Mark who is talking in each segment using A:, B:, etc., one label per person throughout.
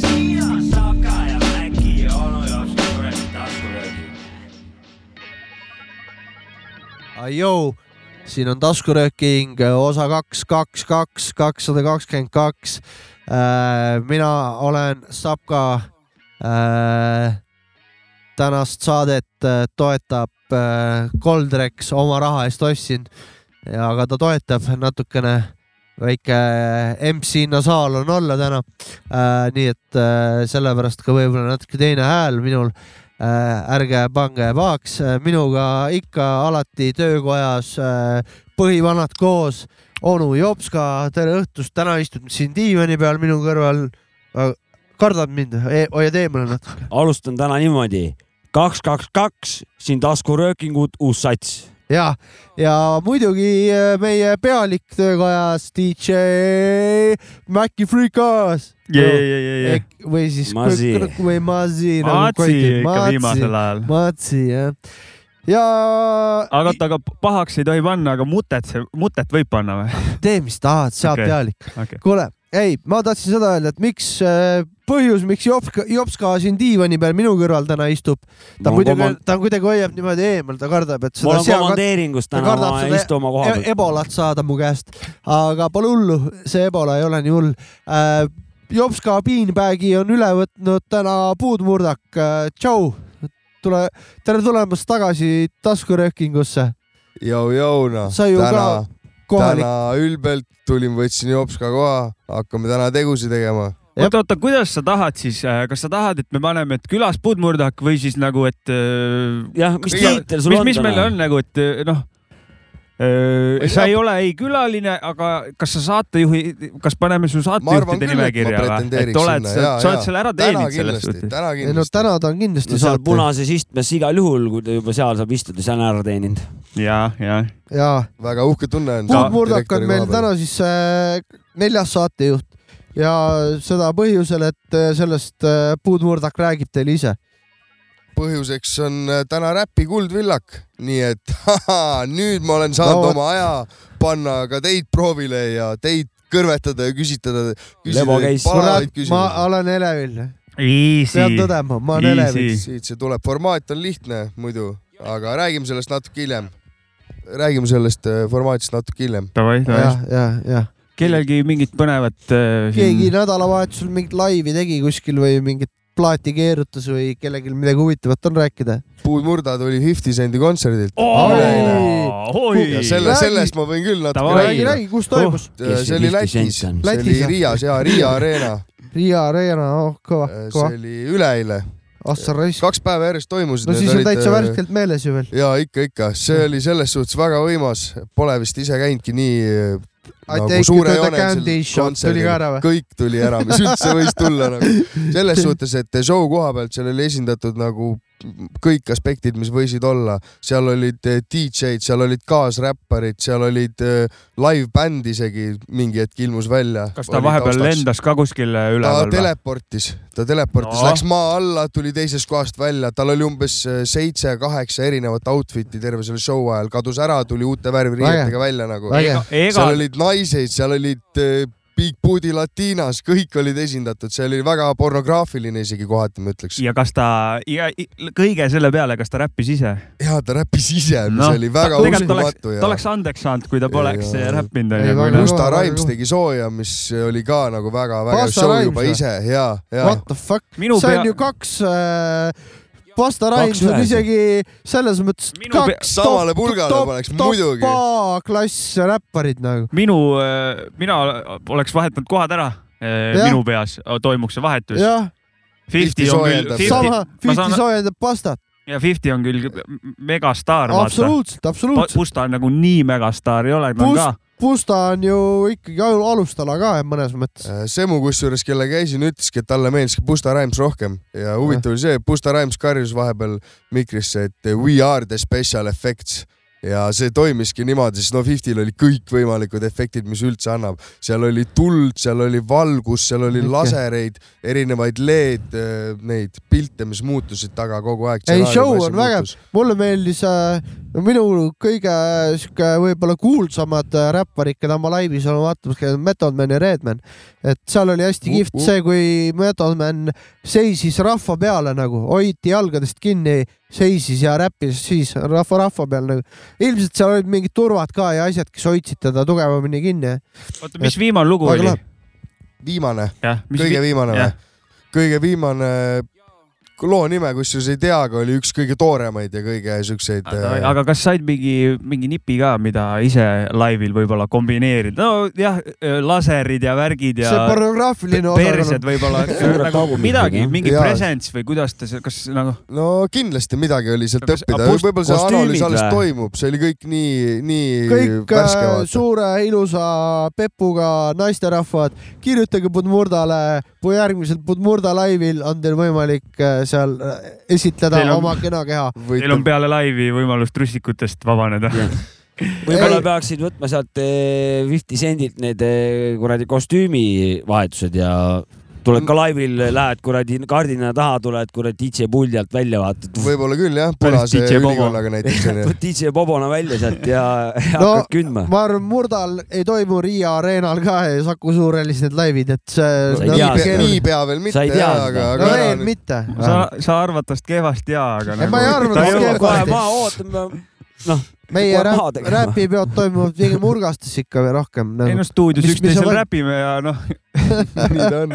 A: siiras saab ka ja äkki onu jaoks ka kuradi taskuröögi .
B: Ajou , siin on taskurööking eh, osa kaks , kaks , kaks , kakssada kakskümmend kaks . mina olen Sapka . tänast saadet äh, toetab äh, Goldrex , oma raha eest ostsin , aga ta toetab natukene väike äh, MC-na saal on olla täna . nii et äh, sellepärast ka võib-olla natuke teine hääl minul äh, ärge pange pahaks , minuga ikka alati töökojas äh, põhivanad koos , onu Jopska , tere õhtust , täna istud siin diivani peal minu kõrval . kardad mind e , hoiad eemale natuke .
C: alustan täna niimoodi , kaks , kaks , kaks , siin taskuröökingud , uus sats .
B: ja , ja muidugi äh, meie pealik töökojas , DJ Maci Freekas
D: jee , jee , jee , jee .
B: või siis
C: Masi.
B: või nagu Masi .
D: Maatsi ikka viimasel ajal .
B: Matsi jah , ja
D: aga oota , aga pahaks ei tohi panna , aga mutet , mutet võib panna või ?
B: tee , mis tahad , saab
D: Okei.
B: okay. pealik . kuule , ei , ma tahtsin seda öelda , et miks , põhjus , miks Jops , Jops ka siin diivani peal minu kõrval täna istub , ta
C: Ma
B: muidugi
C: komand- ,
B: ta kuidagi hoiab niimoodi eemal , ta kardab , et
C: ma
B: seda
C: olen komandeeringus
B: ta
C: täna ,
B: kardab
C: ma ei
B: seda-
C: istu oma koha
B: e-
C: peal .
B: ebolat saada mu käest , aga pole hullu , see ebola ei ole nii hull äh, . Jopska beanbag'i on üle võtnud täna puudmurdak äh, , tšau , tule , tere tulemast tagasi taskuröökingusse ,
E: jõu-jõuna .
B: Sa ju ka kohalik .
E: noh. täna ülbelt tulin , võtsin Jopska koha , hakkame täna tegusid tegema .
B: Jep.
D: oota , oota , kuidas sa tahad siis , kas sa tahad , et me paneme , et külas puudmurdak või siis nagu , et äh,
C: jah , mis
E: Kõige-
C: tiitel sul
D: mis ,
C: on
D: mis meil
C: täna ?
D: on nagu , et äh, noh
E: Ma ei
D: äh, sa
E: tea.
D: ei ole ei külaline , aga kas sa saatejuhi , kas paneme su
E: Ma arvan
D: saatejuhtide
E: küll, et ma
D: nimekirja või ? et
E: pretendeeriks
D: oled
E: sinna, , jaa,
D: sa
E: jaa.
D: oled selle ära
E: täna
D: teeninud selles
E: kindlasti ,
D: suhtes .
B: ei
E: täna
B: no
E: kindlasti .
B: täna ta on kindlasti
C: no
B: no,
C: seal
B: saate
C: punases istmes igal juhul , kui ta juba seal saab istuda , see on ära teeninud .
D: ja , ja
B: ja
E: väga uhke tunne on .
B: puudmurdak on meil täna siis äh, neljas saatejuht ja seda põhjusel , et äh, sellest äh, puudmurdak räägib teile ise .
E: põhjuseks on äh, täna Räpi kuldvillak , nii et haha, nüüd ma olen
B: No
E: saanud no,
B: vot.
E: oma aja panna ka teid proovile ja teid kõrvetada ja küsitada , küsida
C: Lebo käis-
E: teid
B: kurat
E: paremaid ,
B: ma
E: küsimusi .
B: olen elevil , pean
D: Easy .
B: tõdema , ma olen elevil .
D: Easy .
E: siit see tuleb , formaat on lihtne muidu , aga räägime sellest natuke hiljem . räägime sellest äh, formaadist natuke hiljem .
D: Davai , davai
B: jah , jah , jah .
D: kellelgi mingit põnevat äh,
B: keegi
E: Hmm.
B: nädalavahetusel mingit laivi tegi kuskil või mingit plaati keerutas või kellelgi midagi huvitavat on rääkida .
E: puudmurda tuli Fifty Cendi kontserdilt . ja selle ,
B: Räägi.
E: sellest ma võin küll natuke
D: Davai.
B: räägi ,
E: rääkida .
B: räägi , kus toimus ?
E: see oli Lätis , see
B: Lätis,
E: oli
B: jah.
E: Riias ja Riia Arena ,
B: Riia Reena , oh kõva ,
E: Äh, see
B: kõva ,
E: oli üleeile ,
B: ah sa raisk .
E: kaks päeva järjest toimusid .
B: no siis on
E: äh,
B: täitsa . värskelt meeles ju veel .
E: ja ikka , ikka , see oli selles suhtes väga võimas , pole vist ise käinudki nii äh,
B: I
E: nagu
B: take you to the
E: suurejoonelisel
B: candy shop , tuli ka ära
E: kontserdil.
B: või ?
E: kõik tuli ära , mis üldse võis tulla nagu . selles suhtes , et show koha pealt seal oli esindatud nagu kõik aspektid , mis võisid olla , seal olid eh, DJ-d , seal olid kaasräpparid , seal olid eh, live-bänd isegi mingi hetk ilmus välja .
D: kas ta vahepeal ? lendas ka kuskile
E: ta
D: üleval või ?
E: teleportis , ta teleportis
D: No.
E: no. , läks maa alla , tuli teisest kohast välja , tal oli umbes äh, seitse-kaheksa erinevat outfit'i terve selle show ajal , kadus ära , tuli uute värviriietega välja nagu .
B: äge ,
D: ega
E: seal olid naised , seal olid eh, Big Booty latiinas , kõik olid esindatud , see oli väga pornograafiline isegi kohati , ma ütleks .
D: ja kas ta ja i- kõige selle peale , kas ta räppis ise ?
E: ja ta räppis ise , mis
D: Noh,
E: no, oli väga
D: ta- tegelikult
E: uskumatu
D: ta
E: ja
D: oleks andeks saanud , kui ta poleks äh,
E: Ei, jaa.
D: räppinud
B: Ei,
D: onju
B: väga .
E: Musta
B: kõva, väga
E: Raims
B: kõva.
E: tegi sooja , mis oli ka nagu väga-väga
B: Pasta
E: show
B: Rhymes
E: juba
B: või?
E: ise ja , ja
B: what the fuck ,
D: minu
B: see
D: pea
B: on ju , kaks äh, Pasta Rhymes on
C: ühes.
B: isegi selles mõttes
D: Minu pea-
B: kaks
E: samale pulgale paneks muidugi.
B: top A-klass räpparid nagu .
D: minu , mina oleks vahetanud kohad ära .
B: Jah.
D: minu peas toimuks see vahetus .
B: jah ,
D: Fifty on küll ,
E: soojendab.
D: Fifty
B: sama ,
D: ma
B: Fifty
D: saan-
B: soojendab pastat ,
D: ja Fifty on küll megastaar , vaata .
B: absoluutselt , absoluutselt .
D: Pusta on nagu nii megastaar ei ole , ta on
B: Pust-
D: ka .
B: Pusta on ju ikkagi al- alustala ka mõnes mõttes .
E: Eh, Semu kusjuures , kellega käisin , ütleski , et talle meeldiski Pusta Rhymes rohkem ja huvitav oli see , Pusta Rhymes karjus vahepeal mikrisse , et we are the special effects ja see toimiski niimoodi , sest no Fiftil olid kõikvõimalikud efektid , mis üldse annab , seal oli tuld , seal oli valgus , seal oli
B: Ikka.
E: lasereid , erinevaid LED , neid pilte , mis muutusid taga kogu aeg .
B: ei , show on vägev , mulle meeldis äh, , minu kõige äh, sihuke võib-olla kuulsamad äh, räpparid , keda ma laivis olen vaatamas käinud , Method Man ja Redman . et seal oli hästi
E: Uh,
B: kihvt
E: uh.
B: see , kui Method Man seisis rahva peale nagu , hoiti jalgadest kinni , seisis ja räppis siis rahva , rahva peal nagu . ilmselt seal olid mingid turvad ka ja asjad , kes hoidsid teda tugevamini kinni .
D: oota , mis viimane lugu
B: Väga
D: oli
B: lahe. ?
E: viimane ,
D: jah , mis
E: kõige viimane või
D: jah. ?
E: kõige viimane , loo nime kusjuures ei tea , aga oli üks kõige tooremaid ja kõige siukseid .
B: Äh.
E: äh,
D: Aga- aga kas said mingi , mingi nipi ka , mida ise laivil võib-olla kombineerida ? nojah , laserid ja värgid ja
B: see pornograafiline
D: persed
B: osakond .
D: võib-olla
C: Suured
D: nagu
C: tagumid
D: midagi
C: muidugi, , jah.
D: mingi
E: Jaa.
D: presence või kuidas ta , kas nagu
E: no kindlasti midagi oli sealt
D: Kas-
E: õppida
D: aga , post-
E: võib-olla see analüüs
C: kostüümid
E: alles
C: või?
E: toimub , see oli kõik nii , nii
B: kõik äh,
E: värske vaata .
B: suure ilusa pepuga naisterahvad , kirjutage Budmurdale , kui järgmisel Budmurda laivil on teil võimalik äh, seal äh, esitleda
D: Teil on-
B: oma kena keha .
D: teil on peale laivi võimalus trussikutest vabaneda ?
C: võib-olla
B: Ei.
C: peaksid võtma sealt eh, 50 sendilt need eh, kuradi kostüümivahetused ja tuled ka laivil , lähed kuradi kardina taha , tuled kuradi DJ puldi alt välja , vaatad
E: võib-olla küll jah ,
D: Päris
E: punase
D: DJ Bobo.
E: ülikonnaga näiteks onju .
C: DJ Bobona välja sealt ja ja
B: No,
C: hakkad kündma .
B: ma arvan , Murdal ei toimu Riia areenal ka ja Saku Suurhallis need laivid , et see no,
C: No ei tea
B: natuke
C: seda.
B: keeruline .
E: niipea veel mitte
C: Sa ei tea
E: jah ,
C: seda.
E: aga ,
B: no
E: aga
B: ei
E: ära , nüüd
B: mitte .
D: sa , sa arvad tast kehvast jaa , aga nagu
B: Ei, ma ei arva
D: ta
B: tast
D: jõuab
B: kehvast.
D: kohe
C: kohe maha ootame , noh ,
B: meie
C: kohe maha
B: räpp ,
C: tegema.
B: räpipeod toimuvad pigem Murgastes ikka veel rohkem
D: ei
B: nagu.
D: no . stuudios
B: Mis- mis
D: üksteisel
B: on-
D: räpime ja noh ,
E: nii ta on .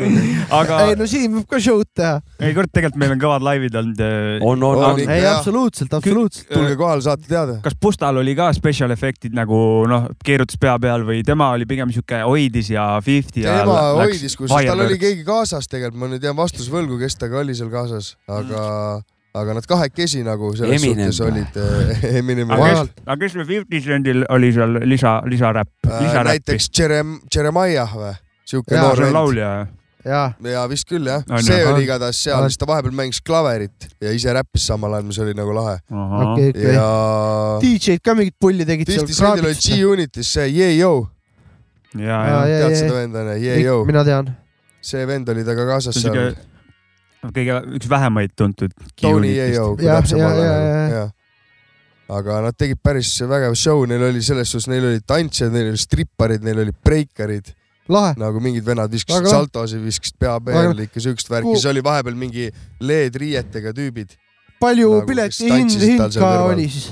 D: aga
B: ei no siin võib ka show'd teha .
D: ei kurat , tegelikult meil on kõvad laivid olnud . äh,
C: on , on ,
E: On
C: on .
E: ikka.
B: ei
E: jah.
B: absoluutselt , absoluutselt .
E: tulge kohale , saate teada .
D: kas Pustal oli ka special efektid nagu noh , keerutas pea peal või tema oli pigem sihuke hoidis ja fifty ja
E: ema
D: lä- läks
E: hoidis , kusjuures tal oli
D: fireworks?
E: keegi kaasas tegelikult , ma nüüd jään vastuse võlgu , kes temaga oli seal kaasas , aga ,
D: Mm.
E: aga nad kahekesi nagu selles
C: Eminem.
E: suhtes olid eh, Eminemi
D: aga
E: vahel
D: kes , aga kes meil Fifty Centil oli seal lisa , lisaräpp ,
E: Äh,
D: lisaräppi ?
E: näiteks Jerem- , Jeremiah või , siuke
B: Jaa,
E: noor
D: see on
E: vend .
D: laulja jah ?
B: jaa ,
E: ja vist küll jah
D: On ,
E: see
D: ju.
E: oli igatahes seal
B: Ah. ,
E: siis ta vahepeal mängis klaverit ja ise räppis samal ajal , mis oli nagu lahe .
B: okei ,
D: okei .
B: okei .
E: ja
B: DJ-d ka mingit pulli tegid seal
E: Fifty Centil oli
B: kraabitist .
E: G-Unitis see Yeah Yo ,
D: ja , ja
B: Jaa, jaa.
E: tead seda venda onju , Yeah Yo ,
B: mina tean .
E: see vend oli temaga kaasas
D: see on
E: seal .
D: siuke kõige , üks vähemaid tuntud .
E: Tony Yeo , kui
B: Jah,
E: täpsem
B: jah,
E: olla
B: jah, jah.
E: nagu . aga nad tegid päris vägeva show , neil oli selles suhtes , neil olid tantsijad , neil olid stripparid , neil olid breikarid ,
B: lahe ,
E: nagu mingid vennad viskasid
B: Väga-
E: saltosid , viskasid pea peale , ikka siukest värki ,
B: Ku-
E: siis oli vahepeal mingi LED-riietega tüübid .
B: palju
E: Nagu, kes
B: pileti hind ,
E: tantsisid
B: hind
E: tal seal
B: ka
E: kõrval. Äh,
B: oli siis ?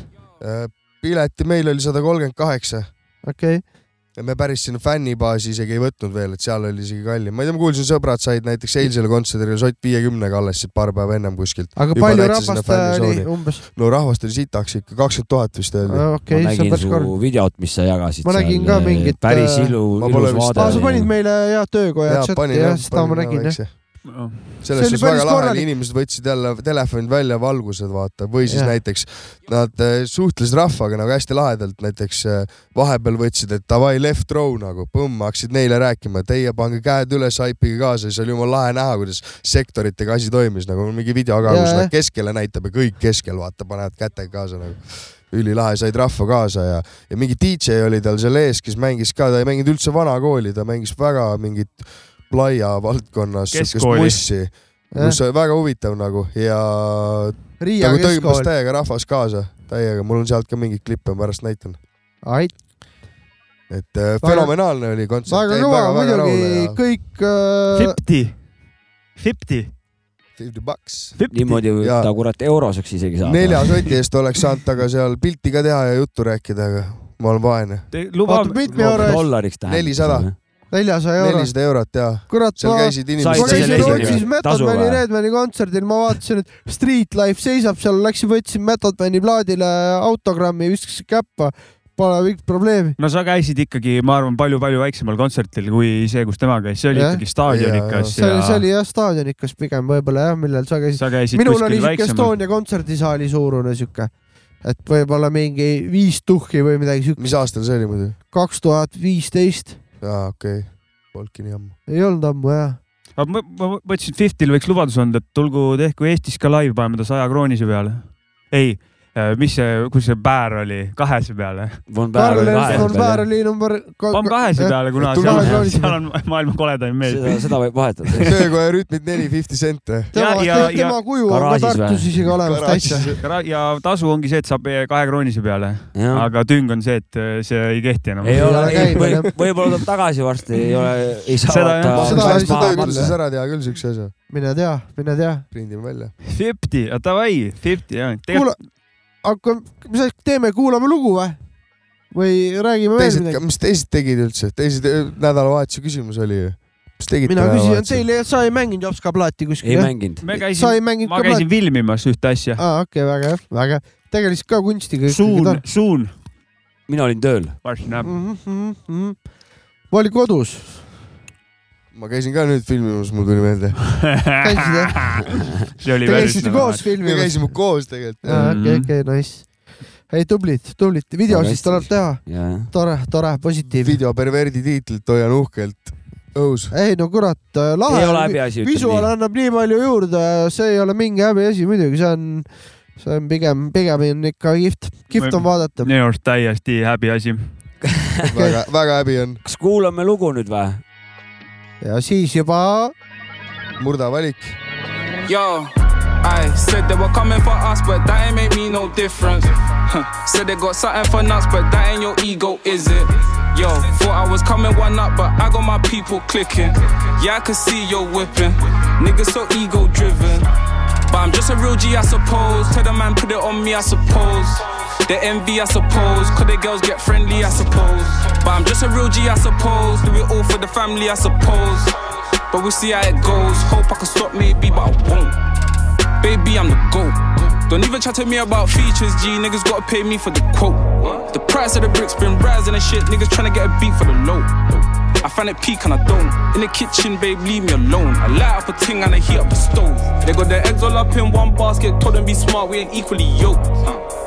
E: pileti meil oli sada kolmkümmend kaheksa
B: okei okay. ,
E: ja me päris sinna fännibaasi isegi ei võtnud veel , et seal oli isegi kallim , ma ei tea , ma kuulsin , sõbrad said näiteks eilsele kontserdile sott viiekümnega alles siit paar päeva ennem kuskilt .
B: aga
E: Juba
B: palju
E: läksid sinna
B: rahvast äh, oli
E: fännisooni.
B: umbes ?
E: no rahvast oli sitaks ikka , kakskümmend tuhat vist öeldi .
B: okei , see
C: ma
B: on
C: nägin
B: päris
C: su
B: korralik .
C: videot , mis sa jagasid .
B: Ma nägin ka mingit,
C: päris
B: äh,
C: ilu ,
E: Ma pole
C: ilus
E: vist-
C: vaade
B: aa , sa panid meile äh, jaa töökoja chati jah , seda ma nägin jah .
E: selles
B: See oli
E: suhtes väga
B: päris
E: lahe oli ,
B: korralik.
E: inimesed võtsid jälle telefonid välja , valgused vaata , või siis
B: Jah.
E: ja. näiteks nad äh, suhtlesid rahvaga nagu hästi lahedalt , näiteks äh, vahepeal võtsid , et davai left row nagu , põmm , hakkasid neile rääkima , teie pange käed üles , haipige kaasa , siis oli jumala lahe näha , kuidas sektoritega asi toimis , nagu on mingi video ka ,
B: Jaa,
E: kus
B: jah.
E: nad keskele näitab ja kõik keskel vaata , panevad kätega kaasa nagu ülilahe , said rahva kaasa ja , ja mingi DJ oli tal seal ees , kes mängis ka , ta ei mänginud üldse vana kooli , ta mängis väga mingit plaia valdkonnas siukest
D: Keskkooli.
E: mussi , mis oli väga huvitav nagu ja
B: Riia
E: nagu tõmbas
B: keskkool ,
E: täiega rahvas kaasa , täiega , mul on sealt ka mingeid klippe , ma pärast näitan .
B: aitäh ,
E: et äh, fenomenaalne oli kontsert ,
B: väga
E: jäin
B: kõva
E: väga , väga rahule
B: muidugi
E: ja
B: kõik äh,
D: Fifty , Fifty ,
E: fifty bucks .
D: Fifty .
C: niimoodi võib
E: Jaa.
C: ta kurat euroseks isegi saada .
E: nelja soti eest oleks saanud temaga seal pilti ka teha ja juttu rääkida , aga ma olen vaene .
B: oota , mitme euro eest ?
C: dollariks tähendab .
E: 400.
B: neljasaja euro ,
E: nelisada eurot ja
B: kurat
E: seal
B: ma
E: käisid
B: ma
C: Said sa
E: inimesed
B: käisin
C: selle .
B: Rootsis
C: esimene
B: Method
C: tasu
B: Mani
C: või?
B: Redmani kontserdil , ma vaatasin , et Street Life seisab seal , läksin võtsin Method Mani plaadile autogrammi , viskasin käppa , pole mingit probleemi .
D: no sa käisid ikkagi , ma arvan , palju-palju väiksemal kontsertil kui see , kus tema käis , see oli
B: Jah.
D: ikkagi staadionikas
B: see oli , see
D: ja
B: oli jah , staadionikas pigem võib-olla jah , millal sa käisid .
D: sa käisid
B: minul oli
D: kuskil
B: siuke
D: väiksemal .
B: Estonia kontserdisaali suurune siuke , et võib-olla mingi viis tuhki või midagi siukest ,
E: mis aastal see oli muidu ?
B: kaks tuhat viisteist ,
E: aa , okei okay. , polnudki nii ammu .
B: ei olnud ammu jah .
D: ma ma- ma mõtlesin , et Fiftyl võiks lubadus olnud , et tulgu tehku Eestis ka live , paneme ta saja kroonise peale . ei , mis see , kus see Bär oli , kahese peale ?
C: Von Baer
B: Karl
C: oli
B: Ernst von Baer
C: vahepeal .
B: oli number .
D: paneme kahese peale , kuna
B: tule
D: seal
B: kaheksa
D: on ,
B: plaanile.
D: seal on maailma koledaim
C: seda ,
D: mees .
C: seda võib vahetada .
E: töökoja rütmid neli fifty sente .
B: tema ,
D: Ja- ja- ja-
B: tema kuju on ka
C: garaažis
B: Tartus
C: või?
B: isegi olemas täitsa .
D: ja tasu ongi see , et saab kahe kroonise peale ,
C: jah ,
D: aga tüng on see , et äh, see ei kehti enam .
C: ei ole
B: ole ,
C: ei
B: käinud,
C: või,
B: jah. ,
C: võib-olla tuleb tagasi varsti , ei ole , ei saa .
D: Seda jah.
E: seda
B: Seda-
E: vist
B: seda-
E: töötluses ära teha küll siukse asja ,
B: mine tea , mine tea .
E: prindime välja .
D: Fifty , davai , fifty jah .
B: kuula , aga mis asja teeme , kuulame lugu või ? või räägime veel
E: teised ,
B: midagi ?
E: mis teised tegid üldse , teised eh, nädalavahetuse küsimus oli ju . mis tegid
B: mina küsin , teil , sa ei mänginud Jopska plaati kuskil
C: ei
B: jah ?
C: mänginud .
D: me
B: sa
D: käisime ,
B: ei mänginud
D: ma
B: ka plaati ?
D: käisin filmimas ühte asja .
B: aa , okei , väga hea , väga hea . tegelesid ka Mhm, kunstiga .
D: suun , suun .
C: mina olin tööl .
B: ma olin kodus .
E: ma käisin ka nüüd filmimas , mul tuli meelde .
B: käisid jah ?
D: see oli
B: Te käisite koos
E: me
B: filmimas ?
E: käisime koos tegelikult .
B: aa , okei ,
C: Mm.
D: Mhm.
B: okei , nice . ei , tublid , tublid , video
C: Väga
B: siis
C: hästi.
B: tuleb teha .
C: jajah .
B: tore , tore , positiivne .
E: video perverdi tiitlit hoian uhkelt õhus .
B: ei no kurat ,
C: ei ole
B: lahe .
C: häbiasi ,
B: visuaal
C: ütleme nii .
B: annab nii palju juurde , see ei ole mingi häbiasi muidugi , see on , see on pigem , pigem on ikka kihvt , kihvt on vaadata .
D: minu arust täiesti häbiasi .
E: väga , väga häbi on .
C: kas kuulame lugu nüüd või ?
B: ja siis juba
E: murda valik .
F: Yo, I said they were coming for us, but that ain't make me no difference. Huh, said they got something for nuts, but that ain't your ego, is it? Yo, thought I was coming one up, but I got my people clicking. Yeah, I can see you're whipping. Niggas so ego driven. But I'm just a real G, I suppose. Tell the man, put it on me, I suppose. The envy, I suppose. Cause the girls get friendly, I suppose. But I'm just a real G, I suppose. Do it all for the family, I suppose. But we'll see how it goes. Hope I can stop maybe, but I won't. Baby, I'm the GOAT. Don't even chat to me about features, G. Niggas gotta pay me for the quote. The price of the bricks been rising and shit. Niggas tryna get a beat for the low. I find it peak and I don't. In the kitchen, babe, leave me alone. I light up a ting and I heat up the stove. They got their eggs all up in one basket. Told them be smart, we ain't equally yoked.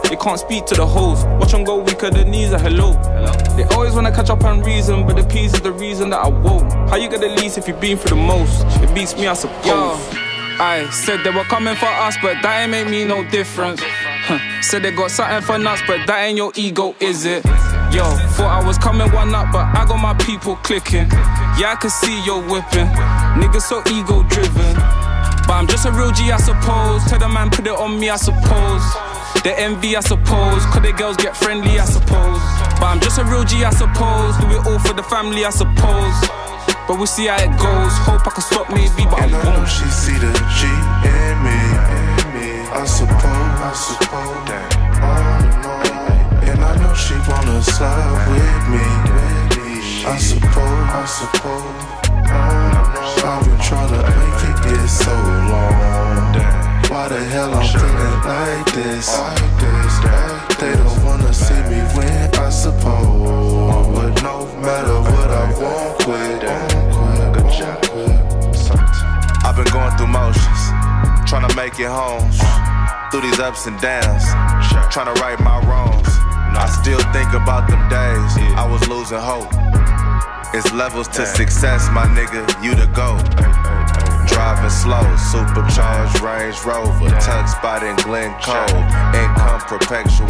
F: They can't speak to the hoes. Watch 'em go weaker, the knees are hello. They always wanna catch up and reason, but the peas is the reason that I won't. How you get the least if you been through the most? It beats me, I suppose. I said they were coming for us, but that ain't make me no difference. Huh. Said they got something for nuts, but that ain't your ego, is it? Yo, thought I was coming one up, but I got my people clicking. Yeah, I can see you're whipping. Niggas so ego driven. But I'm just a real G, I suppose. Tell the man, put it on me, I suppose. The envy, I suppose. Cause the girls get friendly, I suppose. But I'm just a real G, I suppose. Do it all for the family, I suppose. But we'll see how it goes. Hope I can stop maybe, but I
G: And I know
F: won't.
G: she see the G in me. I suppose, I suppose that all in all. And I know she wanna side with me. I suppose, I suppose. I've been trying to make it get so long. Why the hell I'm feeling like this? They don't wanna see me win, I suppose. But no matter what, I won't quit. Good job. I've been going through motions, tryna make it home. Through these ups and downs, tryna right my wrongs. I still think about them days I was losing hope. It's levels to success, my nigga, you the goat. Driving slow, supercharged Range Rover, tuck spot in Glen Cove. Income perpetual,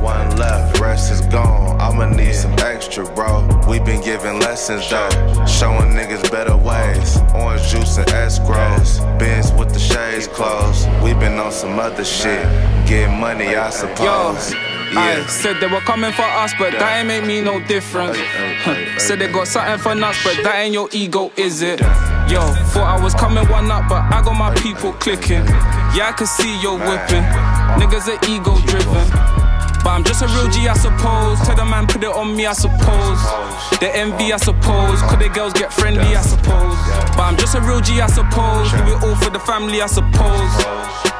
G: one left, rest is gone. I'ma need some extra, bro. we been giving lessons though, showing niggas better ways. Orange juice and escrows, Benz with the shades closed. we been on some other shit, getting money, I
F: Yo,
G: suppose.
F: I said they were coming for us, but that ain't make me no difference.
G: Ay, ay,
F: Huh.
G: ay,
F: Said
G: ay,
F: they got something for nuts, but that ain't your ego, is it?
G: Damn.
F: Yo, thought I was coming one up, but I got my people clicking. Yeah, I can see you're whipping. Niggas are ego driven. But I'm just a real G, I suppose. Tell the man, put it on me, I suppose. The envy, I suppose. Cause the girls get friendly, I suppose. But I'm just a real G, I suppose. Do it all for the family, I suppose.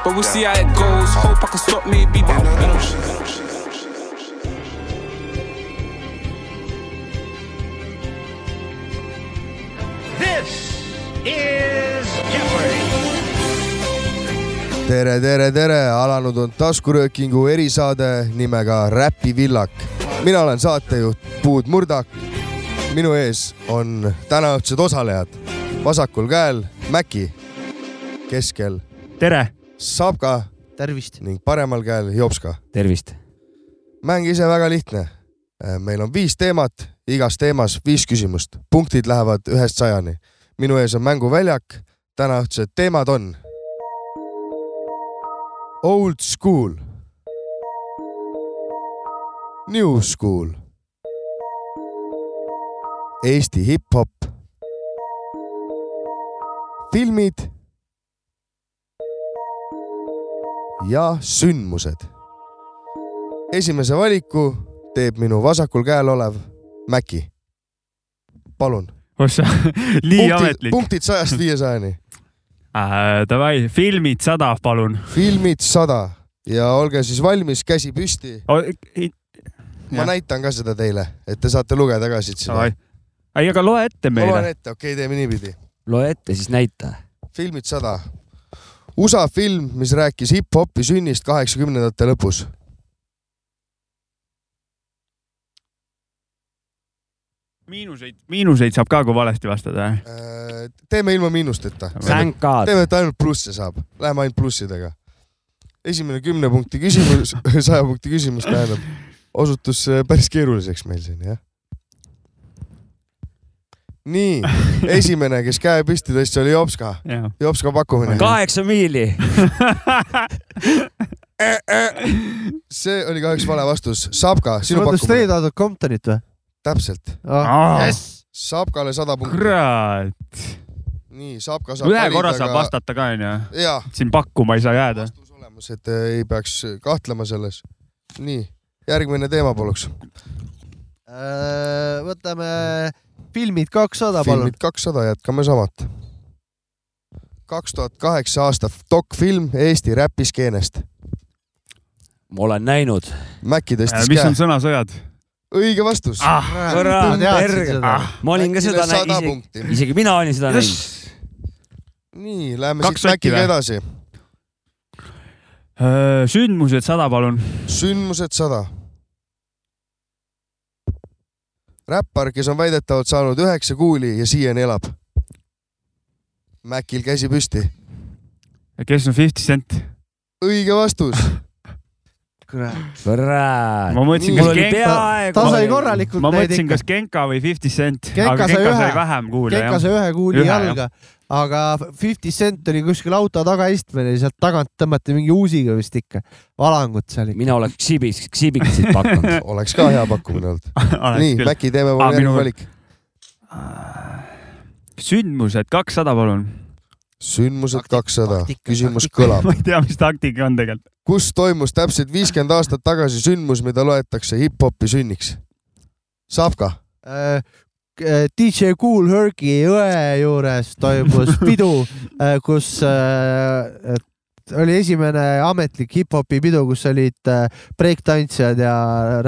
F: But we'll see how it goes. Hope I can stop maybe, but I won't.
A: This is Jeopardy!
E: tere , tere , tere , alanud on taskuröökingu erisaade nimega Räpivillak . mina olen saatejuht Puud Murdak . minu ees on tänaõhtused osalejad . vasakul käel Mäki , keskel
D: tere ,
E: Sapka
B: tervist .
E: ning paremal käel Jopska .
C: tervist .
E: mäng ise väga lihtne . meil on viis teemat , igas teemas viis küsimust , punktid lähevad ühest sajani . minu ees on mänguväljak , tänaõhtused teemad on . Old school . New school . Eesti hip-hop . filmid . ja sündmused esimese valiku teeb minu vasakul käel olev Mäki . palun .
D: ossa , nii ametlik .
E: punktid sajast viiesajani ,
D: Äh, Davai , filmid sada , palun .
E: filmid sada ja olge siis valmis , käsi püsti . ma
D: Jah.
E: ja. näitan ka seda teile , et te saate lugeda ka siit seda .
D: ei , aga loe ette
E: ma loen
D: meile .
E: ette , okei okay, , teeme niipidi .
C: loe ette , siis näita .
E: filmid sada . USA film , mis rääkis hip-hopi sünnist kaheksakümnendate lõpus .
D: miinuseid , miinuseid saab ka , kui valesti vastada .
E: Äh, teeme ilma miinusteta .
C: Thank God .
E: teeme , et ainult plusse saab , läheme ainult plussidega . esimene kümne punkti küsimus , saja punkti küsimus tähendab , osutus äh, päris keeruliseks meil siin jah . nii , esimene , kes käe püsti tõstis , oli Jopska , Jopska pakkumine .
C: kaheksa miili .
E: see oli kahjuks vale vastus , Sapka , sinu
B: oota ,
E: pakkumine .
B: Straight Outta Comptonit või ? Ah,
E: täpselt , Sapkale sada punkti .
D: Ah. kurat ,
E: nii , Sapka saab
D: ühe korra saab . vastata ka onju ,
E: jaa ,
D: siin pakkuma ei saa jääda .
E: vastus olemas , et äh, ei peaks kahtlema selles . nii , järgmine teema paluks .
B: Äh, võtame filmid
D: Ah,
B: kakssada , palun
E: filmid . kakssada , jätkame samat . kaks tuhat kaheksa aasta dokfilm Eesti räpiskeenest .
C: ma olen näinud .
E: Mäkki tõstis
D: Äh, mis on Ah,
E: käe .
D: sõnasõjad ?
E: õige vastus .
C: Ah.
E: Ah,
C: kurat ,
D: ah.
C: perge . ma olin ka seda
E: sada
C: näinud ,
E: punkti .
C: isegi mina olin seda näinud .
E: nii , lähme
D: Kaks
E: siit
D: sotti
E: Mäkkiga
D: või?
E: edasi .
D: Äh, sündmused sada , Ah, palun .
E: sündmused sada . räppar , kes on väidetavalt saanud üheksa kuuli ja siiani elab . Mäkil käsi püsti .
D: kes on Fifty Cent ?
E: õige vastus .
C: kurat .
D: ma mõtlesin ,
C: mul
D: kas
C: oli
D: Genka ,
C: peaaegu .
B: ta sai korralikult
D: ma
B: neid
D: mõtlesin ,
B: ikka
D: kas . Genka või Fifty Cent ,
B: Genka
D: aga
B: sai
D: Genka sai
B: ühe.
D: vähem kuule
B: Genka
D: jah .
B: sai ühe kuuli
D: Ühe, jah.
B: jalga , aga Fifty Cent oli kuskil auto tagaistmel ja sealt tagant tõmmati mingi uusiga vist ikka , valangut seal ikka .
C: mina oleks ksibiks , ksibiksit pakkunud .
E: oleks ka hea pakkumine olnud . nii , Mäkki , teeme
D: Aa,
E: palun
D: Ah, minu-
E: järgmine valik .
D: sündmused kakssada , palun .
E: sündmused
B: Taktika,
E: kakssada ,
B: taktika,
E: küsimus
B: taktika.
E: kõlab .
D: ma ei tea , mis taktika on tegelikult .
E: kus toimus täpselt viiskümmend aastat tagasi sündmus , mida loetakse hip-hopi sünniks ? Savka ,
B: Äh, DJ Kool Herki jõe juures toimus pidu , kus äh, et oli esimene ametlik hip-hopi pidu , kus olid äh, breiktantsijad ja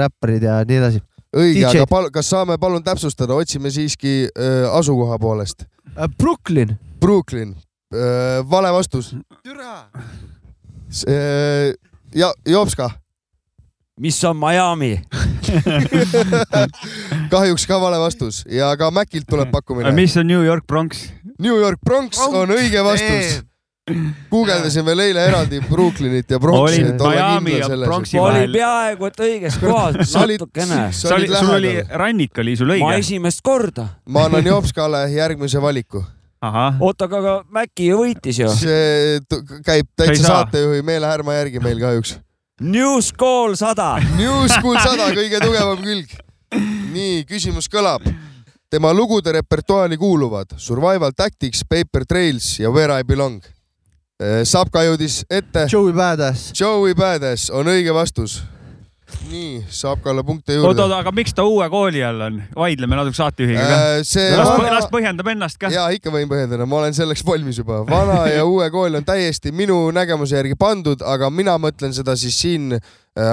B: räpparid ja nii edasi .
E: õige ,
B: DJ.
E: aga pal- , kas saame palun täpsustada , otsime siiski öö, asukoha poolest .
D: Äh,
B: Brooklyn .
E: Brooklyn , vale vastus .
B: türa .
E: ja Jopska ,
C: mis on Miami ?
E: kahjuks ka vale vastus ja ka Macilt tuleb pakkumine .
D: Äh, mis on New York Bronx ?
E: New York Bronx on õige vastus . guugeldasin veel eile eraldi Brooklynit ja Bronxi ,
D: Olid
E: et olla
D: Miami
E: kindel
D: ja
E: selles .
D: Bronxi
C: ma olin
D: vahel .
C: peaaegu et õiges kohas ,
E: Sa olid-
C: natukene .
E: sa
D: sa
E: olid
D: olid , sul oli
E: lähedal .
D: rannik oli sul
C: ma
D: õige ?
C: esimest korda .
E: ma annan Jopskale järgmise valiku .
D: ahah ,
C: oota , aga , aga Maci ju võitis ju .
E: see t- käib
D: Ei
E: täitsa
D: saa.
E: saatejuhi meelehärma järgi meil kahjuks .
C: New School sada .
E: New School sada kõige tugevam külg . nii , küsimus kõlab . tema lugude repertuaari kuuluvad Survival Tactics , Paper Trails ja Where I Belong . Äh, Sapka jõudis ette .
B: Joey Badass .
E: Joey Badass on õige vastus . nii , Sapkale punkte
D: oot ,
E: juurde
D: oot ., aga miks ta uue kooli all on ? vaidleme natuke saatejuhiga ka .
E: Äh, see
D: las ,
E: vana-
D: las põhjendab ennast ka .
E: jaa , ikka võin põhjendada , ma olen selleks valmis juba . vana ja uue kool on täiesti minu nägemuse järgi pandud , aga mina mõtlen seda siis siin äh,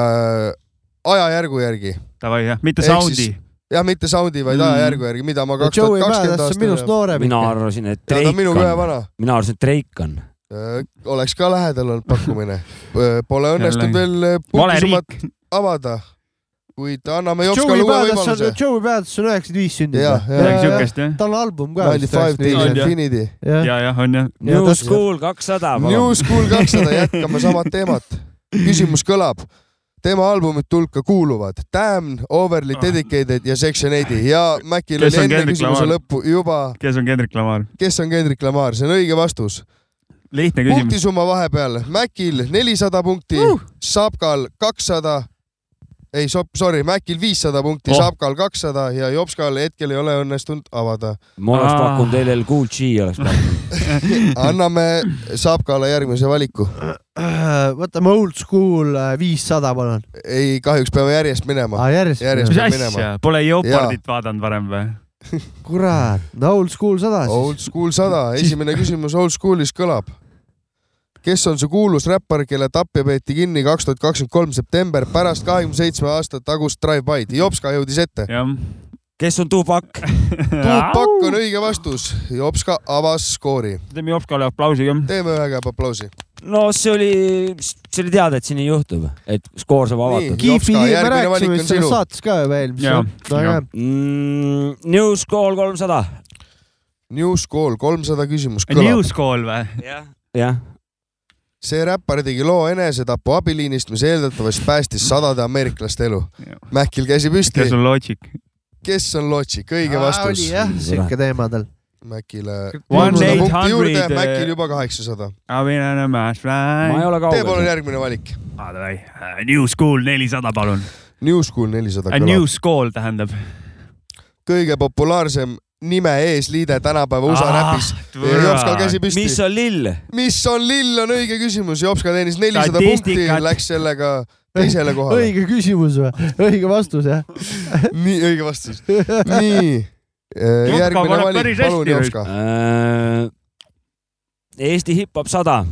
E: ajajärgu järgi .
D: Davai jah , mitte
E: Ehk
D: soundi
E: siis- . jah , mitte soundi , vaid
D: Mm.
E: ajajärgu järgi , mida ma kaks
B: Joey
E: tuhat kakskümmend
B: Badass on minust
E: aastal .
B: noorem
C: mina
B: ikka .
C: arvasin , et
E: ta on
C: Drake
E: minuga ühe
C: on .
E: vana .
C: mina arvasin , et Drake on .
E: Äh, oleks ka lähedal olnud pakkumine . Pole Äh, õnnestunud veel
D: vale
E: punktisummat
D: riik .
E: avada . kuid anname Jopskale
B: Joey
E: uue
B: Badass
E: võimaluse
B: on ,. Joey Badass on üheksakümmend viis
E: jah
B: sündinud .,
D: midagi
E: jah ,
D: siukest jah ?
B: tal on album ka .
E: Ninety Five Till
D: On, jah.
E: Infinity .
D: ja , jah , on jah .
B: Ja
C: New
B: tõstke-
C: School kakssada .
E: New School kakssada , jätkame samad teemad . küsimus kõlab . tema albumite hulka kuuluvad Damn , Overly Dedicated ja Section 80 ja Mäkil
D: Ah.
E: oli
D: Kes on
E: enne
D: Kendrick
E: küsimuse
D: Lamar?
E: lõppu juba ,
D: kes on Kendrick Lamar ?
E: kes on Kendrick Lamar , see on õige vastus .
D: lihtne küsimus .
E: punktisumma vahepeal Mäkil nelisada punkti uh. , Sapkal kakssada , ei , sorry , Mäkil viissada punkti
D: Oh.
E: oh. , Sapkal kakssada ja Jopskal hetkel ei ole õnnestunud avada .
C: ma oleks
D: Aa.
C: pakkunud eile Cool G oleks pakkunud .
E: anname Sapkale järgmise valiku .
B: võtame Old School äh, viissada , palun .
E: ei , kahjuks peame järjest minema .
B: järjest,
E: Järjest.
D: mis
E: peab
D: asja
E: minema. ,
D: pole Jeopardit vaadanud varem või ?
B: kurat , no Old School sada
E: Old
B: siis .
E: School sada , esimene küsimus Old Schoolis kõlab . kes on see kuulus räppar , kelle tapja peeti kinni kaks tuhat kakskümmend kolm september pärast kahekümne seitsme aasta tagust Drive-By'd ? Jopska jõudis ette .
D: jah .
C: kes on Tupac ?
E: Tupak on õige vastus . Jopska avas skoori .
D: teeme Jopskale aplausi ka .
E: teeme ühe käega aplausi .
C: no see oli , see oli teada , et siin nii juhtub , et skoor saab avatud .
B: Kiifi
E: Jopska,
B: nimi me
E: järgmine valik
B: rääkisime
E: on
B: vist selles
E: sinu.
B: saates ka juba eelmises
D: Jaa, jaa. .
C: mm, . New School kolmsada .
E: New School kolmsada küsimus
D: New
E: kõlab .
D: School või ?
C: jah ,
E: see räppar tegi loo enesetapu abiliinist , mis eeldatavasti päästis sadade ameeriklaste elu
D: Jah. .
E: Mähkil käsi püsti
D: kes . on Logic ?
E: kes on Logic ? õige vastus
B: oli . jah , siuke teema tal .
E: Mäkile .
D: One
E: punkti
D: 800,
C: äh,
E: juurde ,
D: eh,
E: Mäkil juba kaheksasada .
D: I will on a mass
C: ma ei
D: fly .
C: ole
E: tee palun
C: kaugel .
E: järgmine valik .
D: Ah, New School nelisada , palun .
E: New School nelisada
D: A
E: kõlab
D: new . school tähendab .
E: kõige populaarsem nime eesliide tänapäeva USA
D: Ah,
E: räpis . Jopskal käsi
C: mis
E: püsti .
C: on lill ?
E: mis on lill , on õige küsimus . Jopska teenis nelisada punkti ,
D: Statistikat.
E: läks sellega teisele kohale .
B: õige küsimus või ? õige vastus jah ?
E: nii , õige vastus . nii . järgmine
D: paneb
E: valik ,
D: päris
E: palun
D: hästi
E: Jopska .
C: Äh, Eesti hip-hop sada .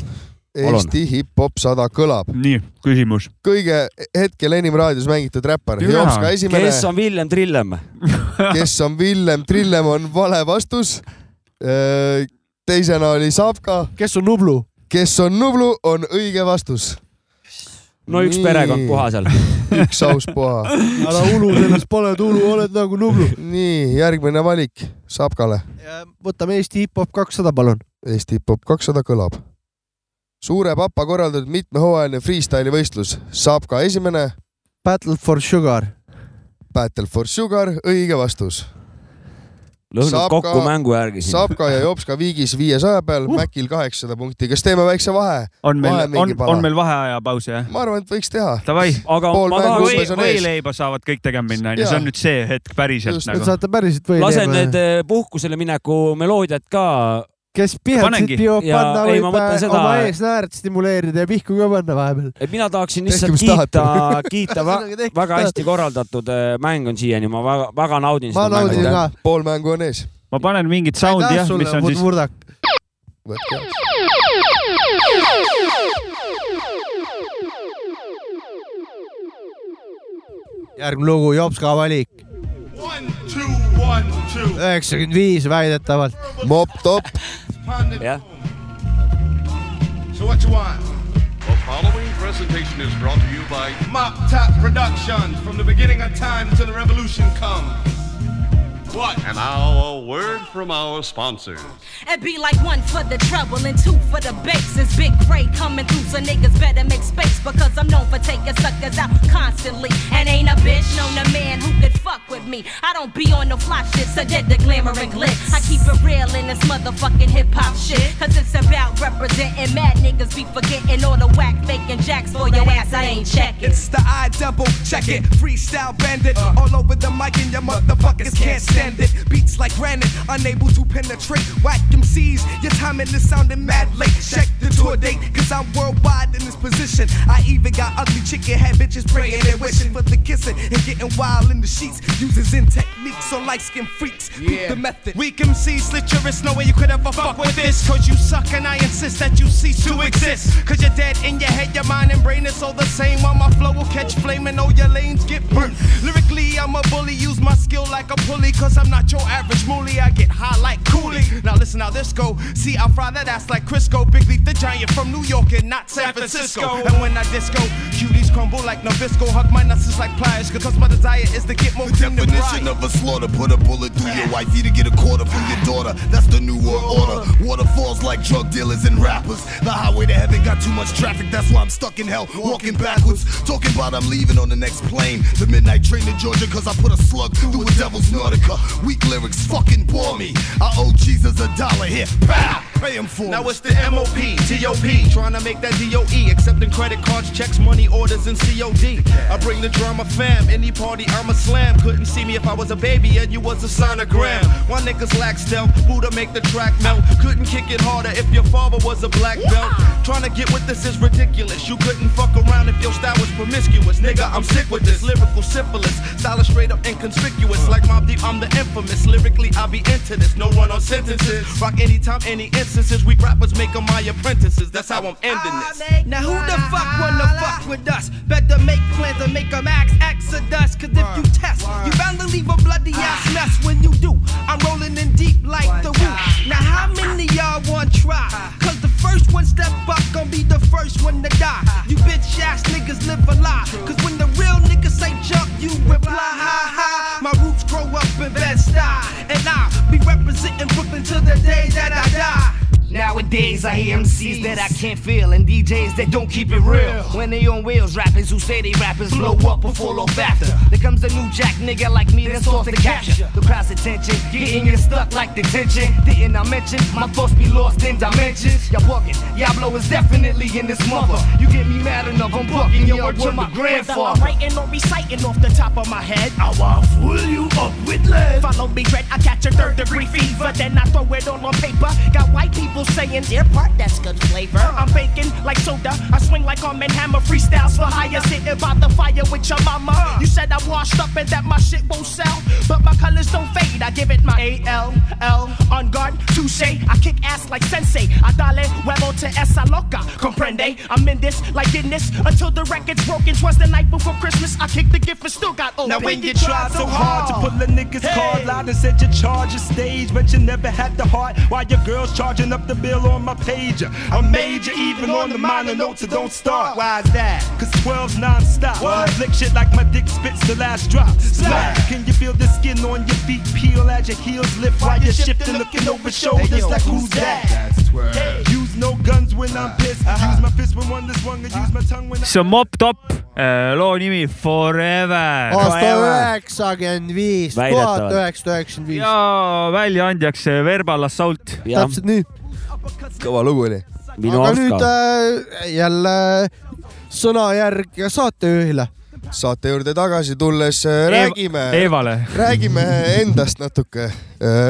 C: palun.
E: Eesti hip-hop sada kõlab .
D: nii , küsimus .
E: kõige hetkel enim raadios mängitud räppar .
D: Jaa.
E: Jopska esimene .
C: kes on Villem Trillem ?
E: kes on Villem Trillem , on vale vastus . teisena oli Savka ,
B: kes on Nublu ?
E: kes on Nublu , on õige vastus .
C: no üks
E: Nii.
C: perekond puha seal .
E: üks aus puha .
B: ära ulu sellest , pane tulu , oled nagu Nublu .
E: nii , järgmine valik Savkale .
B: võtame Eesti hip-hop kakssada , palun .
E: Eesti hip-hop kakssada kõlab . suure papa korraldatud mitmehooajaline freestyle'i võistlus . Savka esimene ,
B: Battle for Sugar .
E: Battle for Sugar , õige vastus .
C: lõhnab
E: Saab
C: kokku
E: ka-
C: mängu järgi siin .
E: Savka ja Jopska viigis viiesaja peal uh. , Mäkil kaheksasada punkti . kas teeme väikse vahe ?
D: on
E: Vahe
D: meil ,
E: mingi
D: on ,
E: pala.
D: on meil vaheajapaus jah ?
E: ma arvan , et võiks teha .
D: Davai .
C: aga
E: Pool
C: ma
E: mängu
C: tahaks
E: umbes
D: või ,
E: on ees.
D: võileiba saavad kõik tegema minna , onju , see on nüüd see hetk päriselt
E: Just,
B: Te
D: nagu .
B: saate päriselt või ?
C: lasen need eh, puhkusele mineku meloodiad ka .
B: kes pihetsit
D: Panengi.
B: jõuab
C: Ja
B: panna ,
C: ei,
B: võib
C: ma mõtlen
B: äh,
C: seda-
B: oma ees naert stimuleerida ja pihku ka panna vahepeal .
C: et mina tahaksin
E: Tehke,
C: lihtsalt
E: mis
C: kiita
E: tahate. ,
C: kiita va-
B: Ühesõnaga, tehke, mis
C: väga hästi
B: tahate.
C: korraldatud eh, mäng on siiani , ma väga , väga naudin
B: ma
C: seda
B: naudin
C: mängu
B: ka .
E: pool mängu on ees .
D: ma panen mingit sound'i jah , mis on siis ,
B: murdak .
E: võtke jaoks .
B: järgmine lugu , Jopska valik . üheksakümmend viis väidetavalt .
E: mopp top ,
C: jah ,
H: So what you want? The following presentation is brought to you by
I: Mop Top Productions, from the beginning of time till the revolution comes. What?
H: and now a word from our sponsors.
J: And be like one for the trouble and two for the bakes. It's big gray coming through, so niggas better make space because I'm known for taking suckers out constantly. And ain't a bitch known a man who could fuck with me. I don't be on no fly shit, so dead the glamour and glitz. I keep it real in this motherfucking hip hop shit. Cause it's about representing mad niggas be forgetting all the whack faking jacks for your ass. I ain't checking.
I: It's the I double check it, freestyle bandit, all over the mic and your motherfuckers can't stand it. Beats like granite, unable to penetrate. Whack them C's, your timing is sounding mad late. Check the tour date, cause I'm worldwide in this position. I even got ugly chicken head bitches praying and wishing for the kissing and getting wild in the sheets. Using differences in techniques on light skin freaks. Prove the method. Weak MCs slit your wrist, no way you could ever fuck with this. Cause you suck and I insist that you cease to exist. Cause you're dead in your head, your mind and brain is all the same. While my flow will catch flame and all your lanes get burnt. Lyrically, I'm a bully, use my skill like a pulley. Cause I'm not your average moolie, I get high like coolie. Now listen how this go. See, I fry that ass like Crisco. Big Leaf the Giant from New York and not San Francisco. And when I disco, cuties crumble like Nabisco. Hug my nuts just like pliers. Cause my desire is to get more cream than
K: Definition of a slaughter. Put a bullet through your wifey to get a quarter from your daughter. That's the new world order. Waterfalls like drug dealers and rappers. The highway to heaven got too much traffic. That's why I'm stuck in hell, walking backwards. Talking about I'm leaving on the next plane. The midnight train to Georgia, cause I put a slug through a devil's Nautica. Weak lyrics fucking bore me. I owe Jesus a dollar here. Pow! Pay him for
I: Now it's the MOP, TOP, trying to make that DOE, accepting credit cards, checks, money orders, and COD. I bring the drama fam, any party I'm a slam. Couldn't see me if I was a baby and you was a sonogram. Why niggas lack stealth, Buddha make the track melt. Couldn't kick it harder if your father was a black belt. Trying to get with this is ridiculous. You couldn't fuck around if your style was promiscuous. Nigga, I'm sick with this lyrical syphilis. Style is straight up inconspicuous, like Mob Deep, I'm the infamous. Lyrically, I be into this, no run on sentences. Rock anytime, any instances. We rappers make 'em my apprentices. That's how I'm ending this.
L: Now who the fuck wanna fuck with us? Better make plans and make them axe exodus. Cause if you test, you bound to leave a bloody ass mess when you do. I'm rolling in deep like the woo. Now how many y'all want try? Cause the first one step up gonna be the first one to die. You bitch ass niggas live a lie. Cause when the real niggas say jump, you reply ha ha. My roots grow up in Bed Stuy. And I be representing Brooklyn till the day that I die.
M: Nowadays, I hear MCs that I can't feel and DJs that don't keep it real. When they on wheels, rappers who say they rappers blow up or fall off after. There comes a new jack nigga like me that's off the capture. The crowd's attention, getting it stuck like detention. Didn't I mention my thoughts be lost in dimensions? Y'all bugging, y'all blow is definitely in this mother. You get me mad enough, I'm bucking your word to my
N: Whether I'm
M: grandfather.
N: writing or reciting off the top of my head, I
M: will fool you up with lead.
N: Follow me, red, I catch a third degree fever, then I throw it all on paper. Got white people saying, dear part, that's good flavor. I'm baking like soda, I swing like on Hammer, freestyles for hire, sitting by the fire with your mama. You said I washed up and that my shit won't sell, but my colors don't fade, I give it my A-L-L. On guard, touche, I kick ass like sensei. I dale huevo to esa loca, comprende? I'm in this like in this, until the record's broken. Twas the night before Christmas, I kicked the gift and still got open.
I: Now when you tried so hard to pull a nigga's card out and said you charge a stage, but you never had the heart. While your girl's charging up the bill on my pager, I made you even on the minor notes that don't start. Why's that? Cause 12's non-stop. What? Flick shit like my dick spits the last drop. Slap. Can you feel the skin on your feet peel as your heels lift while you're shifting, looking over shoulders like who's that? Hey, Use no guns when I'm pissed. Use my fist when one is swung and use my tongue when
D: see on Mop Top , loo nimi Forever .
B: aasta üheksakümmend viis , tuhat
D: Väidetavalt.
B: üheksasada üheksakümmend viis .
D: ja väljaandjaks äh, Verbal Assault .
B: täpselt nii .
E: kõva lugu oli .
B: aga nüüd äh, jälle sõnajärg saatejuhile .
E: saate juurde tagasi tulles äh, räägime ,
D: Eevale.
E: räägime endast natuke .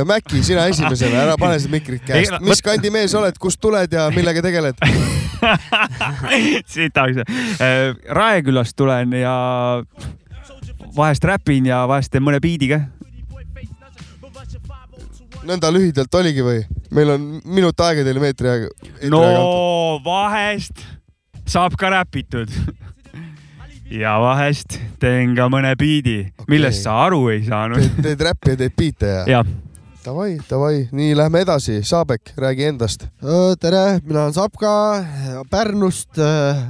E: Mäkki , sina esimesena , ära pane seda mikrit käest
D: Ei, . no,
E: mis
D: vot-
E: kandi mees oled , kust tuled ja millega tegeled ?
D: sitaks . Raekülast äh, tulen ja vahest räpin ja vahest teen mõne biidi ka .
E: nõnda lühidalt oligi või ? meil on minut aega teile meetri aega .
D: no vahest saab ka räpitud . ja vahest teen ka mõne biidi okay. , millest sa aru ei saanud .
E: teed räppi ja teed biite ja ?
D: jah .
E: Davai , davai , nii lähme edasi , Saabek , räägi endast .
B: tere , mina olen Sapka äh, Pärnust ,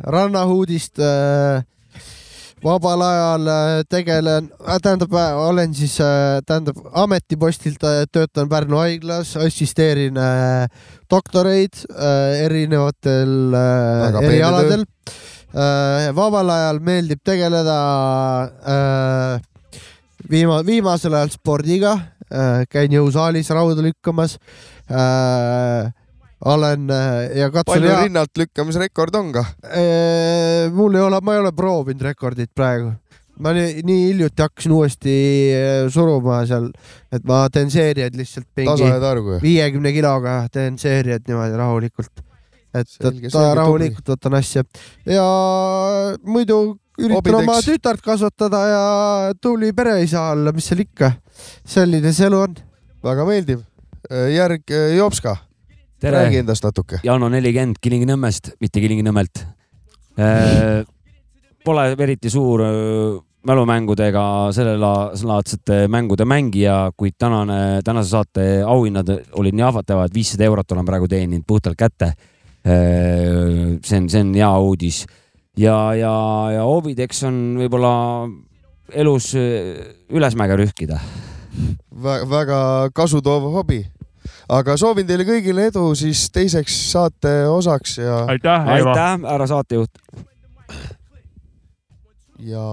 B: rannahuudist . vabal ajal äh, tegelen , tähendab , olen siis , tähendab ametipostilt äh, töötan Pärnu haiglas , assisteerin äh, doktoreid äh, erinevatel äh,
E: Väga peene
B: erialadel . vabal ajal meeldib tegeleda äh, viima- , viimasel ajal spordiga , käin jõusaalis rauda lükkamas . olen äh, ja katsun
E: palju . rinnalt lükkamisrekord on ka ?
B: mul ei ole , ma ei ole proovinud rekordit praegu . ma nii, nii hiljuti hakkasin uuesti äh, suruma seal , et ma teen seeriaid lihtsalt
E: Tasa ja targu,
B: mingi
E: jah?
B: viiekümne kiloga teen seeriaid niimoodi rahulikult . et
E: Selge,
B: võta
E: selge,
B: rahulikult , võtan asja ja muidu üritan
E: Hobideks.
B: oma tütart kasvatada ja tubli pereisa olla , mis seal ikka . selline see elu on .
E: väga meeldiv . järg äh, Jopska .
C: Tere.
E: räägi endast natuke .
C: Jaan on nelikümmend Kilingi-Nõmmest , mitte Kilingi-Nõmmelt . Pole eriti suur öö, mälumängudega sellelaadsete mängude mängija , kuid tänane , tänase saate auhinnad olid nii ahvatlevad , viissada eurot olen praegu teeninud puhtalt kätte . see on , see on hea uudis ja , ja , ja hobideks on võib-olla elus öö, ülesmäge rühkida
E: väga kasutoov hobi . aga soovin teile kõigile edu siis teiseks saate osaks ja .
C: aitäh , härra saatejuht .
E: ja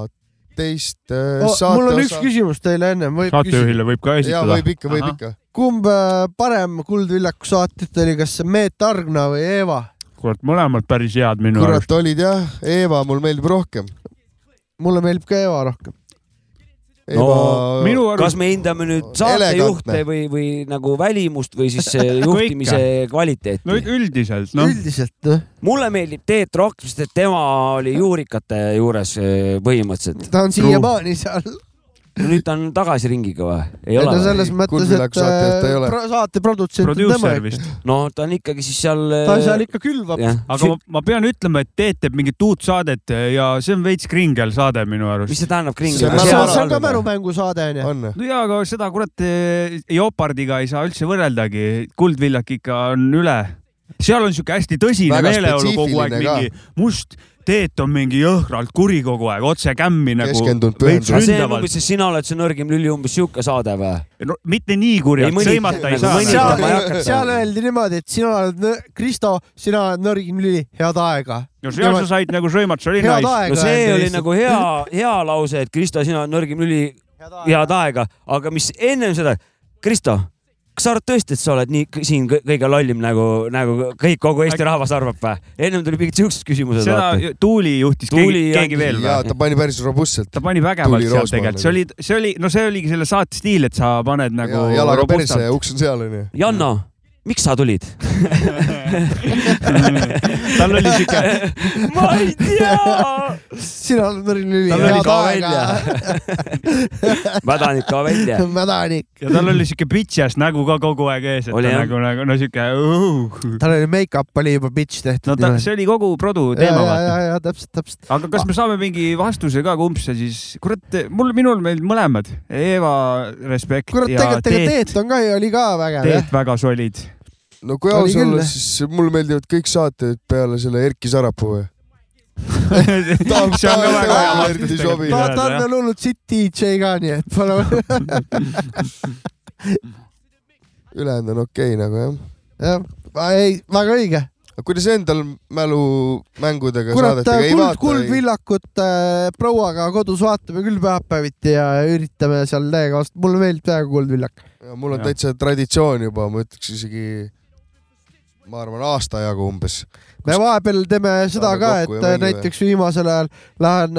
E: teist
B: O,
E: äh, saate
B: Oh, mul on
E: osa...
B: üks küsimus teile ennem , võib
D: Saatejuhile võib ka
E: Jaa,
D: esitada.
E: võib ikka , võib
D: Ahah.
E: ikka .
B: kumb äh, parem Kuldvillaku saatjat oli , kas see Meet Argna või Eeva ?
D: kurat , mõlemad päris head minu
E: kurat , olid jah , Eeva mul meeldib rohkem .
B: mulle meeldib ka Eeva rohkem .
E: Eva- No, minu arust-
C: kas me hindame nüüd
E: Elegantne.
C: saatejuhte või , või nagu välimust või siis eh,
E: Kõike.
C: juhtimise kvaliteeti ?
D: no üldiselt , noh .
B: üldiselt , noh .
C: mulle meeldib Teet Rock , sest et tema oli juurikate juures eh, põhimõtteliselt .
B: ta on . siiamaani seal .
C: nüüd ta on tagasi ringiga või ? ei
B: ei
C: ole
B: no selles mõttes , et äh, pro- saate produtsent on tema .
C: no ta on ikkagi siis seal . äh,
B: Ta seal ikka külvab. Jah.
D: aga ma, ma pean ütlema , et Teet teeb mingit uut saadet ja see on veits kringel saade minu arust .
C: mis see tähendab
B: see on ka mälumängusaade
E: onju .
D: no jaa , aga seda kurat eh, Jopardiga ei saa üldse võrreldagi , Kuldvillak ikka on üle . seal on siuke hästi tõsine
E: Väga
D: meeleolu kogu aeg ,
E: spetsiifiline
D: mingi must Teet on mingi jõhkralt kuri kogu aeg , otse kämmi nagu .
C: see on nagu, umbes , sina oled see nõrgim lüli , umbes sihuke saade või ?
D: no mitte nii kurjalt , sõimata
C: Nagu
D: ei saa .
B: seal , seal öeldi niimoodi , et sina oled , Kristo , sina oled nõrgim lüli , head aega .
D: no seal sa said nagu sõimata , see oli
B: Head
D: nice .
B: aega
C: no see oli nagu hea , hea lause , et Kristo , sina oled nõrgim lüli , head aega , aga mis ennem seda , Kristo , kas sa arvad tõesti , et sa oled nii kõ- siin kõ- kõige lollim nagu , nagu kõik kogu Eesti rahvas arvab või ? ennem tuli mingid siuksed küsimused .
D: seda Tuuli juhtis , keegi , keegi veel
E: jaa , ta pani päris robustselt .
D: ta pani vägevalt seal tegelikult , see oli , see oli , no see oligi selle saate stiil , et sa paned nagu
E: Jaa, jalaga persse ja
D: robustalt.
E: uks on seal onju .
C: Janno , miks sa tulid ?
D: tal oli siuke ,
C: ma ei tea .
B: sina oled nõrgim lüli ,
C: Tal oli
B: head
C: kao
B: aega .
C: mädanik ka välja .
B: mädanik .
D: ja tal oli siuke bitches nägu ka kogu aeg ees , et
C: Oli,
D: ta
C: jah.
D: nagu , nagu no siuke uh. .
B: tal oli make-up oli juba bitch tehtud .
D: no ta , see oli kogu produ teema ,
B: ja ,
D: vaata .
B: ja , ja täpselt , täpselt .
D: aga kas me saame mingi vastuse ka , kumb see siis , kurat , mul , minul meil mõlemad , Eeva Respekt
B: kurat ,
D: ja
B: tegelikult ,
D: Teet ,
B: tegelikult Teet on ka , oli ka vägev , jah .
D: Teet väga solid .
E: no kui
B: Oli
E: aus
B: küll,
E: olla ,
B: jah.
E: siis mulle meeldivad kõik saated peale selle Erki Sarapuu .
D: see on
E: ta-
D: ka väga hea
E: ta-
D: vastus
E: ei sobi.
B: ta , ta on
D: tegelikult .
B: veel hullult sitt DJ ka , nii et pole .
E: ülejäänud on okei okay, nagu jah .
B: jah , ei , väga õige .
E: kuidas endal mälumängudega
B: kurat ,
E: saadetega ei
B: kuld ,
E: vaata ?
B: kuldvillakut äh, prouaga kodus vaatame küll päevapäeviti ja üritame seal täiega vastu , mulle meeldib täiega kuldvillak .
E: mul on täitsa traditsioon juba , ma ütleks isegi , ma arvan , aasta jagu umbes .
B: me vahepeal teeme seda
E: Saame
B: ka ,
E: kokku
B: et
E: ja
B: äh,
E: mängime.
B: näiteks viimasel ajal lähen ,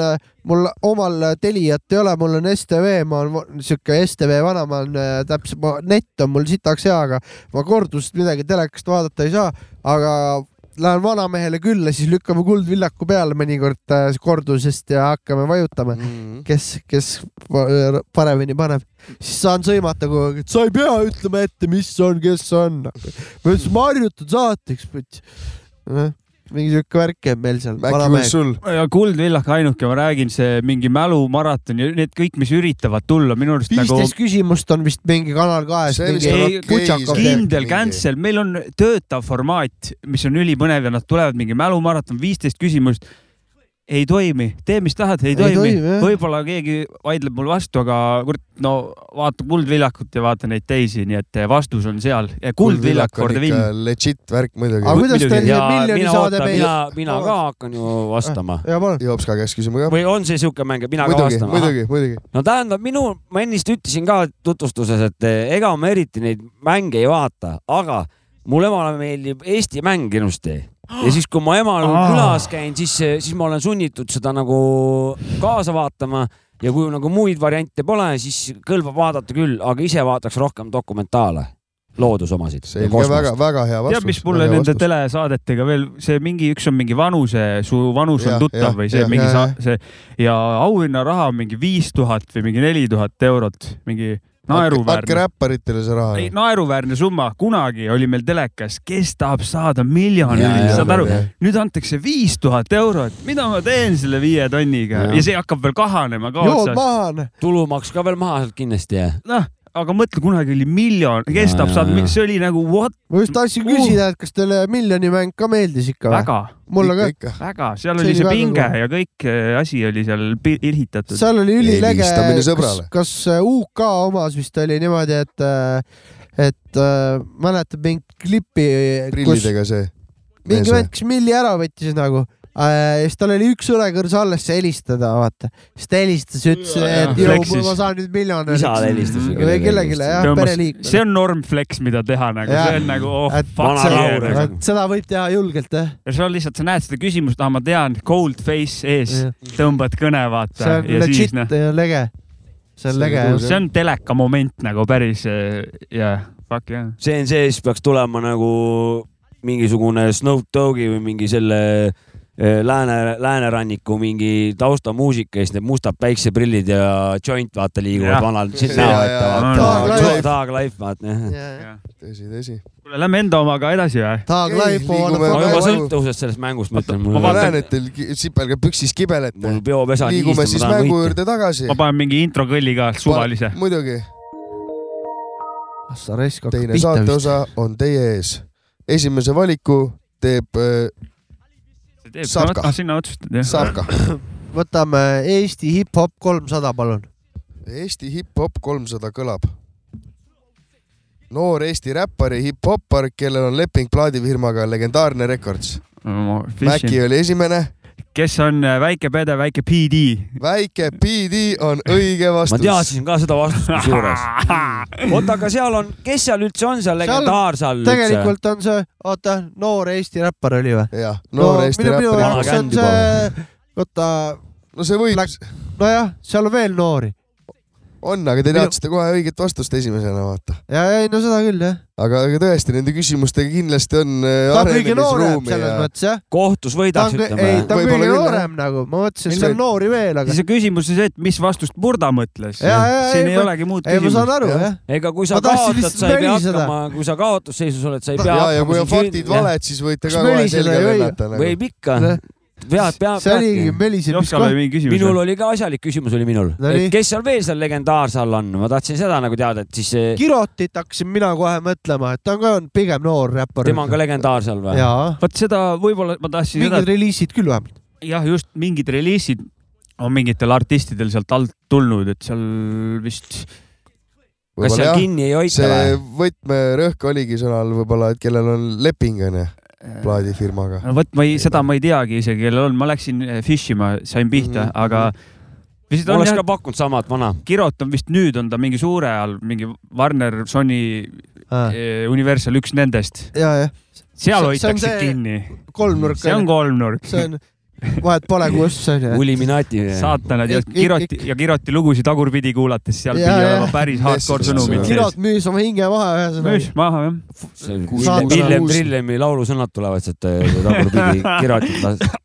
B: mul omal äh, Teliat ei ole , mul on STV , ma olen siuke STV vana , ma olen äh, täpselt , net on mul sitaks hea , aga ma kordust midagi telekast vaadata ei saa , aga lähen vanamehele külla , siis lükkame kuldvillaku peale mõnikord äh, kordusest ja hakkame vajutama mm ,
E: -hmm.
B: kes , kes pa- paremini paneb , siis saan sõimata kogu aeg , et sa ei pea ütlema ette , mis on , kes on . ma ütlesin , ma harjutan saateks , võts . mingi siuke värk jääb meil seal .
E: nagu-
D: ja Kuldvillak ainuke , ma räägin , see mingi mälumaraton ja need kõik , mis üritavad tulla minu arust nagu
B: viisteist küsimust on vist mingi Kanal kahes .
E: See vist on okei, see
D: kindel cancel , meil on töötav formaat , mis on ülipõnev ja nad tulevad mingi mälumaraton , viisteist küsimust . ei toimi , tee mis tahad , ei
B: Ei
D: toimi
B: toimi, jah. .
D: võib-olla keegi vaidleb mul vastu , aga kurat , no vaata Kuldvillakut ja vaata neid teisi , nii et eh, vastus on seal . Kuldvillak
E: on
D: korda
E: ikka
D: vinn .
E: legit värk muidugi .
B: Aga kuidas teil see miljoni
C: mina
B: saade
C: ootan ,
B: meil-
C: mina , mina ka hakkan ju vastama .
B: ja palun .
E: Jopska käest küsima ka .
C: või on see siuke mäng , et mina ka
E: muidugi ,
C: vastan ?
E: muidugi , muidugi .
C: no tähendab minu , ma ennist ütlesin ka tutvustuses , et eh, ega ma eriti neid mänge ei vaata , aga mul emale meeldib Eesti mäng ilusti . ja siis , kui ma emal
D: Aa.
C: külas käin , siis , siis ma olen sunnitud seda nagu kaasa vaatama ja kui nagu muid variante pole , siis kõlbab vaadata küll , aga ise vaataks rohkem dokumentaale . loodusomasid .
E: selge , väga , väga hea vastus .
D: tead , mis mulle nende telesaadetega veel see mingi , üks on mingi vanuse , su vanus on
E: Jah,
D: tuttav
E: jah,
D: või see
E: jah,
D: mingi
E: jah,
D: sa,
E: jah.
D: see ja auhinnaraha on mingi viis tuhat või mingi neli tuhat eurot , mingi
E: andke
D: naeruväärne .
E: räpparitele see raha .
D: ei , naeruväärne summa , kunagi oli meil telekas , kes tahab saada
E: Jaa,
D: miljonäri ,
E: jaa,
D: saad
E: jaa,
D: aru
E: jaa. ,
D: nüüd antakse viis tuhat eurot , mida ma teen selle viie tonniga
C: Jaa.
D: ja see hakkab veel kahanema ka otsas .
E: maha .
C: tulumaks ka veel maha sealt kindlasti jah .
D: noh , aga mõtle , kunagi oli miljon , kes
C: Jaa,
D: tahab
C: jaa,
D: saada
C: jaa. ,
D: see oli nagu what
B: ma just tahtsin küsida , et kas teile miljonimäng ka meeldis ikka ?
D: väga ,
B: mulle
E: ka .
D: väga , seal
B: See
D: oli
B: oli
D: see
B: väga
D: pinge
B: kõva.
D: ja kõik eh, asi oli seal pi- irhitatud .
B: seal oli üliläge ,
E: Helistamine
B: kas
E: sõbrale. ,
B: kas UK omas vist oli niimoodi , et äh, et äh, mäletab mingit klippi , kus
E: prillidega see .
B: mingi vend , kes milli ära võttis nagu äh, ja siis tal oli üks õlekõrs alles , sai helistada , vaata . siis ta helistas ja ütles ,
D: Jaa,
B: et jõu ,
D: flexis.
B: eh, ma saan nüüd miljonäriks .
C: Isale helistas või
B: või
C: kellele
B: kellelegi ,
C: helistas?
B: jah , pereliikmele .
D: see on norm flex , mida teha nagu ,
B: Jah.
D: see on nagu oh,
B: Et
D: fuck
B: see-
D: yeah . nagu.
B: et seda võib teha julgelt , jah .
D: ja see on lihtsalt , sa näed seda küsimust , ah ma tean , cold face ees
B: Jah. ,
D: tõmbad kõne , vaata .
B: see on
D: ja siis
B: legit
D: noh ,
B: ja lege . see on lege ,
D: see on teleka moment nagu päris eh, jah , fuck yeah .
C: see on see , siis peaks tulema nagu mingisugune Snoop Dogi või mingi selle eh, lääne , lääneranniku mingi taustamuusika ja siis need mustad päikseprillid ja joint vaata liiguvad
D: Jah.
C: vanal ,
E: Jaa,
C: sinna
E: jaa,
C: vaata
E: jaa. Thug
C: vaata
E: Life. .
C: Tag Life vaata jah .
B: jah .
E: tõsi , tõsi .
D: kuule , lähme enda omaga edasi või ?
B: Tag
E: Ei,
B: Life on
E: liigume-
C: ma juba
E: Vaata-
C: sõltuvuses sellest mängust mõtlen , mul
E: ma
D: vaatan-
E: näen , et teil ki- sipelga püksis kibelete
C: mul . peopesa
E: liigume siis mängu juurde tagasi
D: ma . panen mingi intro kõlli ka , suvalise .
E: muidugi ,
B: Assa raisk hakkab
E: teine
B: pihta vist .
E: saateosa on teie ees . esimese valiku teeb äh, saab ka.
D: ah, sinna otsustad jah ?
E: Savka .
B: võtame Eesti hip-hop kolmsada , palun .
E: Eesti hip-hop kolmsada kõlab . noor Eesti räppari hip-hoppar , kellel on leping plaadifirmaga Legendaarne Records . Mäki oli esimene ,
D: kes on eh, väike pede , väike PD ?
E: väike PD on õige
C: ma
E: vastus .
C: teadsin ka seda vastust kusjuures . oota , aga seal on , kes seal üldse on seal legendaar seal üldse ?
B: tegelikult on see , oota , noor Eesti räppar oli või ?
E: jah , noor Eesti
B: minu
E: räppar .
B: jaoks on
C: Vana
B: see , oota ,
E: no see võib ,
B: nojah , seal on veel noori
E: on , aga te
B: minu-
E: teadsite kohe õiget vastust esimesena , vaata .
B: ja , ei no seda küll jah .
E: aga , aga tõesti , nende küsimustega kindlasti on äh,
B: ta on kõige noorem
E: arenemisruumi
B: selles
E: ja
B: mõttes jah .
C: kohtus
B: ta
C: võidaks ,
B: on , ei ,
C: ütleme .
B: ta on
E: Võib-olla
B: kõige
E: küll, jah.
B: noorem nagu , ma mõtlesin , et
E: Ilmselt-
B: seal on noori veel , aga
D: siis . on küsimus on see , et mis vastust Murda mõtles .
B: Jaa, jaa,
D: siin
B: ei,
D: ei
B: ma-
D: olegi
B: ei ,
D: muud
B: ma
D: küsimust .
B: saan aru
E: Jah.
B: jah .
C: ega kui sa
B: Ma tahtsin
C: kaotad ,
B: lihtsalt
C: sa ei pea
B: möliseda.
C: hakkama , kui sa kaotusseisus oled , sa ei pea
E: ja , ja kui
C: hakkama
E: on faktid . valed , siis võite ka
B: Kas
E: kohe
B: möliseda
E: selga
B: ei või?
E: lennata nagu. .
C: võib ikka
B: Jah. ,
C: pead , pead ,
B: see oligi
C: peadki .
B: Melisel , mis
D: Jopskal
B: kohe
D: oli . mingi
C: minul
D: küsimus .
C: oli ka asjalik küsimus oli minul ,
B: No nii.
C: et kes seal veel seal legendaarse all on , ma tahtsin seda nagu teada , et siis eh,
B: Kirotit hakkasin mina kohe mõtlema , et ta on ka pigem noor räppar .
C: tema on ka legendaar seal või ?
B: jaa ,
D: vot seda võib-olla ma tahtsin seda
B: mingid , reliisid küll vähemalt .
D: jah , just mingid reliisid on mingitel artistidel sealt alt tulnud , et seal vist
C: kas
E: võib-olla
C: seal
E: jah ,
C: kinni ei hoita
E: see
C: või ?
E: võtmerõhk oligi sõnal võib-olla , et kellel on leping onju
B: Äh,
E: plaadifirmaga .
D: no vot , ma ei , seda ma ei teagi isegi , kellel on , ma läksin eh, fish ima , sain pihta mm ,
E: Mhm.
D: -hmm. aga vist
C: ma
D: on
C: oleks
D: jah
C: ka , pakkunud sama , et vana .
D: Kirot on vist nüüd on ta mingi suure all , mingi Warner , Sony
B: ja ,
D: eh, , Universal , üks nendest .
B: jah ,
D: seal
B: See- see on
D: hoitakse see...
B: see-
D: kinni ,
B: kolmnurk
D: see on kolmnurk .
B: see on , vahet pole , kus see on .
C: Uliminati .
D: saatanad ja
B: Ik- ik-
D: Kiroti ja Kiroti lugusid tagurpidi kuulates , seal
B: Jaa,
D: pidi
B: jaa.
D: olema päris hardcore
E: Messis-
D: sõnumid
B: kirot müüs oma hinge maha
D: müüs
B: ühesõnaga .
D: maha jah .
B: Saatana
C: Villem Trillemi laulusõnad tulevad sealt eh, tagurpidi , Kirotit las-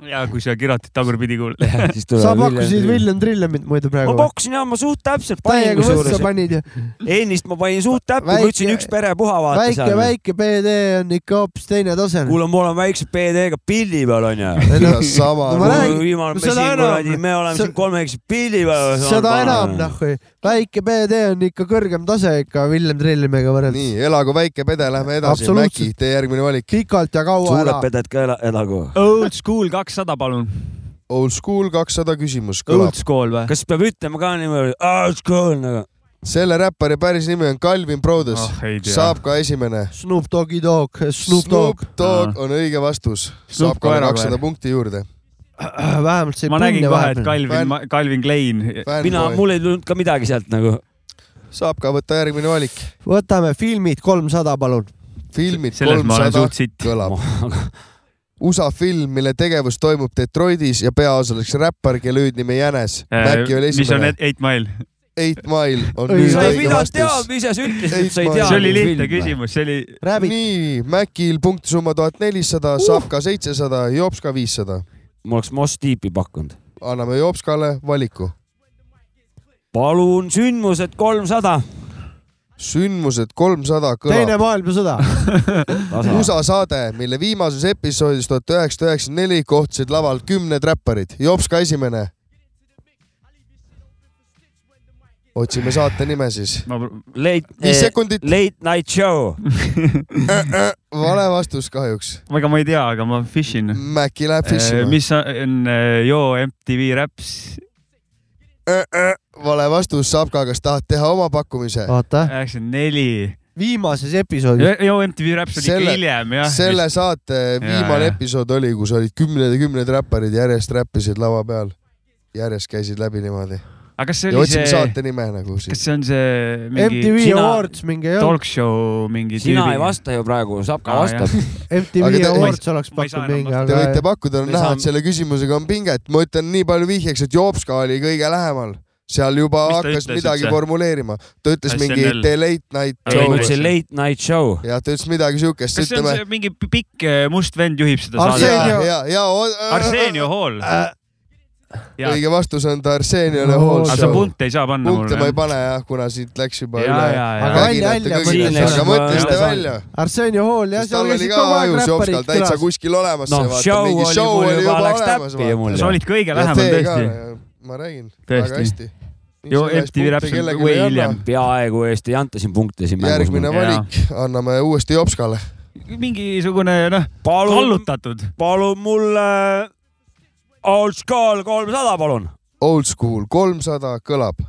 D: ja kui sa Kirotit tagurpidi kuulad .
C: jah, siis
B: sa
C: tulevad
B: pakkusid
C: Trillem.
B: William Trillemit muidu
C: ma
B: praegu .
C: pakkusin ja ma suht täpselt panin
B: täiega võssa
C: kusjuures ,
B: panid ja
C: ennist ma panin suht täpselt ,
B: Väike-
C: ma ütlesin üks pere puha vaata
B: väike ,
C: seal .
B: väike PD on ikka hoopis teine tase .
C: kuule , ma olen väikse PD-ga pilli peal onju .
E: sama
B: No ma räägin-
C: viimane , me
B: seda
C: siin
B: enam-
C: kuradi , me oleme
B: se-
C: siin kolmekesi pilli peal .
B: seda enam noh , väike PD on ikka kõrgem tase ikka William Trillemiga võrreldes .
E: nii , elagu väike pede , lähme edasi ,
B: Absoluutselt.
E: Mäki , teie järgmine valik .
B: pikalt ja kaua
C: suured
B: elab .
C: peded ka ela- , elagu .
D: Old school kakssada , palun .
E: Old school kakssada küsimus
D: Old
E: kõlab .
D: school või ?
C: kas peab ütlema ka niimoodi , old school nagu ?
E: selle räppari päris nimi on Calvin Brothers
D: Ah, ei . tea.
E: saab ka esimene .
B: Snoop Doggy Dogg , Snoop Dogg
E: Snoop , Dogg on õige vastus . saab
D: Ah. Snoop
E: ka
D: koera
E: kakssada
D: koer.
E: punkti juurde .
B: vähemalt see
D: ma nägin kohe , et
B: vahepeal .
D: Calvin , Calvin Klein .
C: mina , mul ei tulnud ka midagi sealt nagu .
E: saab ka võtta järgmine valik .
B: võtame filmid kolmsada , palun .
E: filmid
D: selles ma olen
E: kolmsada
D: suht sitt .
E: kõlab . USA film , mille tegevus toimub Detroitis ja peaosaliseks räppar , kelle hüüdnimi Jänes . Mäkki oli
D: Äh, mis on
E: esimene .
D: Eight Mile ?
E: Eight Mile on
C: Ei,
E: nüüd
C: sa ei
E: õige
C: pidanud
E: vastus.
C: teadma, ise sa ütlesid, et sa ei
E: Eight
C: teadnud
E: Mile.
D: see oli lihtne küsimus , see oli .
E: nii , Mäkil punktisumma tuhat nelisada ,
C: Uh!
E: Savka seitsesada , Jopska viissada .
C: ma oleks Moss Deepi pakkunud .
E: anname Jopskale valiku .
C: palun sündmused kolmsada .
E: sündmused kolmsada
B: teine
E: kõlab .
B: maailmasõda
E: USA saade , mille viimases episoodis tuhat üheksasada üheksakümmend neli kohtusid laval kümned räpparid . Jopska esimene . otsime saate nime siis .
C: Late ,
E: Viis sekundit. Äh,
C: Late Night Show
E: vale vastus kahjuks .
D: ega ma ei tea , aga ma fish in .
E: Mäkki läheb fishima.
D: Äh, mis on eh, Yo MTV Raps
E: Äh, vale vastus , Savka , kas tahad teha oma pakkumise ?
B: oota ,
D: üheksakümmend neli .
B: viimases episoodis .
D: Yo MTV Raps oli ikka hiljem jah .
E: selle saate Äh, viimane . episood oli , kus olid kümned ja kümned räpparid järjest räppisid lava peal , järjest käisid läbi niimoodi .
D: aga kas see
E: ja
D: oli
E: otsime
D: see ,
E: saate nime nagu
D: kas
E: siis .
D: see on see mingi
B: MTV Awards mingi ei olnud .
D: talk show mingi .
C: Sina ei vasta ju praegu , Sapka vastab .
E: Aga
B: MTV
E: te-
B: Awards oleks pakkunud mingi ,
E: Te võite
B: aga
E: pakkuda , on
B: me
E: näha ,
B: saame-
E: et selle küsimusega on pinget , ma ütlen nii palju vihjeks , et Jopska oli kõige lähemal , seal juba
D: Mis ta
E: hakkas
D: ütles
E: midagi
D: üldse?
E: formuleerima , ta ütles
D: SNL.
E: mingi the late night
C: ei , ma
E: show
C: ütlesin , Late Night Show .
E: jah , ta ütles midagi siukest ,
D: kas see on
E: ütleme
D: see . mingi pi- pikk eh, must vend juhib seda
E: ja ,
D: saadet ?
E: ja , ja .
D: Arsenio Hall .
B: Äh,
D: Jaa.
E: Äh, õige vastus on ta Arseniole
B: Oh,
E: Hall
D: aga sa
E: Show .
D: punkte ei saa panna
E: punkte ma ei
D: mulle .
E: pane jah , kuna siit läks juba
D: Ja,
E: üle
D: ja, ja. .
B: Aga välja- välja mõtlesin.
E: aga mõtlesite
C: Üle-
E: välja .
B: Arsenio Hall jah ,
E: siis
B: seal
E: tal oli
B: käisid
E: ka
B: kogu aeg
E: ajus Jopskal
B: räpparid
E: täitsa
B: külas .
E: kuskil olemas .
C: noh , show oli mul juba läks täppi mul
D: sa
C: ju .
D: olid kõige lähemal tõesti ..
E: ma räägin ,
D: Tõesti.
E: väga hästi .
D: Ju MTV Raps on way hiljem .
C: peaaegu Eesti ei anta siin punkte siin
E: järgmine
C: mängus .
E: valik , anname uuesti Jopskale .
D: mingisugune noh ,
C: palun ,
D: kallutatud .
C: palun mulle Old School kolmsada , palun .
E: Old School kolmsada kõlab .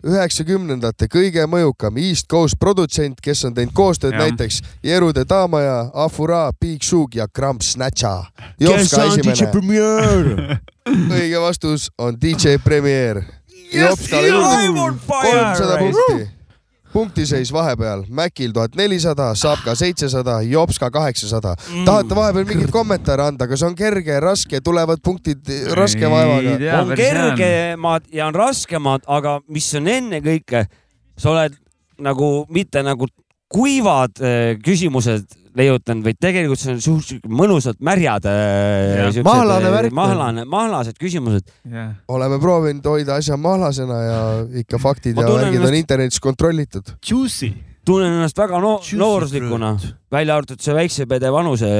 E: üheksakümnendate kõige mõjukam East Coast produtsent , kes on teinud koostööd
D: Jah.
E: ja. näiteks Jeru de Damaja , Afura , Big Shug ja Kramp Snatcha . Jopska esimene .
C: Premier .
E: õige vastus on DJ Premier . Jopskale
C: I'm
E: juurde
C: on
E: kolmsada
C: fire .
E: punkti . punktiseis vahepeal , Mäkil tuhat nelisada , Saabka seitsesada , Jopska kaheksasada mm. . tahate vahepeal mingeid kommentaare anda , kas on kerge , raske , tulevad punktid raske vaevaga ?
C: on . kergemad ja on raskemad , aga mis on ennekõike , sa oled nagu mitte nagu kuivad eh, küsimused leiutanud , vaid tegelikult see on suhteliselt mõnusalt märjad .
B: Mahlane värk.
C: mahlane , mahlased küsimused .
E: oleme proovinud hoida asja mahlasena ja ikka faktid
C: Ma
E: ja
C: tunnen
E: värgid on
C: ennast-
E: internetis kontrollitud .
D: Juicy .
C: tunnen ennast väga no nooruslikuna , välja arvatud see väikse pede vanuse ,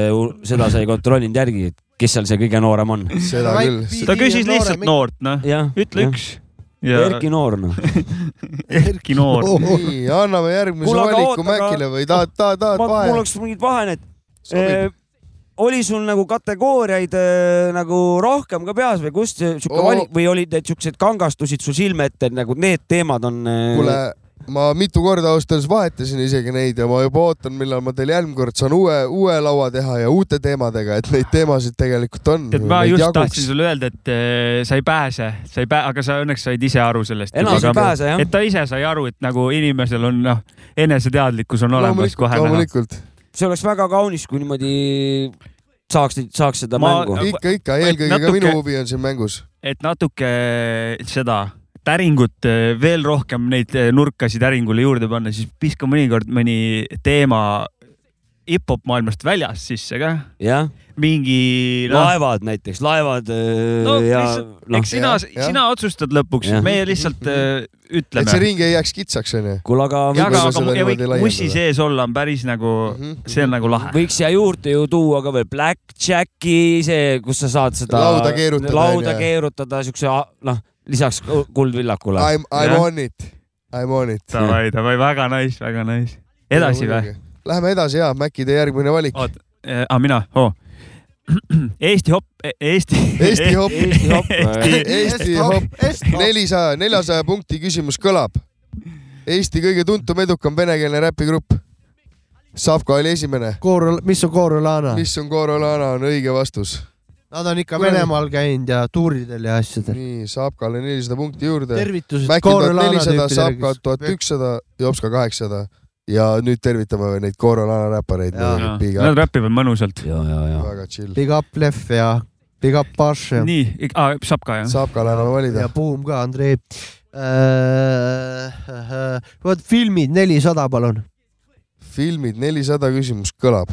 C: seda sa ei kontrollinud järgi , et kes seal see kõige noorem on .
E: seda küll .
D: ta küsis lihtsalt noort noh ,
C: jah ,
D: ütle üks . ja
C: Erki Noor noh .
D: Erki Noor .
E: nii , anname järgmise
C: Kuule, aga
E: valiku
C: oota, aga-
E: Mäkile või tahad , tahad , tahad
C: ma , mul
E: vahe ?
C: oleks mingid vahened .
E: Sobib.
C: oli sul nagu kategooriaid eh, nagu rohkem ka peas või kust see sihuke
E: Oo.
C: valik või olid need siuksed kangastusid su silme ette , et nagu need teemad on ? eh,
E: kuule , ma mitu korda ausalt öeldes vahetasin isegi neid ja ma juba ootan , millal ma teil järgmine kord saan uue , uue laua teha ja uute teemadega , et neid teemasid tegelikult on .
D: tead , ma just tahtsin sulle öelda , et eh, sa ei pääse , sa ei pää- , aga sa õnneks said ise aru sellest .
C: Enam sa ei pääse, jah.
D: et ta ise sai aru , et nagu inimesel on noh , eneseteadlikkus on olemas
E: loomulikult ,
D: kohe näha .
E: loomulikult .
C: see oleks väga kaunis , kui niimoodi saaks , saaks seda
D: Ma-
C: mängu .
E: ikka , ikka ,
D: Et
E: eelkõige ka
D: natuke-
E: minu huvi on siin mängus .
D: et natuke äh, seda täringut eh, veel rohkem neid eh, nurkasid täringule juurde panna , siis piska mõnikord mõni teema hip-hop maailmast väljas sisse ka .
C: jah ,
D: mingi noh,
C: laevad näiteks , laevad
D: no,
C: no, ja
D: lihtsalt,
C: noh
D: eks , sina ,
E: jah.
D: sina otsustad lõpuks
C: Jah. ,
D: meie lihtsalt eh,
E: et see
D: ütleme .
E: ring ei jääks kitsaks , onju .
C: kuule , aga
D: ja
C: võiks,
E: Võib-olla seda
D: aga ,
E: nagu
D: aga ja
E: niimoodi
D: võik-
E: laiendada.
D: mussi sees olla on päris nagu mm ,
E: Mhm.
D: -hmm. see on nagu lahe .
C: võiks siia juurde ju tuua ka veel Blackjacki , see , kus sa saad seda
E: Lauda keerutada,
C: lauda
E: onju.
C: keerutada siukse a- noh , lisaks ku- Kuldvillakule .
E: I m , I m
D: Jah.
E: on it , I m on it .
D: Davai , davai , väga nice , väga nice . edasi või ??
E: Läheme edasi ja Mäkki , teie järgmine valik .
D: oot , aa mina oh. , Eesti e- hop , Eesti .
E: Eesti hop ,
C: Eesti hopp ,
E: Eesti hop , nelisaja , neljasaja punkti küsimus kõlab . Eesti kõige tuntum edukam venekeelne räpigrupp . Savka oli esimene .
B: Koor , mis on Koorolana ?
E: mis on Korolana , on õige vastus .
B: Nad on ikka Venemaal käinud ja tuuridel ja asjadel .
E: nii , Savkale nelisada punkti juurde .
B: tervitused
E: Mäkki tuhat
B: Koorolana
E: nelisada , Savka
B: tüüpidele ,
E: tuhat ükssada , Jopska kaheksasada ja nüüd tervitame veel neid Korolana räppareid .
B: Jaa.
D: Nad räpivad mõnusalt .
C: ja , ja , ja .
E: väga chill .
B: Big Up Leff ja Big Up Bash ja,
D: nii , saab ka jah ?
E: Savkale anname valida
B: ja . Buum ka , Andrei . vot filmid nelisada , palun .
E: filmid nelisada küsimus kõlab .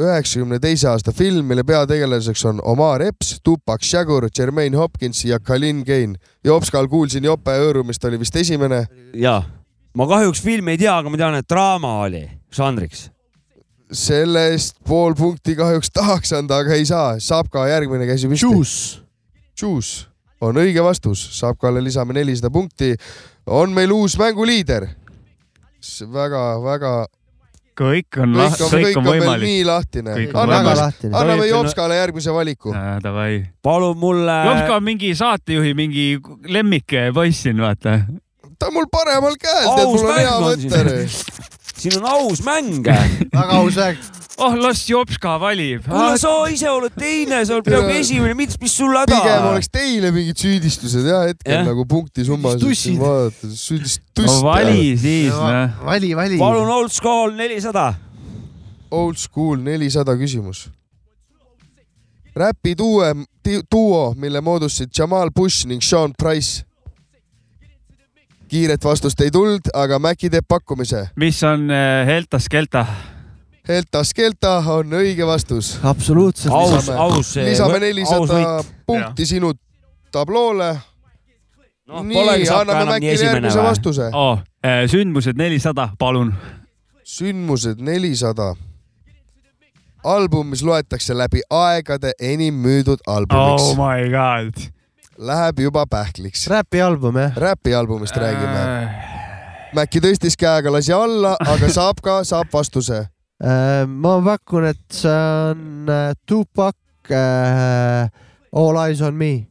E: üheksakümne teise aasta film , mille peategelaseks on Omar Epps , Tupac Shakur , Jermaine Hopkins ja Kalin Kane . Jopskal kuulsin jope hõõrumist , oli vist esimene .
C: jaa , ma kahjuks filmi ei tea , aga ma tean , et draama oli žanriks .
E: selle eest pool punkti kahjuks tahaks anda , aga ei saa , saab ka järgmine käsi püsti . Juice . Juice on õige vastus , saab ka alle lisame nelisada punkti . on meil uus mänguliider . väga-väga
D: kõik on ,
E: kõik on , kõik
D: kõik
E: on
D: on
E: veel nii
D: võimalik . Äh,
E: lahtine
D: Kõik . on
E: anname
D: väga lahtine. ,
E: anname
D: Tohib-
E: Jopskale järgmise valiku .
D: Davai .
C: palun mulle .
D: Jopska on mingi saatejuhi mingi lemmik poiss siin , vaata .
E: ta on mul paremal käel , tead ,
C: Aus
E: mul on hea
C: mäng on
E: mõte
C: siin. . siin on aus mäng .
B: väga aus mäng .
D: oh , las Jopska valib . Ah,
C: kuule , sa ise oled teine , sa oled peaaegu esimene , mis , mis sul häda
E: pigem oleks teile mingid süüdistused jah , hetkel
C: Jah.
E: nagu punktisummasid
C: Tussid.
E: siin vaadates , süüdistust .
D: noh.
B: vali , vali .
C: palun old school nelisada .
E: Old School nelisada küsimus . räpi duo , duo , mille moodustasid Jamal Bush ning Sean Price . kiiret vastust ei tulnud , aga Maci teeb pakkumise .
D: mis on äh, Helta Skelta ?
E: Helta Skelta on õige vastus .
B: absoluutselt .
C: Aus- aus
D: eh,
C: see-
E: lisame
C: aus
E: nelisada
C: võit.
E: punkti sinu tabloole .
C: Noh,
E: nii
D: polegi , saab ka
E: anname
D: enam nii
E: Macile
D: esimene
E: järgmise
D: või?
E: vastuse .
D: oh, . sündmused nelisada , palun .
E: sündmused nelisada . album , mis loetakse läbi aegade enim müüdud albumiks
D: Oh . my god .
E: Läheb juba pähkliks .
B: räpialbum jah ?
E: räpialbumist
D: Äh.
E: räägime . Mäkki tõstis käega , lasi alla , aga saab ka , saab vastuse .
B: Äh, ma pakun , et see on äh, Tupac äh, All Eyes on Me .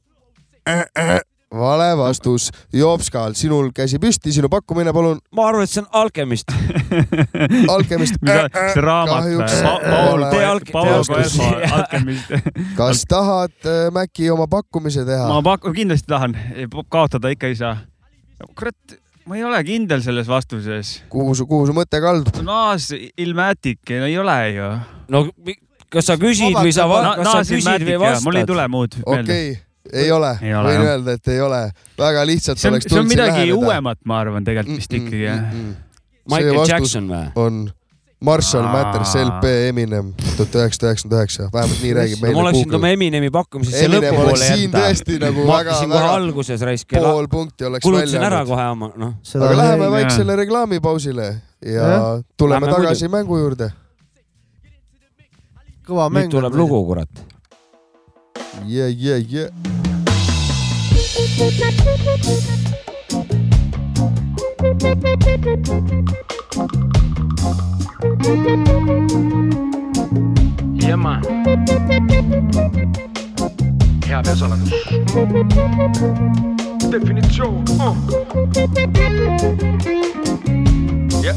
E: vale vastus . Jopskal , sinul käsi püsti , sinu pakkumine , palun .
C: ma arvan , et see on Alkemist .
E: Alkemist . Äh,
D: see raamat , Paul , Paul Koelho Alkemist .
E: kas tahad äh, Mäkki oma pakkumise teha
D: ma ? pakun , kindlasti tahan , kaotada ikka ei saa . kurat , ma ei ole kindel selles vastuses .
E: kuhu su , kuhu su mõte kaldub ?
D: Naas Ilmatic , eh, no ei ole ju .
C: no kas sa küsid või sa va- kas sa küsid või vastad?
D: mul ei tule muud meelde .
E: okei , ei ole ,
D: Ei ole,
E: võin
D: jah.
E: öelda , et ei ole . väga lihtsalt
D: see on ,
E: oleks
D: see on
E: tulnud
D: midagi läheneda. . uuemat , ma arvan , tegelikult vist ikkagi jah .
C: Michael Jackson või?
E: on Marshall
C: Aa.
E: Matters LP Eminem tuhat üheksasada üheksakümmend üheksa , vähemalt nii räägib
C: ma
E: meile
C: oleksin oma Eminemi pakkumisesse
E: Eminem oleks
C: lõpupoole
E: siin tõesti nagu
C: ma
E: väga-
C: hakkasin kohe
E: väga
C: alguses raisk .
E: pool punkti oleks
C: kulutasin
E: välja
C: ära
E: jäänud.
C: kohe oma , noh .
E: aga läheme väiksele reklaamipausile ja
C: Jah.
E: tuleme
C: Lähme
E: tagasi mängu juurde .
B: kõva
C: nüüd
B: mäng .
C: tuleb lugu , kurat .
E: Yeah, yeah, yeah.
O: yeah man . hea peasaladus . definitsioon oh. . jah .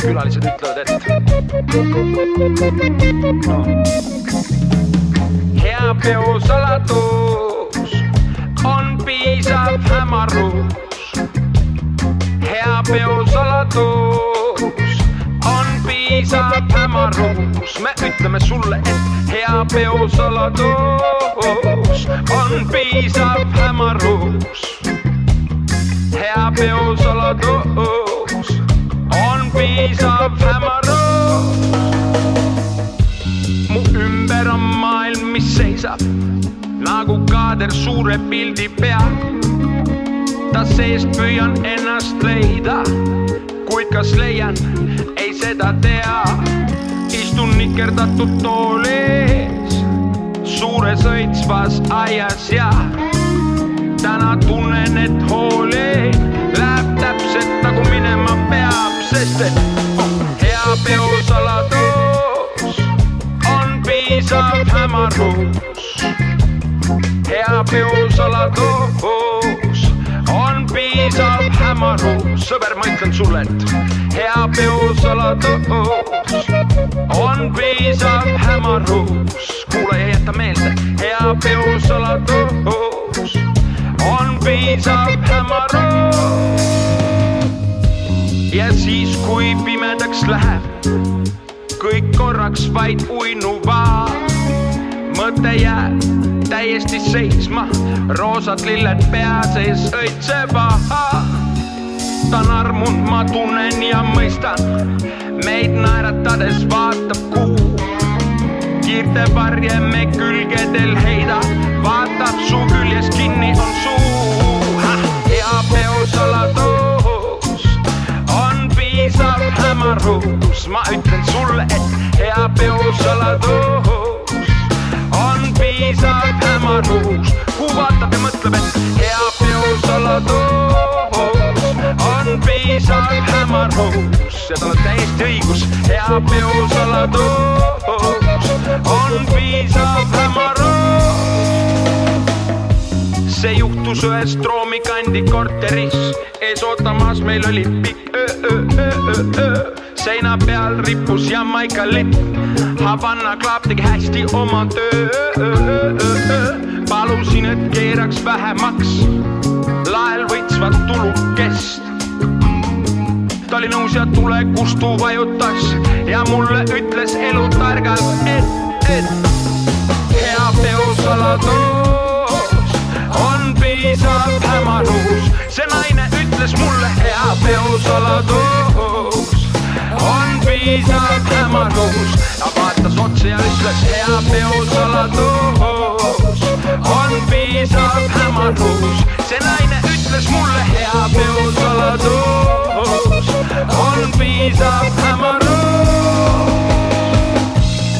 O: külalised ütlevad , et no. . hea peosaladus on piisav hämarus . hea peosaladus on piisav hämarus , me ütleme sulle , et hea peosaladus on piisav hämarus . hea peosaladus on piisav hämarus . mu ümber on maailm , mis seisab nagu kaader suure pildi peal . ta seest püüan ennast leida , kuid kas leian , ei seda tea . istun nikerdatud tooli ees , suures õitsvas aias ja täna tunnen , et hooli läheb täpselt nagu minema peab , sest et oh, hea peosaladus on piisav hämarus . hea peosaladus on piisav hämarus , sõber , ma ütlen sulle , et hea peosaladus on piisav hämarus . kuule ja jäta meelde , hea peosaladus on piisav hämarus . ja siis , kui pimedaks läheb , kõik korraks vaid uinuva . mõte jääb täiesti seisma , roosad lilled pea sees õitseva . ta on armunud , ma tunnen ja mõistan , meid naeratades vaatab kuu . kiirte varje me külgedel heida , vaatab su küljes kinni on suu . ja peosalatoost on piisav hämarus , ma ütlen sulle , et hea peosalatoost on piisav hämarus , kuu vaatab ja mõtleb , et hea peosalatoost on piisav hämarus ja tal on täiesti õigus , hea peosalatoost on piisav hämarus . see juhtus ühes Troomi kandi korteris , ees ootamas meil oli pikk öö , öö , öö , öö , öö . seina peal rippus Jamaica lipp , Havana Club tegi hästi oma töö . palusin , et keeraks vähemaks lael võitsvat tulukest . ta oli nõus ja tulekustu vajutas ja mulle ütles elutargalt , et , et hea peosaladoos on piisav hämarus . see naine ütles mulle , hea peosaladoos on piisav hämarus . ta vaatas otsa ja ütles , hea peosaladoos on piisav hämarus . see naine ütles mulle , hea peosaladoos on piisav hämarus .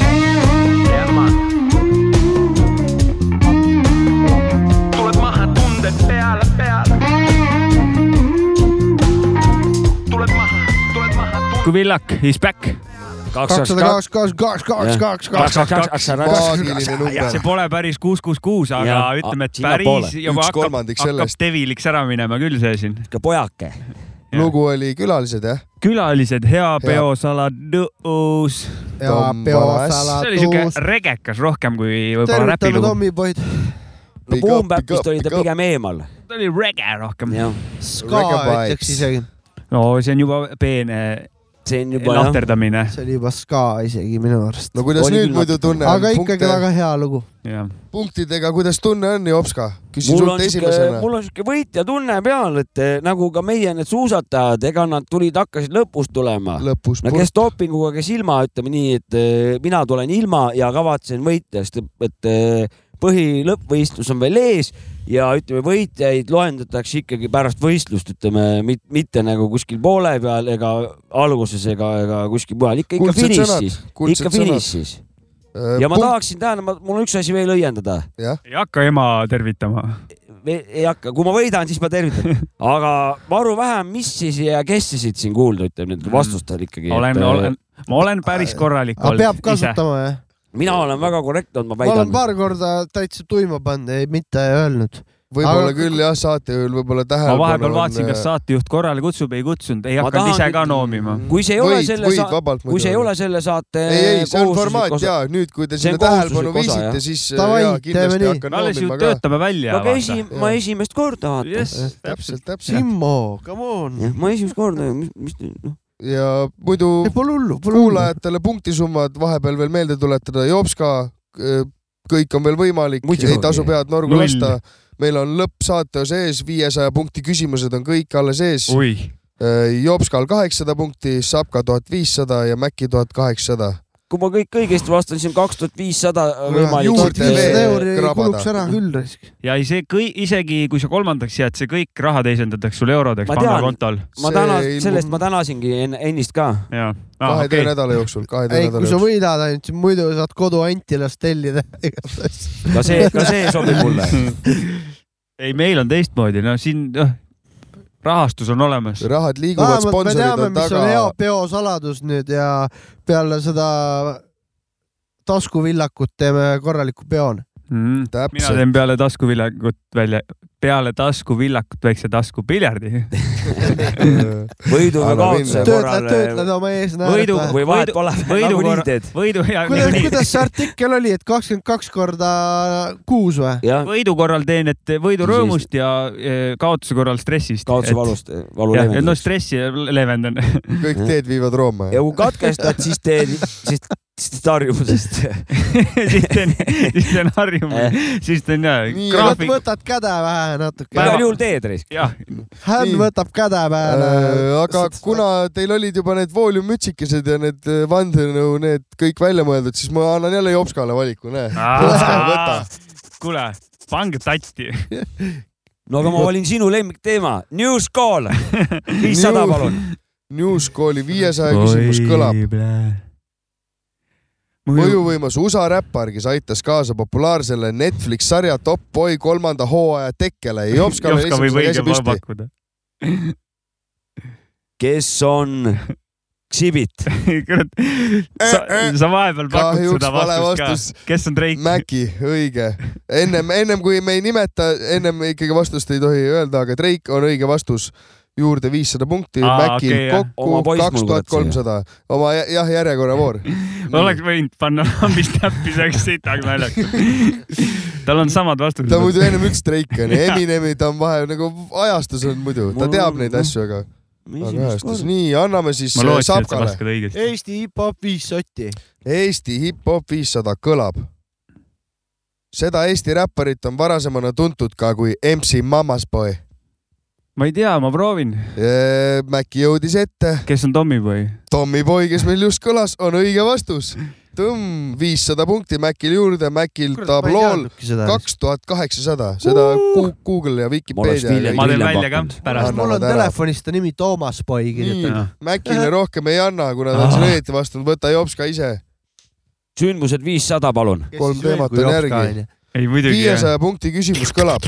O: Yeah, man. tuleb maha tunded peale , peale . tuleb maha , tuleb maha .
D: kui villak is back .
B: kakssada kaks , kaks , kaks , kaks , kaks , kaks , kaks , kaks ,
D: see
B: kaks .
D: pole päris kuus , kuus , kuus , aga ja,
B: Jah,
D: ütleme , et
B: sinnapoole.
D: päris juba
E: Üks
D: hakkab ,
E: kolmandik
D: hakkab
E: sellest.
D: teviliks ära minema küll see siin .
C: ikka pojake .
E: lugu oli külalised jah ?
D: külalised , hea peo saladõus .
E: Hea Tom peo Varas. saladõus.
D: see oli siuke regekas rohkem kui võib-olla
B: tervitame
D: räpilugu .
B: Tommy poid .
C: no Boom Bapist oli ta pigem eemal .
D: ta oli rege rohkem .
B: Ska ütleks isegi .
D: no see on juba peene
C: see on
B: juba, jah.
D: lahterdamine .
B: see oli juba ska isegi minu arust .
E: no kuidas nüüd muidu tunne on ?
B: aga ikkagi väga hea lugu .
D: jah .
E: punktidega , kuidas tunne on , Jopska ? küsin
C: mul on
E: sult
C: siuke , mul
E: esimesena .
C: on siuke võitja tunne peal , et eh, nagu ka meie need suusatajad , ega nad tulid , hakkasid lõpus tulema .
E: lõpus
C: no kes dopinguga , kes ilma , ütleme nii , et eh, mina tulen ilma ja kavatsen võita , sest et- et eh, põhi lõppvõistlus on veel ees ja ütleme , võitjaid loendatakse ikkagi pärast võistlust , ütleme mit, mitte nagu kuskil poole peal ega alguses ega , ega kuskil mujal , ikka , ikka
E: Kuldsed sõnad,
C: finišis ,
E: kuldsed
C: ikka
E: sõnad. Äh,
C: finišis . ja ma
E: punkt-
C: tahaksin , tähendab , mul on üks asi veel õiendada
D: ei hakka ema tervitama .
C: Ve- ei hakka , kui ma võidan , siis ma tervitan , aga maru vähe , mis siis ja kes siis siit siin kuulda , ütleme nüüd vastustel ikkagi .
D: Mm.
C: äh,
D: olen , olen , ma olen päris korralik
B: aga
D: olnud .
B: peab kasutama jah ?
C: mina olen väga korrektne olnud , ma
B: ma olen
C: väidan .
B: paar korda täitsa tuima pannud , ei mitte öelnud .
E: võib-olla küll jah , saatejuhil võib-olla
D: ma
E: tähelepanu . äh,
D: vahepeal vaatasin , kas saatejuht korrale kutsub , ei kutsunud , ei
C: Ma
D: hakanud
C: tahan
D: ise ka
C: nüüd-
D: noomima .
C: kui see ei ole
E: Võid-
C: selle
E: võid
C: saate
E: vabalt , muidu
C: kui see ei
E: öelda.
C: ole selle saate .
E: ei , ei , see on formaat ja nüüd , kui te
C: See on
E: sinna tähelepanu
C: kohustuslik osa,
E: viisite ,
C: jah.
E: siis
B: Davai,
E: jaa ,
B: teeme
E: kindlasti
B: nii.
E: hakkan
D: me alles ju
E: noomima ka .
D: töötame välja .
C: ma käisin , ma esimest korda vaatan .
D: Jess ,
E: täpselt , täpselt .
B: Simmo , come on .
C: ma esimest korda , mis , mis , noh .
E: ja muidu
B: Pole hullu , pole hullu .
E: kuulajatele punktisummad vahepeal veel meelde tuletada , Jopska , kõik on veel võimalik ,
C: Muidugi.
E: ei tasu pead norgu
D: Null.
E: lasta . meil on lõppsaate osa ees , viiesaja punkti küsimused on kõik alles ees .
D: oih ,
E: Jopskal kaheksasada punkti , Sapka tuhat viissada ja Mäkki tuhat kaheksasada .
C: kui ma kõik õigesti vastan , siis on kaks tuhat viissada
B: viissada
E: juurde veel.
C: võimalik .
B: euri
E: krabada.
B: kuluks ära küll risk .
D: ja ei see kõik , isegi kui sa kolmandaks jääd , see kõik raha teisendatakse sul eurodeks
C: Ma tean.
D: pangakontol .
C: ma
E: See
C: täna ,
E: ilmub-
C: sellest ma tänasingi en- ennist ka .
D: ja ,
E: kahe
D: okei
E: töönädala jooksul ,
B: ei ,
E: kahe töönädala
B: kui sa
E: jooksul .
B: võidad ainult , siis muidu saad kodu Antilast tellida igast asju .
C: ka see , ka see sobib mulle .
D: ei , meil on teistmoodi , no siin , noh , rahastus on olemas .
E: rahad liiguvad ,
B: vähemalt me
E: sponsorid
B: teame ,
E: on
B: mis on hea
E: taga .
B: peosaladus nüüd ja peale seda taskuvillakut teeme korraliku peone .
D: mina
E: täpselt ,
D: Mhm. teen peale taskuviljakut välja , peale tasku villakut väikse tasku piljardi
C: võidu või kaotuse eh,
B: töötled , töötled oma eesnäärde .
D: võidu , võidu , võidu
C: nagunii
D: korral
C: teed. ,
D: võidu ja
B: kuidas , kuidas see artikkel oli , et kakskümmend kaks korda kuus või ?
D: võidu korral teen , et võidu
B: Siis
D: rõõmust ja eh, kaotuse korral stressist .
C: Kaotuse valust, eh, valu
D: leevendan .
C: leevendusest.
D: no stressi leevendan .
E: kõik teed viivad Rooma .
C: ja kui katkestad , siis teed , siis siis harjumusest .
D: siis teen , siis teen harjumus , siis teen ja graafik .
B: võtad käde vähe natuke .
D: Päeva-
C: teed risk .
D: jah .
B: Hän
E: Nii.
B: võtab käde peale .
E: Äh, aga kuna teil olid juba need vooliummütsikesed ja need äh, vandenõu , need kõik välja mõeldud , siis ma annan jälle Jopskale valiku , näe .
D: kuule , pange tatti .
C: no aga ma valin sinu lemmikteema , New School , viissada
E: New-
C: palun .
E: New School'i viiesaja küsimus
D: Oi,
E: kõlab .
D: Mõju-
E: mõjuvõimas USA räppar , kes aitas kaasa populaarsele Netflix sarja Top Boy kolmanda hooaja tekkele ja Jopskale
D: Jopska võib
E: esimesena
D: õige
E: käsi
D: koha
E: püsti .
D: pakkuda .
C: kes on Xibit ?
D: sa ,
E: Eh,
D: sa vahepeal pakud
E: Kahjuks
D: seda
E: vale
D: vastust ka
E: vastus. .
D: kes on Drake ?
E: Mäki , õige . ennem , ennem kui me ei nimeta , ennem ikkagi vastust ei tohi öelda , aga Drake on õige vastus . juurde viissada punkti ,
D: Aa,
E: Mäkil
D: okei, jah. Oma
E: kokku
D: poiss mul
E: kaks tuhat kolmsada . oma jah , jah , järjekorravoor .
D: oleks võinud panna lambist täppi , see oleks sitaks naljakas . tal on samad vastused .
E: ta muidu ennem üks Drake on , Eminemi ta on vahel nagu ajastus on muidu , ta teab neid asju , aga . aga ajastus , nii , anname siis äh,
D: Ma lootsin, et sa
E: Sapkale
D: vastad õigesti.
B: Eesti hip-hop viis sotti .
E: Eesti hip-hop viissada kõlab . seda Eesti räpparit on varasemana tuntud ka kui MC Mamas Boy .
D: ma ei tea , ma proovin .
E: Mäkki jõudis ette .
D: kes on Tommyboy ?
E: Tommyboy , kes meil just kõlas , on õige vastus . tõmm , viissada punkti Mäkil juurde , Mäkil tablool
B: teadnudki seda.
E: kaks tuhat kaheksasada , seda Gu- Google ja Vikipeedia .
D: ma teen välja ka pärast .
B: mul on . telefonis ta nimi Toomas Boy kirjutatud . Äh.
E: Mäkile rohkem ei anna , kuna ta on
D: Ah.
E: selle õieti vastanud , võta jops ka ise .
C: sündmused viissada palun .
E: kolm teemat on järgi .
D: ei
E: viiesaja punkti küsimus kõlab .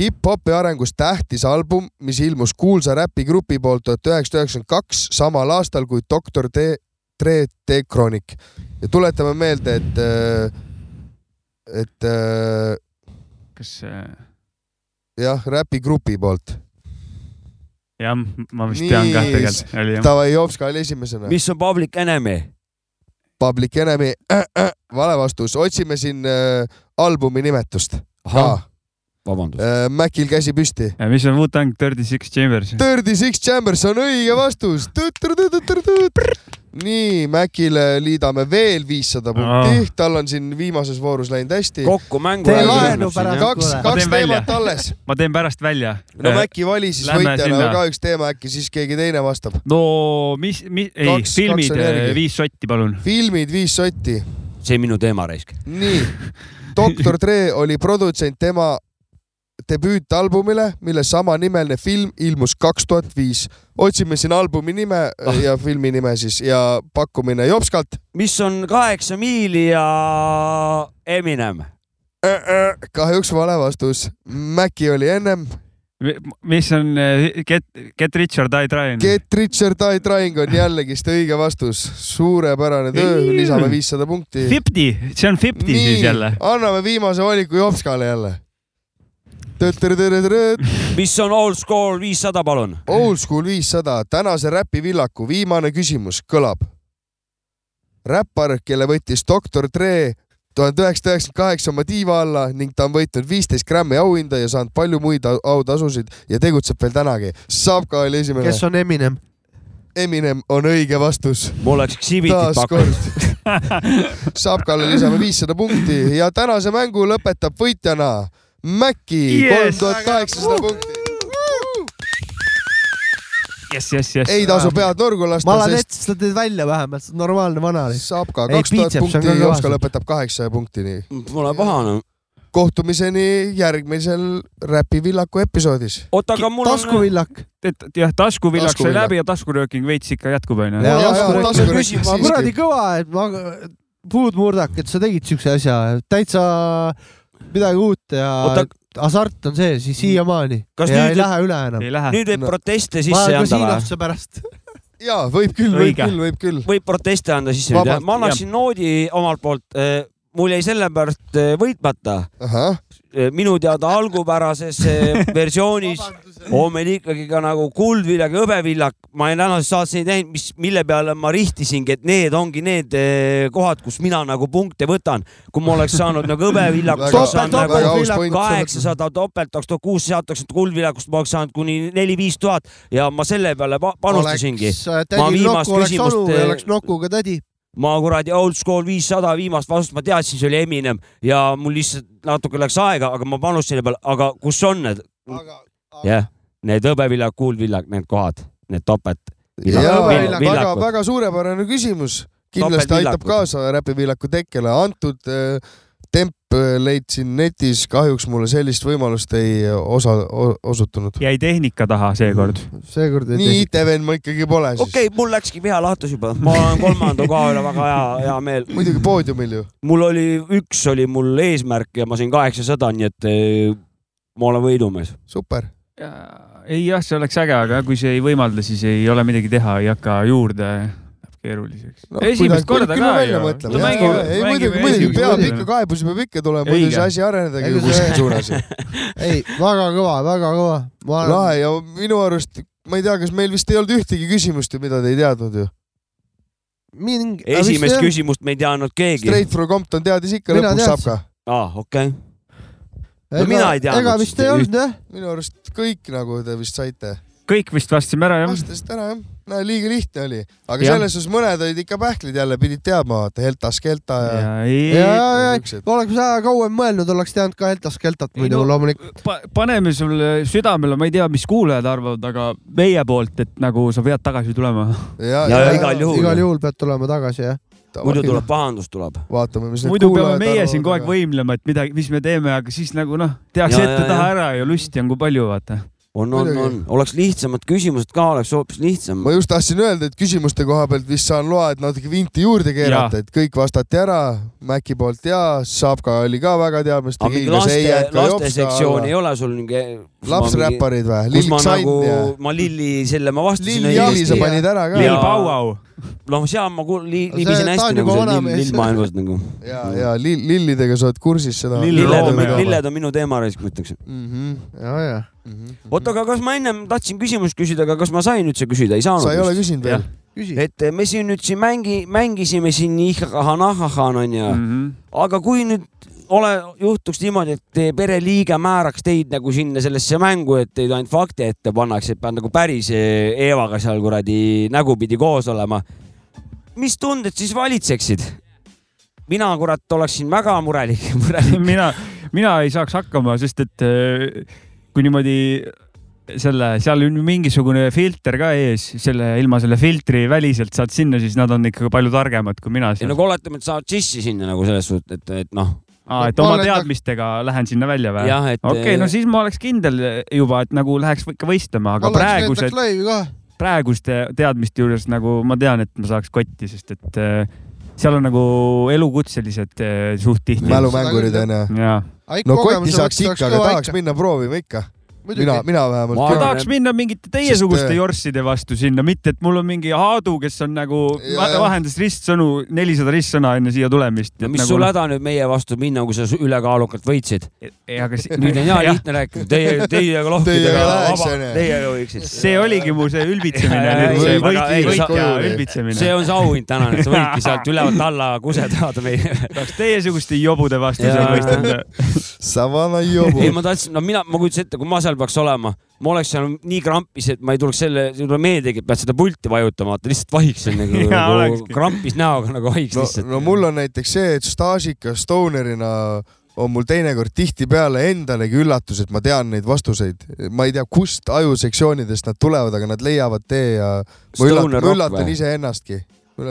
E: hip-hopi arengus tähtis album , mis ilmus kuulsa räpigrupi poolt tuhat üheksasada üheksakümmend kaks , samal aastal kui Doktor D , Tre D Kroonik . ja tuletame meelde , et , et äh,
D: kas äh, see ,
E: jah , räpigrupi poolt .
D: jah , ma vist tean ka tegelikult .
E: Davai , Jopska oli esimesena .
C: mis on Public Enemy ?
E: Public Enemy äh, , äh, vale vastus , otsime siin äh, albumi nimetust .
C: vabandust
E: äh, . Mäkil käsi püsti .
D: mis on Wu-Tang Thirty Six Chambers ?
E: Dirty Six Chambers on õige vastus . nii , Mäkile liidame veel viissada punkti , tal on siin viimases voorus läinud hästi .
C: kokku mängu .
D: Tee laenu pärast,
E: kaks
D: kuule. , Ma
E: kaks
D: teen välja.
E: teemat alles .
D: ma teen pärast välja .
E: no Mäkki vali siis võitjana ka üks teema , äkki siis keegi teine vastab .
D: no mis , mis , ei ,
E: Kaks-
D: filmid eh, äh,
E: kaks on , järgi.
D: viis sotti , palun .
E: filmid viis sotti .
C: see minu teema raisk .
E: nii , doktor Dre oli produtsent tema debüütalbumile , mille samanimeline film ilmus kaks tuhat viis . otsime siin albumi nime ja filmi nime siis ja pakkumine Jopskalt .
C: mis on kaheksa miili ja Eminem ?
E: kahjuks vale vastus . Mäki oli ennem .
D: mis on eh, Get , Get Rich or Die Trying ?
E: Get Richard I Trying on jällegist õige vastus . suurepärane töö , lisame viissada punkti .
D: Fifty , see on Fifty siis jälle .
E: anname viimase valiku Jopskale jälle .
C: mis on Old School viissada palun ?
E: Old School viissada , tänase räpivillaku viimane küsimus kõlab . räppar , kelle võttis doktor Dre tuhande üheksasaja üheksakümmend kaheksa oma tiiva alla ning ta on võitnud viisteist grammi auhinda ja saanud palju muid au- autasusid ja tegutseb veel tänagi . Sapka oli esimene .
B: kes on Eminem ?
E: Eminem on õige vastus .
C: ma oleks Xibitit pakkunud .
E: taaskord . Sapkale lisame viissada punkti ja tänase mängu lõpetab võitjana Mäkki , kolm
D: Yes!
E: tuhat kaheksasada punkti .
D: jess , jess , jess .
E: ei tasu pead nurgu lasta ,
B: ma olen
E: sest
B: ette , sa teed välja vähemalt , sa oled normaalne vanalist .
E: saab ka kaks tuhat punkti , Jopska . lõpetab kaheksasaja punktini .
C: Pole pahane .
E: kohtumiseni järgmisel Räpivillaku episoodis .
C: oota , aga mul on-
B: taskuvillak .
D: et jah , taskuvillak sai
E: Taskuvillak.
D: läbi ja taskurööking veits ikka jätkub onju .
B: Jaa, jaa, jaa, taskurööking Ma
E: siiski.
B: kuradi kõva , et ma , puudmurdak , et sa tegid siukse asja , täitsa midagi uut ja
C: Oota-
B: hasart on sees ja siiamaani .
C: Kas
B: ja
C: nüüd-
B: ei lähe üle enam .
C: nüüd võib proteste sisse anda või ?
B: või ? pärast .
E: jaa , võib küll , võib
C: Õige.
E: küll , võib küll .
C: võib proteste anda sisse nüüd
E: Vabalt,
C: äh, jah ? ma annaksin noodi omalt poolt , mul jäi sellepärast eh, äh, võitmata . minu teada algupärases eh, versioonis on meil ikkagi ka nagu kuldviljak ja hõbeviljak . ma ei tänases saates ei näinud , mis , mille peale ma rihtisingi , et need ongi need eh, kohad , kus mina nagu punkte võtan . kui ma oleks saanud nagu hõbeviljakust ,
B: Väga-
C: oleks saanud
B: väga aus
C: nagu
B: point.
C: kaheksasada topelt , kaks tuhat kuussada , kaks tuhat kuldviljakust , ma oleks saanud kuni neli-viis tuhat ja ma selle peale pa- panustasingi . ma
B: äh, tädi
C: viimast
B: Nokku oleks onu
C: küsimust äh,
B: või oleks Nokuga tädi .
C: ma kuradi old school viissada viimast vastust ma teadsin , see oli Eminem ja mul lihtsalt natuke läks aega , aga ma panustasin selle peale , aga kus on need ? jah , need hõbeviljak , kuulviljak , need kohad , need topet .
E: väga , väga suurepärane küsimus , kindlasti aitab
C: Topeltvillakud.
E: kaasa räpivillaku tekkele , antud äh, temp äh, leidsin netis , kahjuks mulle sellist võimalust ei äh, osa , osutunud .
D: jäi tehnika taha seekord .
B: seekord
E: nii IT-vend ma ikkagi pole siis .
C: okei okay, , mul läkski viha lahtus juba , ma olen kolmanda koha üle väga hea , hea meel .
E: muidugi poodiumil ju .
C: mul oli , üks oli mul eesmärk ja ma sain kaheksasada , nii et eh, ma olen võidumees .
E: super .
D: ei jah , see oleks äge , aga kui see ei võimalda , siis ei ole midagi teha , ei hakka juurde , läheb keeruliseks no, . esimest korda ka ju .
E: ei muidugi , muidugi peab ikka , kaebusi peab ikka tulema , muidu
D: Õige.
E: see asi arenedagi
D: Ega
E: ju
D: see-
E: kuskil suunas .
B: ei , väga kõva , väga kõva .
E: lahe ja minu arust , ma ei tea , kas meil vist ei olnud ühtegi küsimust ju , mida te ei teadnud ju .
B: mingi .
C: esimest küsimust me ei teadnud keegi .
E: Straight from Compton teadis ikka
C: Mina
E: lõpuks saab
C: teadsin.
E: ka .
C: aa , okei . no mina ei teadnud .
B: jah ?
E: minu arust kõik nagu te vist saite .
D: kõik vist vastasime ära jah ?
E: vastasite ära jah , no liiga lihtne oli , aga
D: Jah.
E: selles suhtes mõned olid ikka pähklid jälle , pidid teadma , vaata Heltas Kelta ja,
B: ja , ja , ja oleks väga kauem mõelnud , oleks teadnud ka Eltas Keltat muidu
D: no-
B: loomulikult .
D: pa- , paneme sulle südamele , ma ei tea , mis kuulajad arvavad , aga meie poolt , et nagu sa pead tagasi tulema .
E: ja,
B: igal juhul pead tulema tagasi jah .
C: muidu tuleb pahandus , tuleb .
E: vaatame , mis
D: muidu peame meie siin kogu aeg võimlema , et midagi , mis me teeme , aga siis nagu noh , tehakse
C: Ja, ja,
D: ette-taha
C: ja.
D: ära ja lusti on kui palju , vaata .
C: on , on , on , oleks lihtsamad küsimused ka , oleks hoopis lihtsam .
E: ma just tahtsin öelda , et küsimuste koha pealt vist saan loa , et natuke vinti juurde keerata , et kõik vastati ära , Mäki poolt ja , Savka oli ka väga
C: aga
E: teadmistegi
C: mingi . laste , laste sektsioon ei ole sul mingi .
E: Lapsräpparid või? Lil
C: Lill
E: Xan
C: Xan ja .
E: ja-
C: nagu ma Lilli , selle ma vastasin .
E: Lil Yali sa panid ära ka. Lil Pau Au. .
C: noh , seal ma kuul- li-
E: No see-
C: libisin
E: ta on
C: hästi nagu
E: juba
C: seal
E: vanamees.
C: lill , lillmaailmas nagu .
E: ja , ja lill , lillidega sa oled kursis seda .
C: lilled on , lilled on minu teema raisk , ma ütleks .
E: Mhm. ja , ja .
C: oota , aga kas ma ennem tahtsin küsimust küsida , aga kas ma sain üldse küsida , ei saanud ?
E: Sa ei ole küsinud veel. .
C: et eh, me siin nüüd siin mängi , mängisime siin ihahanahahan onju mm , -hmm. aga kui nüüd ole , juhtuks niimoodi , et teie pereliige määraks teid nagu sinna sellesse mängu , et teid ainult fakte ette pannakse , et pead nagu päris Eevaga seal kuradi nägupidi koos olema . mis tunded siis valitseksid ? mina kurat oleksin väga murelik , murelik .
D: mina , mina ei saaks hakkama , sest et äh, kui niimoodi selle , seal on mingisugune filter ka ees , selle , ilma selle filtri väliselt saad sinna , siis nad on ikka palju targemad kui mina
C: ei
D: seal .
C: nagu oletame , et saad sissi sinna nagu selles suhtes , et , et noh .
D: Aa, et oma teadmistega lähen sinna välja või ?
C: Jah, et- äh, eh,
D: okei , no siis ma oleks kindel juba , et nagu läheks ikka võistlema , aga praegused ,
B: laivi kohe .
D: praeguste teadmiste juures nagu ma tean , et ma saaks kotti , sest et äh, seal on nagu elukutselised äh, suht tihti .
E: Mälumängurid, on ju.
D: jaa .
E: no kotti saaks ikka , aga tahaks minna proovima ikka .
D: Muidugi.
E: mina , mina vähemalt
D: ma tahaks minna mingite teiesuguste jorsside vastu sinna , mitte et mul on mingi Aadu , kes on nagu
C: Ja, ja.
D: vahendas ristsõnu , nelisada ristsõna enne siia tulemist . nagu noh.
C: no mis sul ? häda nüüd meie vastu minna , kui sa su- ülekaalukalt võitsid ?
D: E,
C: nüüd on hea lihtne rääkida , teie , teiega lohkidega
D: Teiega läheks, , onju.
C: teiega võiksid .
D: see oligi mu see ülbitsemine
C: Ei,
D: nüüd ,
C: ei,
D: see
C: väga-
D: võit ,
C: ei,
D: võit ja
C: sa-
D: ülbitsemine .
C: see on see auhind täna , et sa võidki sealt ülevalt alla kusedada meile .
D: tahaks teiesuguste jobude vastu
C: Jaa.
D: seal võistelda .
E: Savana
C: ei ,
E: jobu .
C: ma tahtsin , no mina , ma kujutasin ette , kui ma seal peaks olema , ma oleks seal nii krampis , et ma ei tuleks selle , sulle meeldigi , et pead seda pulti vajutama , vaata lihtsalt vahiksin nagu,
E: Jaa,
C: nagu
E: olekski.
C: krampis näoga nagu vahiks
E: no,
C: lihtsalt .
E: no mul on näiteks see , et staažika stoonerina on mul teinekord tihtipeale endalegi üllatus , et ma tean neid vastuseid . ma ei tea , kust ajusektsioonidest nad tulevad , aga nad leiavad tee ja ma üllatan,
C: Stoner
E: ma
C: rock
E: üllatan
C: või?
E: iseennastki .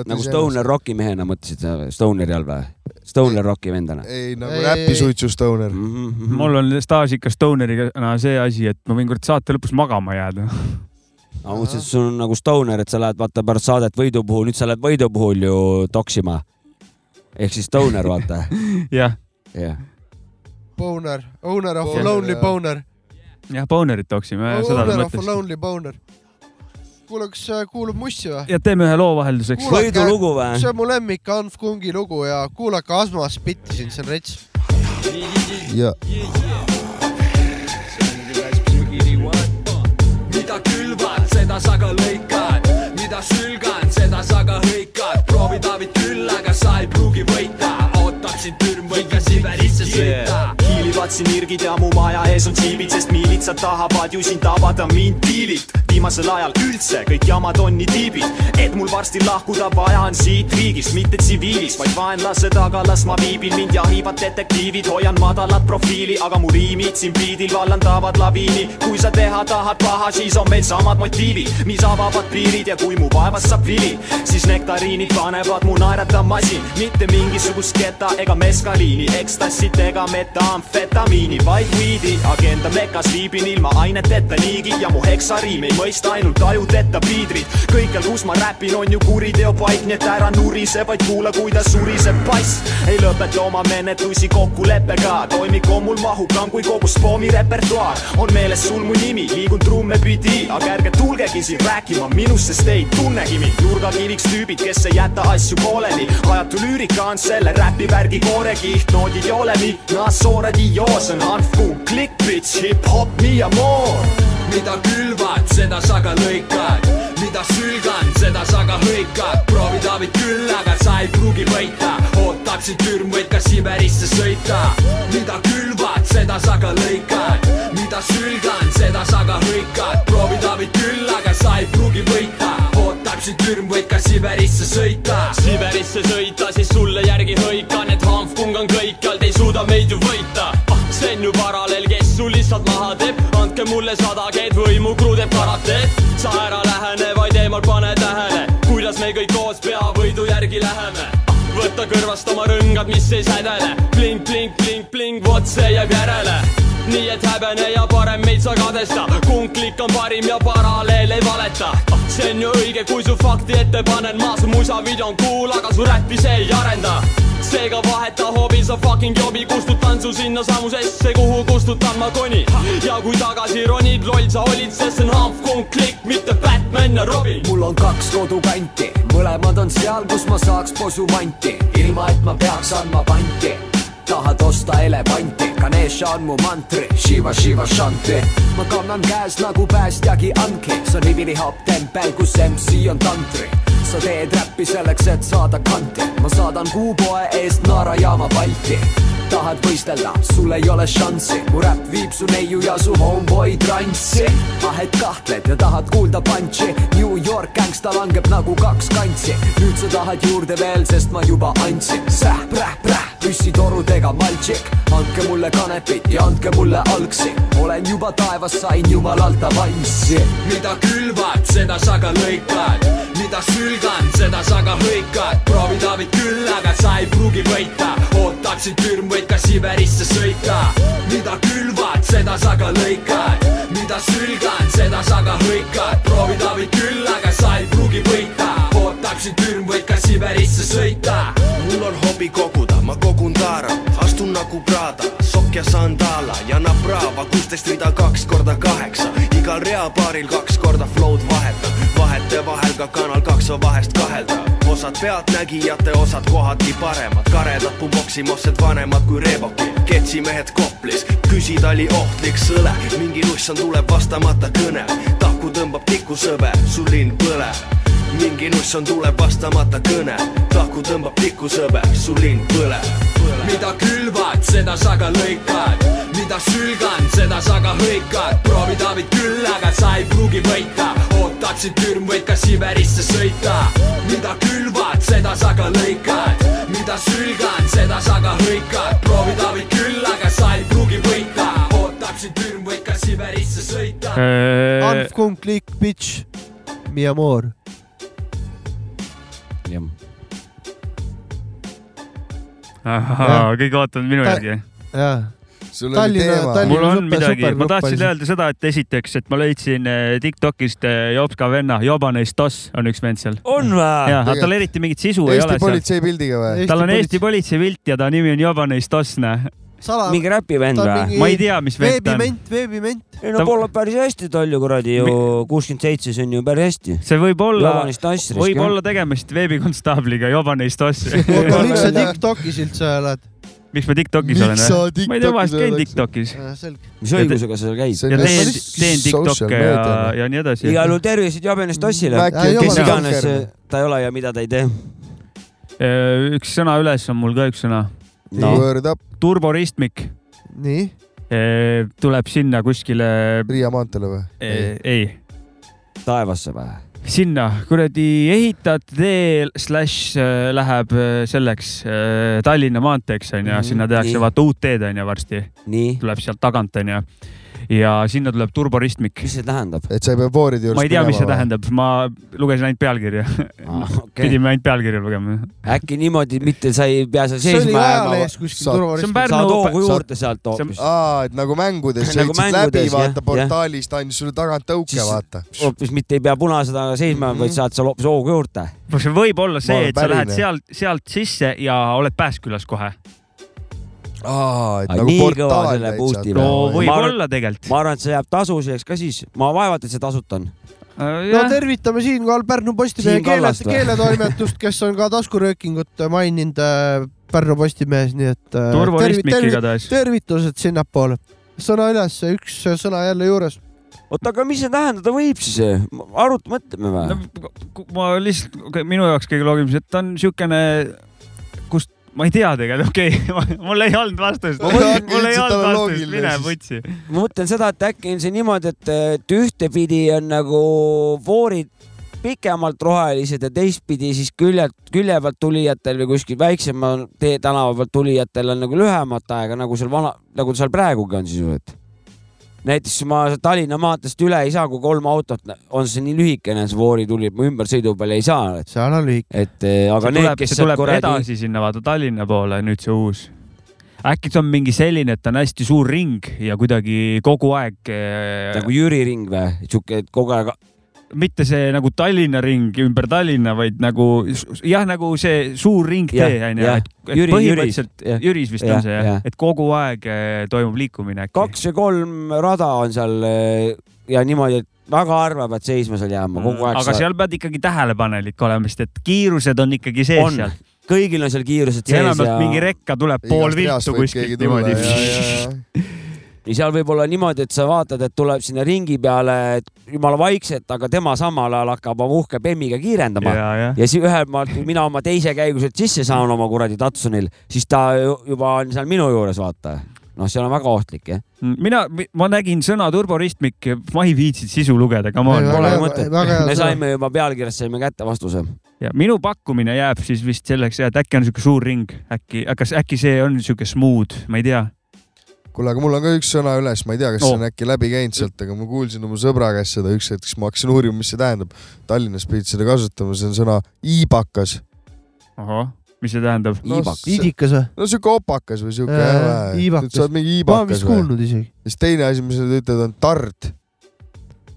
C: nagu Stoner . Rocki mehena mõtlesid , Stoneri all või ? Stoner Rocki vendana . Mhm,
E: ei ,
D: Ei,
E: nagu
D: ei, ei.
E: räpisuitsu Stoner .
D: Mhm.
E: Mhm.
D: mul on staažikas Stoneriga no, see asi , et ma võin kord saate lõpus magama jääda .
C: aga ma mõtlesin , et sul on nagu stoner , et sa lähed vaata pärast saadet võidu puhul , nüüd sa lähed võidu puhul ju toksima . ehk siis stoner , vaata .
D: jah .
C: jah .
B: Boner , owner of
D: Boner,
B: a lonely
D: jah.
B: boner .
D: jah , Bonerit tooksime ,
E: Oh,
D: seda ta
B: Owner of a
D: mõtles .
B: lonely boner . kuule , kas äh, kuulub Mussi või ?
D: ja teeme ühe loo vahelduseks .
B: see on mu lemmik Anf Kungi lugu ja kuulake Asma Spitti siin , see on rets .
E: ja
P: platsi nirgid ja mu maja ees on džiibid , sest miilitsad tahavad ju siin tabada mind diililt . viimasel ajal üldse kõik jamad on nii tiibid , et mul varsti lahkuda vaja on siit riigist , mitte tsiviilis , vaid vaenlase taga las ma viibin , mind jahivad detektiivid , hoian madalat profiili , aga mu riimid siin biidil vallandavad laviini . kui sa teha tahad paha , siis on meil samad motiivid , mis avavad piirid ja kui mu vaevast saab vili , siis nektariinid panevad mu naeratama siin , mitte mingisugust keta ega meskaliini , ekstassit ega metamfetamiini , vaid weed'i . agenda mekas viibin ilma aineteta niigi ja mu heksariim ei mõista ainult ajudeta piidrid . kõikjal , kus ma räpin , on ju kuriteo paik , nii et ära nurise , vaid kuula , kuidas suriseb pass . ei lõpeta oma menetlusi kokkuleppega , toimik on mul mahukam kui kogu spoomi repertuaar . on meeles sul mu nimi , liigun trumme pidi , aga ärge tulgegi siin rääkima minust , sest te ei tunnegi mind . nurgakiviks tüübid , kes ei jäta asju pooleli , ajatu lüürika on selle räpivärgi koorekiht , noodid ei ole nii , nas soored ei joo , see on harfkuum , klikk , bitch , hip-hop , me amore .
Q: mida külvad , seda sa ka lõikad , mida sülgan , seda sa ka hõikad , proovi David küll , aga sa ei pruugi võita , ootab sind türm , võid ka Siberisse sõita , mida külvad , seda sa ka lõikad , mida sülgan , seda sa ka hõikad , proovi David küll , aga sa ei pruugi võita , ootab sind türm , võid ka Siberisse sõita ,
R: Siberisse sõita , siis sulle järgi hõikan , et Hanfkung on kõikjal , te ei suuda meid ju võita . see on ju paralleel , kes sul lihtsalt maha teeb , andke mulle sada keed või mu kruu teeb karateed . sa ära lähene , vaid eemal pane tähele , kuidas me kõik koos peavõidu järgi läheme . võta kõrvast oma rõngad , mis ei sädele , blink , blink , blink , blink , vot see jääb järele nii et häbene ja parem meid sa kadesta , kunklik on parim ja paralleel ei valeta . see on ju õige , kui su fakti ette panen ma , su musavideo on cool , aga su räppi see ei arenda . seega vaheta hobi , sa fucking jobi , kustutan su sinnasamusesse , kuhu kustutan ma koni . ja kui tagasi ronid , loll sa olid , sest see on Hanfkong klikk , mitte Batman ja Robin .
S: mul on kaks kodukanti , mõlemad on seal , kus ma saaks posumanti , ilma et ma peaks andma panti . tahad osta elevanti , Ganesha on mu mantri , Shiva , Shiva , Shanti . ma kannan käes nagu päästjagi ankri , see on hip-hop tempel , kus MC on tantri . sa teed räppi selleks , et saada kanti , ma saadan kuupoe eest Naara jaama Balti tahad võistelda , sul ei ole šanssi , mu räpp viib su neiu ja su homeboy transsi . vahet kahtled ja tahad kuulda punch'i , New York gängsta langeb nagu kaks kantsi . nüüd sa tahad juurde veel , sest ma juba andsin . säh-präh-präh , püssitorudega maltšik , andke mulle kanepit ja andke mulle algsi . olen juba taevas , sain jumalalt avanssi .
Q: mida külvad , seda sa ka lõikad , mida sülgan , seda sa ka hõikad , proovi David küll , aga sa ei pruugi võita , ootab sind türm , võid ka Siberisse sõita , mida külvad , seda sa ka lõikad , mida sülgan , seda sa ka hõikad , proovi David küll , aga sa ei pruugi võita , ootab sind türm , võid ka Siberisse sõita ,
T: mul on hobi koguda , ma kogun taara , astun nagu Prada , sokk ja sandaala ja naprava , kuusteist rida kaks korda kaheksa , igal reapaaril kaks korda flow'd vahetan , vahete vahel ka Kanal kaks on vahest kaheldav , osad pealtnägijate , osad kohati paremad , karedad pumboksimossed vanemad kui Reeboki , ketsimehed Koplis , küsitali ohtlik sõle , mingi nussand tuleb vastamata kõne , tahku tõmbab tikusõbe , su linn põleb mingi nusson tuleb vastamata kõne , tahku tõmbab tikusõber , su linn põleb .
Q: mida külvad , seda sa ka lõikad , mida sülgan , seda sa ka hõikad , proovi David küll , aga sa ei pruugi võita , ootad sind türm , võid ka Siberisse sõita , mida külvad , seda sa ka lõikad , mida sülgan , seda sa ka hõikad , proovi David küll , aga sa ei pruugi võita , ootab sind türm , võid ka Siberisse sõita .
B: Äh,
D: Äh,
B: Hanf Kung , Click , Bitch , Mi Amor .
D: ahaa , kõik vaatavad minu järgi .
B: jaa .
D: mul on midagi , ma tahtsin öelda seda , et esiteks , et ma leidsin eh, Tiktokist eh, Jopska venna , Jobanes Toss on üks vend seal .
C: on või ?
D: jaa , aga tal eriti mingit sisu ei ole
E: Eesti politsei pildiga või ?
D: tal on Eesti politsei pilt ja ta nimi on Jobanes Toss , näe .
B: Sala-
C: Mingi räpivend
D: ta on
C: või?
D: mingi- ma ei tea , mis vend ta on .
B: veebiment , veebiment .
C: ei no pole päris hästi tolju kuradi ju , kuuskümmend seitse , see on ju päris hästi .
D: see võib olla
C: Jobanist , Nassrist,
D: võib
C: jah.
D: olla tegemist veebikonstaabliga , Jobanes Toss .
B: oota , miks sa TikTokis üldse oled ?
D: miks ma Tiktokis
B: Miks
D: olen
B: sa ?
D: ma ei tea , vahest käin
B: TikTokis
D: Tiktokis .
B: Äh, selge .
C: mis õigusega sa seal käid ?
D: ja teen , teen Tiktoke ja ,
B: noh.
D: ja nii edasi .
C: igal juhul tervised Jobenes Tossile ,
D: Äkki on
C: kes
D: jobene
C: iganes äh,
D: tanker.
C: ta ei ole ja mida ta ei tee .
D: üks sõna Äh, üles on mul ka üks sõna
C: No. Word
D: turboristmik .
B: nii ,
D: Äh, tuleb sinna kuskile .
E: Riia maanteele või ?
D: ei .
C: taevasse või ?
D: sinna kuradi ehitajate tee slaš äh, läheb äh, selleks äh, Tallinna maanteeks onju ,
C: Mhm,
D: sinna tehakse
C: nii.
D: vaata uut teed onju varsti . tuleb sealt tagant onju ja sinna tuleb turboristmik .
C: mis see tähendab ?
E: et sa ei pea vooride juurest
D: ma ei tea , mis see
E: minema või?
D: tähendab , ma lugesin ainult pealkirja ah, .
C: okei.
D: Okay. pidime ainult pealkirja lugema .
C: äkki niimoodi mitte sa ei pea seal
D: See oli
C: seisma
D: ajalehes kuskil Saad- turvaristis. See on Pärnu-
C: saad hoogu
D: saad-
C: juurde sealt hoopis .
E: aa , et nagu mängudes
C: Nagu
E: sõitsid läbi
C: mängudes, , jah,
E: vaata
C: jah.
E: portaalist andis sulle tagant tõuke , vaata .
C: hoopis mitte ei pea punase taga seisma ,
D: Mhm.
C: vaid saad seal hoopis hoogu juurde .
D: no see võib olla
C: Ma olen
D: see , et sa lähed
C: päline.
D: sealt , sealt sisse ja oled Pääskülas kohe .
E: aa ,
D: et nagu portaal
C: selle
D: täitsa.
C: boost'i
D: No võib-olla tegelikult .
C: ma arvan , et see jääb tasuliseks ka siis , ma vaevalt , et see tasuta on .
B: no tervitame siinkohal Pärnu Postimehe
C: Siim
B: keele ,
C: Kallast või?
B: keeletoimetust , kes on ka taskuröökingut maininud äh, Pärnu Postimehes , nii et äh,
D: Turvaristmik
B: tervi- tervi-
D: igatahes.
B: tervitused sinnapoole . sõna üles , üks sõna jälle juures .
C: oota , aga mis see tähendada võib siis ? arut- , mõtleme või no, ?
D: ma lihtsalt , minu jaoks kõige loogilisem , et ta on siukene , kust ma ei tea tegelikult , okei okay, , mul ei olnud vastust , mul ei olnud vastust , mine võtsi .
C: ma mõtlen seda , et äkki on see niimoodi , et , et ühtepidi on nagu voorid pikemalt rohelised ja teistpidi siis küljelt , külje pealt tulijatel või kuskil väiksema tee tänava pealt tulijatel on nagu lühemat aega , nagu seal vana , nagu seal praegugi on sisuliselt . näiteks ma Tallinna maanteest üle ei saa , kui kolm autot nä- on see nii lühikene , see voorituli , ma ümbersõidu peal ei saa .
B: seal on lühike .
C: et eh, aga
D: see
C: need ,
D: tuleb ,
C: kes
D: see
C: sealt
D: tuleb kuradi... edasi sinna vaata Tallinna poole , nüüd see uus . äkki ta on mingi selline , et ta on hästi suur ring ja kuidagi kogu aeg .
C: nagu Jüri ring või , sihuke kogu aeg .
D: mitte see nagu Tallinna ring ümber Tallinna , vaid nagu s- jah , nagu see suur ringtee
C: Jah,
D: on ju ,
C: jah.
D: et, et
C: Jüri-
D: põhimõtteliselt
C: Jüris. Jah.
D: Jüris vist
C: Jah,
D: on see jah
C: jah. ,
D: et kogu aeg eh, toimub liikumine äkki .
C: kaks või kolm rada on seal eh, ja niimoodi , et väga harva pead seisma seal jääma kogu aeg .
D: Mm. aga seal pead ikkagi tähelepanelik olema , sest et kiirused on ikkagi sees
C: On.
D: seal .
C: kõigil on seal
D: ja
C: kiirused sees
D: enamjaolt
C: ja-
D: mingi rekka tuleb
C: Igast
D: pool
C: reast
D: viltu
C: võib keegi
D: kuskilt
C: tulla,
D: niimoodi .
C: ja seal võib olla niimoodi , et sa vaatad , et tuleb sinna ringi peale et jumala vaikselt , aga tema samal ajal hakkab oma uhke bemmiga kiirendama
D: Ja, ja.
C: ja siis ühel maalt , kui mina oma teise käigu sealt sisse saan oma kuradi Datsunil , siis ta ju- juba on seal minu juures , vaata . noh , see on väga ohtlik , jah .
D: Mm, mina , ma nägin sõna turboristmik , ma ei viitsinud sisu lugeda , come on .
C: Pole mõtet , me saime juba pealkirjast saime kätte vastuse .
D: ja minu pakkumine jääb siis vist selleks , et äkki on siuke suur ring , äkki , kas äkki see on siuke smooth , ma ei tea .
E: kuule , aga mul on ka üks sõna üles , ma ei tea , kas see
D: Oo.
E: on äkki läbi käinud sealt , aga ma kuulsin oma sõbra käest seda üks hetk , siis ma hakkasin uurima , mis see tähendab . Tallinnas pidid seda kasutama , see on sõna iibakas .
D: ahah , mis see tähendab ?
B: idikas või ?
E: no siuke opakas või siuke
B: Äh,
E: äh, .
B: iibakas.
E: sa oled mingi
B: Ma olen
E: iibakas
B: vist kuulnud isegi. .
E: siis teine asi , mis nad ütlevad , on tard .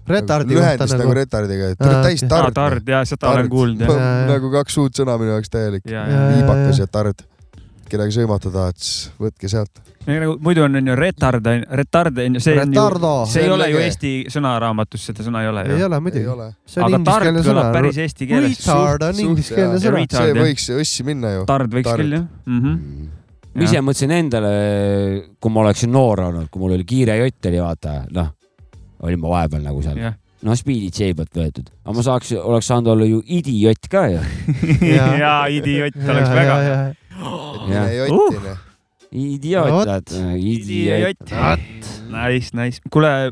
B: Retardi
E: lühendist
B: kohta
E: nagu
B: nagu.
E: retardiga , et
B: Aa,
E: tard- täis
B: okei.
E: tard .
B: Aa, tard, jaa, seda olen kuulnud, jah. Jaa, jaa.
E: nagu kaks uut sõna minu jaoks täielik .
D: Jaa, jaa.
E: iibakas ja tard . kedagi sõimata tahad , siis võtke sealt .
D: nagu muidu on , on ju retard , retard on ju , see on ju
E: Retardo. ,
D: see ei ole ju
E: Jällegi.
D: eesti sõnaraamatus , seda sõna ei ole ju .
B: ei ole muidugi . see on
D: aga tard
B: ingliskeelne sõna
D: kõlab . päris eesti keeles .
B: Retard on ingliskeelne sõna .
E: see võiks õssi minna ju .
D: tard võiks küll jah .
F: Mm-hmm.
C: ma ise mõtlesin endale , kui ma oleksin noor olnud , kui mul oli kiire jott oli , vaata , noh , olin ma vahepeal nagu seal
D: Jah.
C: noh , spiidid seei pealt võetud , aga ma saaks , oleks saanud olla ju idiot ka ju
D: Jaa. Jaa, idiot oleks Ja, väga- Uh! ja, ja.
C: Jah.
E: jottine .
C: idioot , tead , idioot .
D: Nice , nice . kuule ,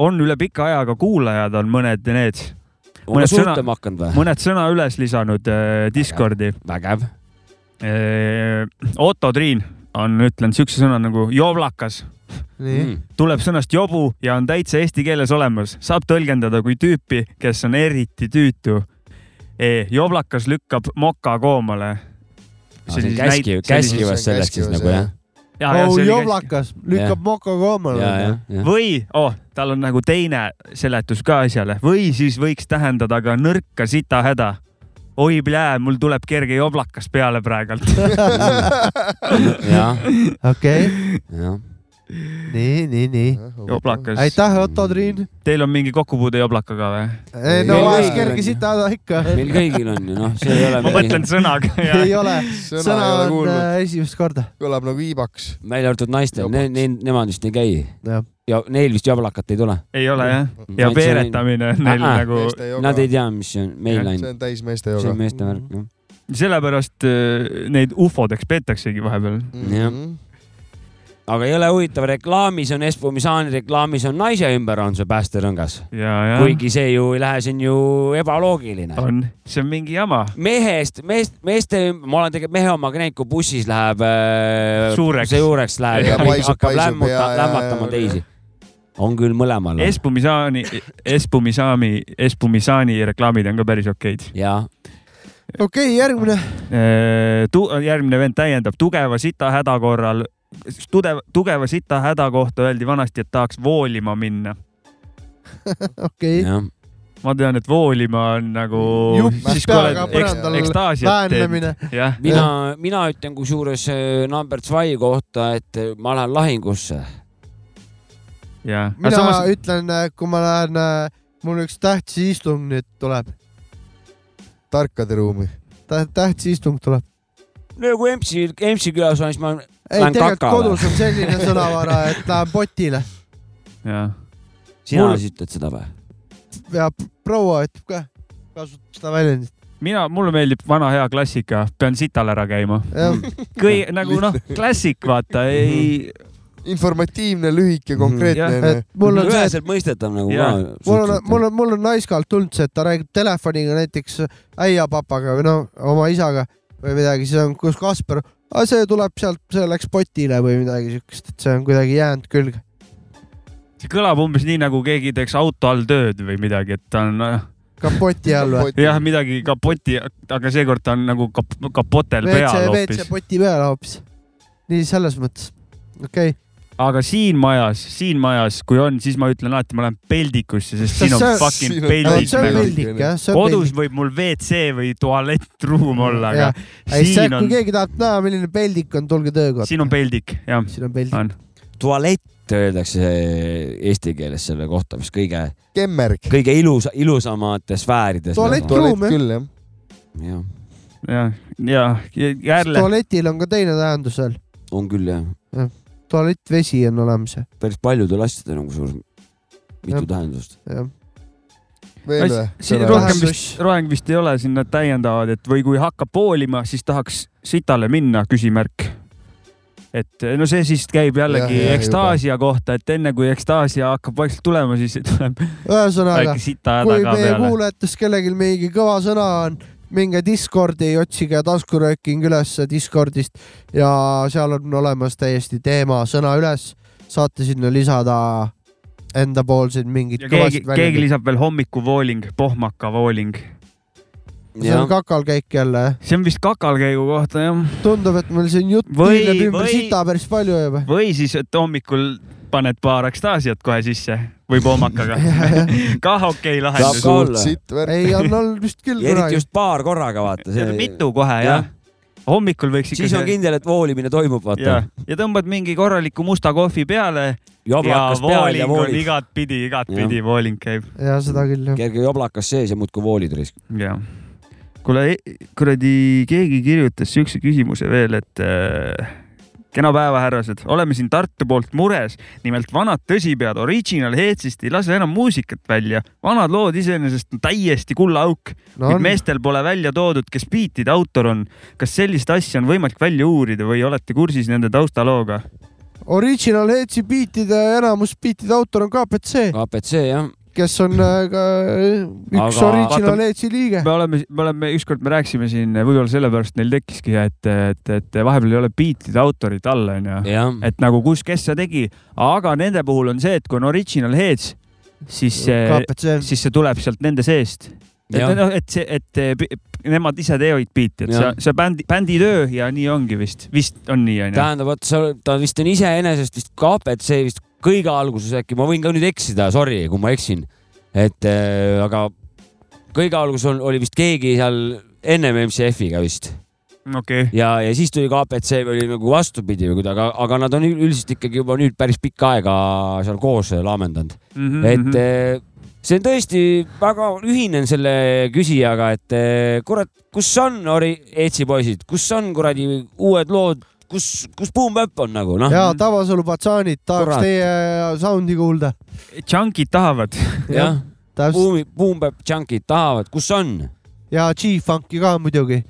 D: on üle pika ajaga kuulajad on mõned need .
C: On suhtlema hakanud või?
D: mõned sõna üles lisanud äh, Discordi .
C: vägev .
D: Otto Triin on ütlenud siukse sõna nagu jovlakas .
B: Nii. Mm.
D: tuleb sõnast jobu ja on täitsa eesti keeles olemas , saab tõlgendada kui tüüpi , kes on eriti tüütu e, . jovlakas lükkab moka koomale .
C: Ah, see on käski , käskivas sellest siis nagu jah .
B: oh , jovlakas lükkab moka koomale .
D: või oh, , tal on nagu teine seletus ka asjale või siis võiks tähendada ka nõrka sita häda . oi plää , mul tuleb kerge joblakas peale praegalt
C: jah .
B: okei ,
C: jah .
D: Mm.
B: nii , nii , nii .
D: joblakas .
B: aitäh , Otto Triin .
D: Teil on mingi kokkupuude joblakaga või ?
B: ei no vahest kerge sita häda ikka .
C: meil kõigil on ju , noh , see ei ole .
D: ma mõtlen sõnaga .
B: ei ole , sõna on äh, esimest korda .
E: kõlab nagu iibaks .
C: välja arvatud naistel , neil , nemad vist ei käi .
B: Jah.
C: ja neil vist jablakat ei tule .
D: Ei ole, jah. Ja veeretamine on neil nagu- Meeste joga.
C: Nad ei tea , mis see on , meil
D: Jah,
C: ainult .
D: see on Mhm.
E: täis meeste
C: see
E: joga.
C: on meeste
D: Mm.
C: värk , jah .
D: Mhm. sellepärast äh, neid ufodeks peetaksegi vahepeal .
C: Jah. aga jõle huvitav , reklaamis on Espomisani reklaamis on naise ümber on see päästerõngas .
D: ja , ja .
C: kuigi see ju ei lähe , see on ju ebaloogiline .
D: on , see on mingi jama .
C: mehest , meest , meeste , ma olen tegelikult mehe omaga näinud , kui bussis läheb .
D: Suureks.
C: see juureks läheb
D: Ja
C: ja, ja
D: paisub,
C: hakkab
D: paisub
C: lämmuta
D: ja- , ja-
C: lämmatama teisi . on küll mõlemal .
D: Espumisaani , Espumisaami , Espumisaani reklaamid on ka päris okeid .
C: jaa .
B: okei , järgmine .
D: Äh, Tu- , järgmine vend täiendab , tugeva sita häda korral , tugev , tugeva sita häda kohta öeldi vanasti , et tahaks voolima minna .
B: okei .
D: ma tean , et voolima on nagu .
B: Jupp peaga põrandal väänlemine.
D: jah ,
C: mina , mina ütlen kusjuures äh, number two kohta , et äh, ma lähen lahingusse .
D: jah .
B: mina samas... ütlen , kui ma lähen , mul üks tähtis istung nüüd tuleb .
E: tarkade ruumi .
B: tähtis istung tuleb .
C: no kui EMS-i , EMS-i külas on , siis ma
B: ei ,
C: lähen
B: tegelikult
C: kakale .
B: kodus on selline sõnavara , et lähen potile
D: jah .
C: sina
D: Mul-
C: siis ütled seda või ?
B: ja proua ütleb ka , kasutab seda väljendit .
D: mina , mulle meeldib vana hea klassika , pean sital ära käima . kõi- nagu noh , klassik , vaata , ei .
E: informatiivne , lühike , konkreetne . noh.
B: et mul on see , et
C: mõistetav Mm, nagu
E: Jaa.
B: mul on , mul on , mul on naiskalt tulnud see , et ta räägib telefoniga näiteks äiapapaga või no oma isaga või midagi , siis on , kus Kaspar , see tuleb sealt , see läks potile või midagi siukest , et see on kuidagi jäänud külge .
D: see kõlab umbes nii , nagu keegi teeks auto all tööd või midagi , et ta on noh,
B: kapoti all või ?
D: jah , midagi kapoti , aga seekord ta on nagu kap- , kapotel
B: WC WC
D: peal , hoopis .
B: poti peal hoopis . nii selles mõttes , okei okay. .
D: aga siin majas , siin majas , kui on , siis ma ütlen alati , ma lähen peldikusse , sest
B: Sest
D: siin on
B: see-
D: fucking
B: siin on- see on peldik, jah,
D: peldik
B: see . on
D: kodus
B: peldik.
D: võib mul WC või tualettruum olla , aga
B: ei , see ,
D: siin
B: kui
D: on ,
B: keegi tahab näha , milline peldik on , tulge töökotta .
D: siin on peldik , jah .
B: siin on peldik .
C: tualett öeldakse eesti keeles selle kohta , mis kõige .
E: kemmerg .
C: kõige ilus , ilusamate sfäärides .
B: Tualettruum, jah. Küll,
E: jah .
C: jah ,
D: jah , ja jälle .
B: tualetil on ka teine tähendus veel .
C: on küll jah ,
B: tualettvesi on olemas .
C: päris paljudel asjadel on kusjuures mitu tähendust .
B: jah .
E: Veel või?
D: siin rohkem vist , rohkem vist ei ole , siin nad täiendavad , et või kui hakkab voolima , siis tahaks sitale minna , küsimärk . et no see siis käib jällegi
B: Jah, jah,
D: ekstaasia kohta , et enne kui ekstaasia hakkab vaikselt tulema , siis tuleb
B: ühesõnaga
D: väike , sita häda
B: kui
D: ka
B: meie
D: peale .
B: kuulajates kellelgi mingi kõva sõna on , minge Discordi , otsige taskurööking üles Discordist ja seal on olemas täiesti teema sõna üles , saate sinna lisada endapoolseid mingeid
D: ja keegi , keegi . lisab veel hommikuvooling , pohmakavooling .
B: see on kakalkäik jälle , jah ?
D: see on vist kakalkäigu kohta , jah .
B: tundub , et meil siin jutt
D: Või-
B: tiirleb ümber
D: või-
B: sita päris palju juba .
D: või siis , et hommikul paned paar ekstaasiat kohe sisse või poomakaga . kah okei lahendus .
B: ei , on olnud vist küll
C: eriti
B: kunagi
C: just . paar korraga vaata
D: Ja . mitu kohe jah . hommikul võiks ikka
C: siis on kindel , et voolimine toimub ,
D: ja
C: vaata .,
D: ja tõmbad mingi korraliku musta kohvi peale .
C: Joblakas peal ja
D: vooling on
C: voolid.
D: igatpidi , igatpidi
C: Jah.
D: vooling käib .
B: ja seda küll jah .
C: kerge joblakas sees ja muudkui voolid risk .
D: jah . kuule , kuradi , keegi kirjutas siukse küsimuse veel , et äh, kena päeva , härrased , oleme siin Tartu poolt mures . nimelt vanad tõsipead Original Headsist ei lase enam muusikat välja . vanad lood iseenesest on täiesti
B: No
D: kullaauk no, ,
B: on.
D: kuid meestel pole välja toodud , kes biitide autor on . kas sellist asja on võimalik välja uurida või olete kursis nende taustalooga ?
B: Original Headsi beatide enamus beatide autor on KPC .
C: KPC jah .
B: kes on äh, ka üks
D: Aga-
B: Original
D: Vaata-
B: Headsi liige .
D: me oleme , me oleme , ükskord me rääkisime siin , võib-olla sellepärast neil tekkiski , et , et , et vahepeal ei ole biitide autorit all , onju . et nagu kus , kes seda tegi , aga nende puhul on see , et kui on original heads , siis see ,
B: KPC.
D: siis see tuleb sealt nende seest . et
C: Jah.
D: noh , et see , et eh, pi- nemad ise teevad biiti , et
C: Jah.
D: see , see bändi , bändi töö ja nii ongi vist , vist on nii , onju .
C: tähendab , vot sa , ta vist on iseenesest vist KPC vist kõige alguses äkki , ma võin ka nüüd eksida , sorry , kui ma eksin . et äh, aga kõige alguses on , oli vist keegi seal ennem MCF-iga vist
D: okei okay. .
C: ja , ja siis tuli KPC või oli nagu vastupidi või kuidagi , aga , aga nad on ül- üldiselt ikkagi juba nüüd päris pikka aega seal koos laamendanud mm .
D: Mhm,
C: -hmm. et eh, see on tõesti väga , ühinen selle küsijaga , et eh, kurat , kus on ori- , Eetsi poisid , kus on kuradi uued lood , kus , kus Boom Bap on nagu noh .
B: ja Tavasalu patsaanid tahaks
C: Kurat.
B: teie äh, sound'i kuulda .
D: Junkid tahavad .
C: jah ,
B: täpselt.
C: Boom , Boom Bap junkid tahavad , kus on ?
B: ja G-Funki ka muidugi .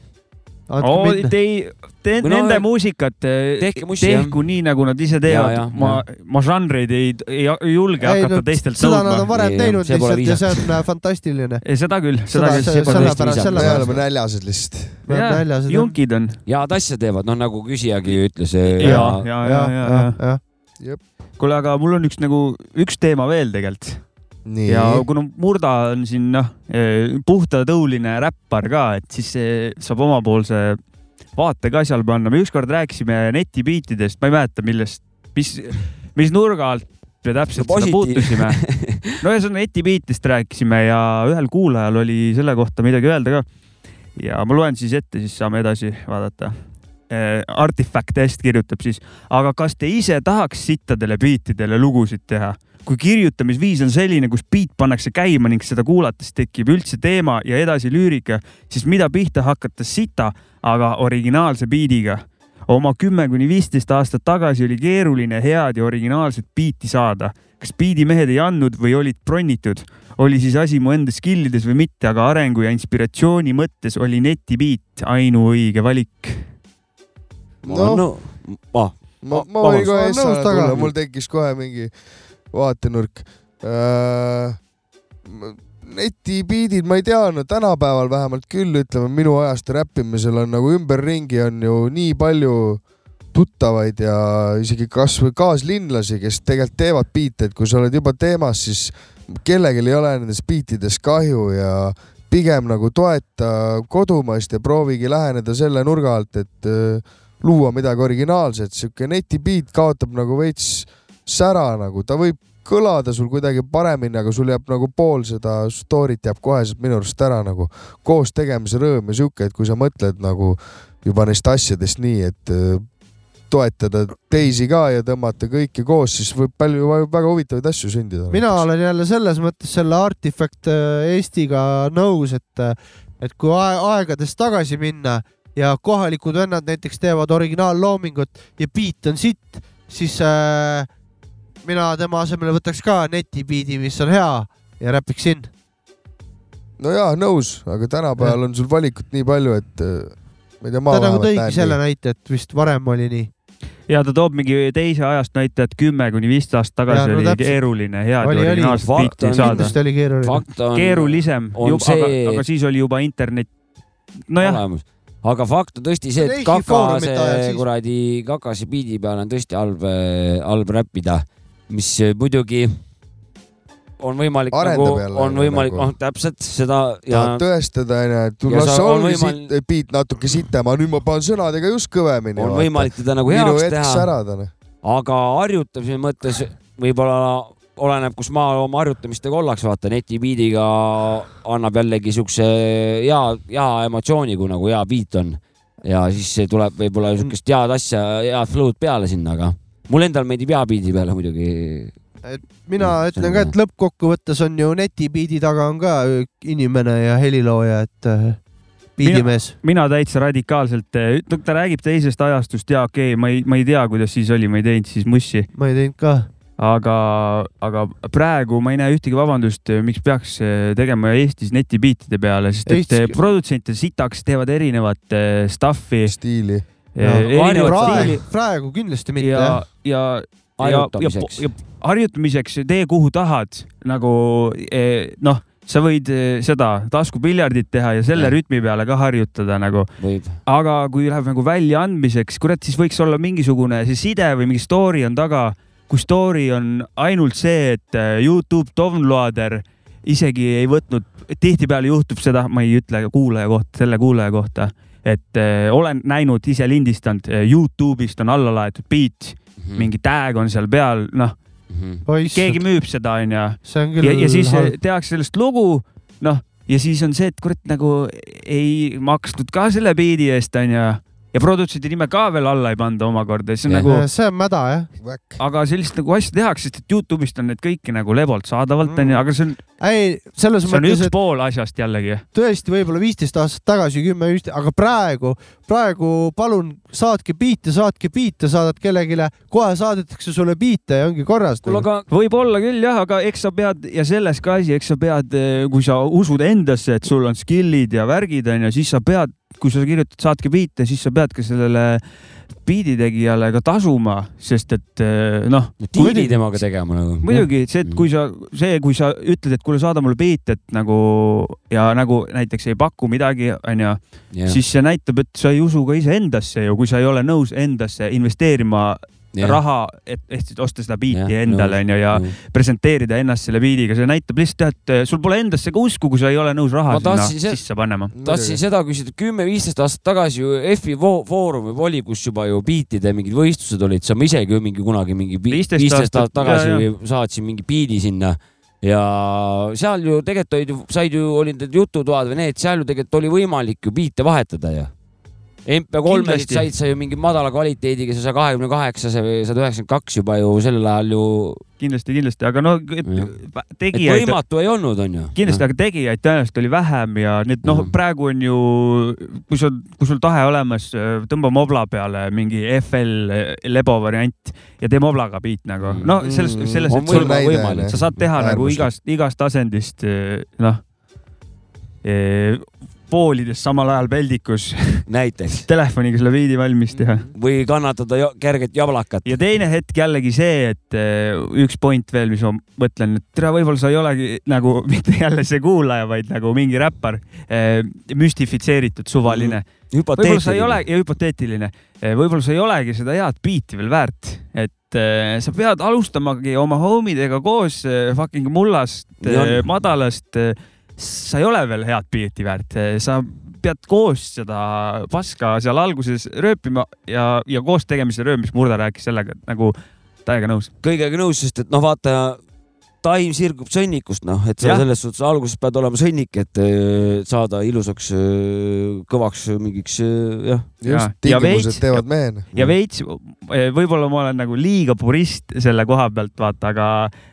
D: oo , tei- , te,
C: Või no-
D: nende muusikat
C: Tehke
D: tehke,
C: musi,
D: tehku nii , nagu nad ise teevad
C: Ja, ja, .
D: ma , ma žanreid ei , ei julge ei, hakata no, teistelt
B: seda
D: nõudma .
B: nad on varem teinud lihtsalt ja see on äh, fantastiline .
D: seda küll ,
B: Seda-
D: seda
B: see-
D: küll .
B: sellepärast-
D: sellepärast-
E: me oleme näljased lihtsalt .
D: Me oleme Jaa, näljased, jah. junkid on .
C: head asja teevad , noh nagu küsijagi ütles . eh,
D: ja , ja , ja , ja ,
B: ja .
D: kuule , aga mul on üks nagu , üks teema veel tegelikult .
E: Nii.
D: ja kuna Murda on siin noh , puhtatõuline räppar ka , et siis eh, saab omapoolse vaate ka seal panna . me ükskord rääkisime netibiitidest , ma ei mäleta , millest , mis , mis nurga alt me täpselt
C: No
D: no, seda
C: positiiv-
D: puutusime . no ühesõnaga netibiitist rääkisime ja ühel kuulajal oli selle kohta midagi öelda ka . ja ma loen siis ette , siis saame edasi vaadata . Artifact S kirjutab siis , aga kas te ise tahaks sittadele biitidele lugusid teha ? kui kirjutamisviis on selline , kus biit pannakse käima ning seda kuulates tekib üldse teema ja edasi lüürika , siis mida pihta hakata sita , aga originaalse biidiga ? oma kümme kuni viisteist aastat tagasi oli keeruline head ja originaalset biiti saada . kas biidimehed ei andnud või olid bronnitud ? oli siis asi mu enda skillides või mitte , aga arengu ja inspiratsiooni mõttes oli netibiit ainuõige valik .
E: Noh. No,
C: ma ,
E: ma , ma võin
B: Ma
E: kohe
B: olen nõus
E: Essale tulla
B: taga. ,
E: mul tekkis kohe mingi vaatenurk äh, . netibiidid , ma ei teadnud , tänapäeval vähemalt küll , ütleme minu ajast räppimisel on nagu ümberringi on ju nii palju tuttavaid ja isegi kasvõi kaaslinlasi , kes tegelikult teevad biite , et kui sa oled juba teemas , siis kellelgi ei ole nendest biitidest kahju ja pigem nagu toeta kodumaist ja proovigi läheneda selle nurga alt , et äh, luua midagi originaalset , sihuke netibiit kaotab nagu veits sära nagu , ta võib kõlada sul kuidagi paremini , aga sul jääb nagu pool seda story't jääb koheselt minu arust ära nagu koos tegemise rõõm ja sihuke , et kui sa mõtled nagu juba neist asjadest nii , et äh, toetada teisi ka ja tõmmata kõiki koos , siis võib palju võib väga huvitavaid asju sündida .
B: mina olen jälle selles mõttes selle Artifact äh, Eestiga nõus , et , et kui ae- aegades tagasi minna ja kohalikud vennad näiteks teevad originaalloomingut ja beat on sitt , siis äh, mina tema asemele võtaks ka netibiidi , mis on hea ja räpiksin .
E: no jaa , nõus , aga tänapäeval on sul valikut nii palju , et äh, ma ei
B: ta
E: tea , ma
B: nagu
E: vähemalt
B: tõigi
E: näen
B: selle
E: nii.
B: näite , et vist varem oli nii .
D: ja ta toob mingi teise ajast näite , et kümme kuni viisteist aastat
B: Ja,
D: tagasi ja,
B: no
D: no, oli
B: täpselt.
D: keeruline head
B: Oli, oli.
D: originaalset
B: Fakt
D: biiti
B: on-
D: saada
B: kindlasti oli keeruline. Fakt on-
D: keerulisem ,
C: on
D: see... aga,
C: see-
D: aga siis oli juba internet . nojah ,
C: olemas . aga fakt on tõesti see ,
D: Reichi
C: et kakase
D: foorumite ajal siis-
C: kuradi , kakase biidi peal on tõesti halb , halb räppida , mis muidugi on võimalik
E: Arendab
C: nagu ,
E: jälle
C: on
E: nagu-
C: võimalik , noh , täpselt seda ja
E: tahad tõestada , onju , et
C: Ja
E: las
C: sa- on
E: olgu
C: võimal-
E: siit , beat natuke sitem , aga nüüd ma panen sõnadega just kõvemini .
C: on võimalik teda nagu
E: minu
C: heaks
E: hetk särada
C: teha . aga harjutamise mõttes võib-olla oleneb , kus maal oma harjutamistega ollakse , vaata netibiidiga annab jällegi siukse hea , hea emotsiooni , kui nagu hea beat on . ja siis see tuleb võib-olla siukest head asja , head flow'd peale sinna , aga mul endal meeldib hea beat'i peale muidugi .
B: mina ütlen ka , et lõppkokkuvõttes on ju netibiidi taga on ka äh, inimene ja helilooja , et äh, biidimees .
D: mina täitsa radikaalselt , ta räägib teisest ajastust ja okei okay, , ma ei , ma ei tea , kuidas siis oli , ma ei teinud siis mussi .
B: ma ei teinud ka .
D: aga , aga praegu ma ei näe ühtegi vabandust , miks peaks eh, tegema Eestis netibiitide peale , sest et eh,
C: Eestis-
D: produtsente sitaks teevad erinevat eh, stuff'i .
E: stiili .
B: praegu , praegu kindlasti mitte .
D: ja , ja , ja , ja,
B: Harjutamiseks.
D: ja harjutamiseks tee , kuhu tahad , nagu eh, noh , sa võid eh, seda taskupiljardit teha ja selle
C: Jah.
D: rütmi peale ka harjutada nagu . aga kui läheb nagu väljaandmiseks , kurat , siis võiks olla mingisugune see side või mingi story on taga , kui story on ainult see , et eh, Youtube downloader isegi ei võtnud , tihtipeale juhtub seda , ma ei ütle kuulaja kohta , selle kuulaja kohta , et eh, olen näinud ise lindistanud , Youtube'ist on alla laetud beat mm , -hmm. mingi tag on seal peal , noh
B: Oi,
D: keegi müüb seda , onju .
B: see on küll
D: ja , ja siis eh,
B: halb.
D: tehakse sellest lugu , noh , ja siis on see , et kurat nagu ei makstud ka selle beat'i eest , onju . ja produtsendi nime ka veel alla ei panda omakorda , siis on nagu ,
B: see on mäda jah .
D: aga sellist nagu asja tehakse , sest et Youtube'ist on need kõiki nagu lebolt saadavalt , onju , aga see on
B: Mm. ei , selles
D: see on
B: mõttes ,
D: üks
B: et
D: pool asjast jällegi .
B: tõesti võib-olla viisteist aastat tagasi , kümme , aga praegu , praegu palun saatke biite , saatke biite , saadad kellelegi , kohe saadetakse sulle biite ja ongi korras . nagu.
D: kuule , aga võib-olla küll jah , aga eks sa pead ja selles ka asi , eks sa pead , kui sa usud endasse , et sul on skill'id ja värgid onju , siis sa pead , kui sa kirjutad saatke biite , siis sa pead ka sellele biiditegijale ka tasuma , sest et eh, noh .
C: diili temaga tegema nagu .
D: muidugi see , et kui sa , see , kui sa ütled , et kuule , saada mulle beat , et nagu ja nagu näiteks ei paku midagi , onju ,
C: Jah.
D: siis see näitab , et sa ei usu ka iseendasse ju , kui sa ei ole nõus endasse investeerima
C: Jah.
D: yeah. raha , et ehk siis osta seda biiti
C: Jah,
D: yeah, endale ,
C: nõus,
D: onju , ja
C: nõus.
D: presenteerida ennast selle biidiga , see näitab lihtsalt , et eh, sul pole endasse ka usku , kui sa ei ole nõus raha
C: Ma
D: sinna
C: tahtsin se-
D: sisse panema .
C: tahtsin seda küsida , kümme-viisteist aastat tagasi ju FI vo- Foorum juba oli , kus juba ju biitide mingid võistlused olid , siis ma isegi ju mingi kunagi mingi bi-
D: 15
C: viisteist aastat
D: aastat
C: tagasi
D: ja, ja.
C: ju saatsin mingi biidi sinna ja seal ju tegelikult olid ju , said ju , olid need jututoad või need , seal ju tegelikult oli võimalik ju biite vahetada ju . MP3-st
D: Kindlasti.
C: said sa ju mingi madala kvaliteediga , sa kahekümne kaheksase või sada üheksakümmend kaks juba ju sellel ajal ju .
D: kindlasti , kindlasti , aga no
C: et
D: tegijaid-
C: võimatu ei olnud , onju .
D: kindlasti , aga tegijaid tõenäoliselt oli vähem ja nüüd noh , praegu on ju , kui sul , kui sul tahe olemas , tõmba mobla peale mingi FL Lebo variant ja tee moblaga beat nagu . no selles , selles ,
C: On
D: et sul
C: võimalik, võimalik.
D: sa saad teha nagu
C: Äärmuslik.
D: igast , igast asendist eh, noh , poolides samal ajal peldikus .
C: näiteks .
D: telefoniga selle veidi valmis teha .
C: või kannatada jo- kerget jablakat .
D: ja teine hetk jällegi see , et eh, üks point veel , mis ma mõtlen , et tere , võib-olla sa ei olegi nagu mitte jälle see kuulaja , vaid nagu mingi räppar , müstifitseeritud suvaline mm. . võib-olla sa ei
C: hüpoteetiline.
D: ole , ja hüpoteetiline , võib-olla sa ei olegi seda head biiti veel väärt , et eh, sa pead alustamagi oma homidega koos eh, fucking mullast eh,
C: Nii on. ,
D: madalast . sa ei ole veel head biiti väärt , sa pead koos seda paska seal alguses rööpima ja , ja koos tegema seda röömist , Murda rääkis sellega , et nagu täiega nõus .
C: kõigega nõus , sest et noh , vaata taim sirgub sõnnikust , noh , et sa
D: Jah.
C: selles suhtes alguses pead olema sõnnik , et öö, saada ilusaks , kõvaks mingiks , jah . Mm.
D: ja . veits , võib-olla ma olen nagu liiga purist selle koha pealt , vaata , aga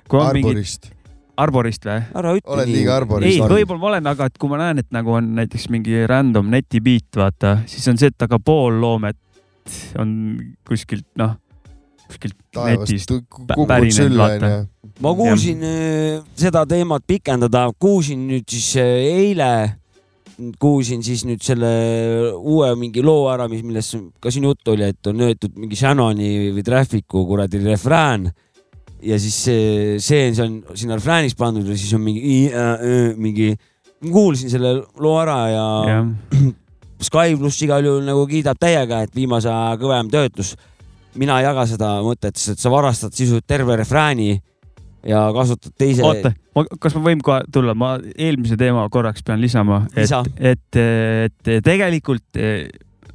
D: kui on
E: Arborist.
D: mingid . Arborist või ?
C: ära ütle
E: Oled nii. liiga arborist.
D: ei , võib-olla ma olen , aga et kui ma näen , et nagu on näiteks mingi random netibiit , vaata , siis on see , et aga pool loomet on kuskilt , noh , kuskilt
E: Taevast
D: netist
E: tu-
D: pä-
E: kukud
D: pärinenud ,
E: sülle,
D: vaata
E: onju. .
C: ma kuulsin öö, seda teemat pikendada , kuulsin nüüd siis öö, eile , kuulsin siis nüüd selle uue mingi loo ära , mis , millest ka siin juttu oli , et on öeldud mingi Shannoni või Traffic'u kuradi refrään ja siis see , see , see on sinna refrääniks pandud ja siis on mingi , mingi , kuulsin selle loo ära ja, ja. Sky pluss igal juhul nagu kiidab täiega , et viimase aja kõvem töötlus . mina ei jaga seda mõtet , sest sa varastad sisuliselt terve refrääni ja kasutad teise .
D: oota , ma , kas ma võin kohe tulla , ma eelmise teema korraks pean lisama , et
C: Lisa. ,
D: et , et tegelikult eh,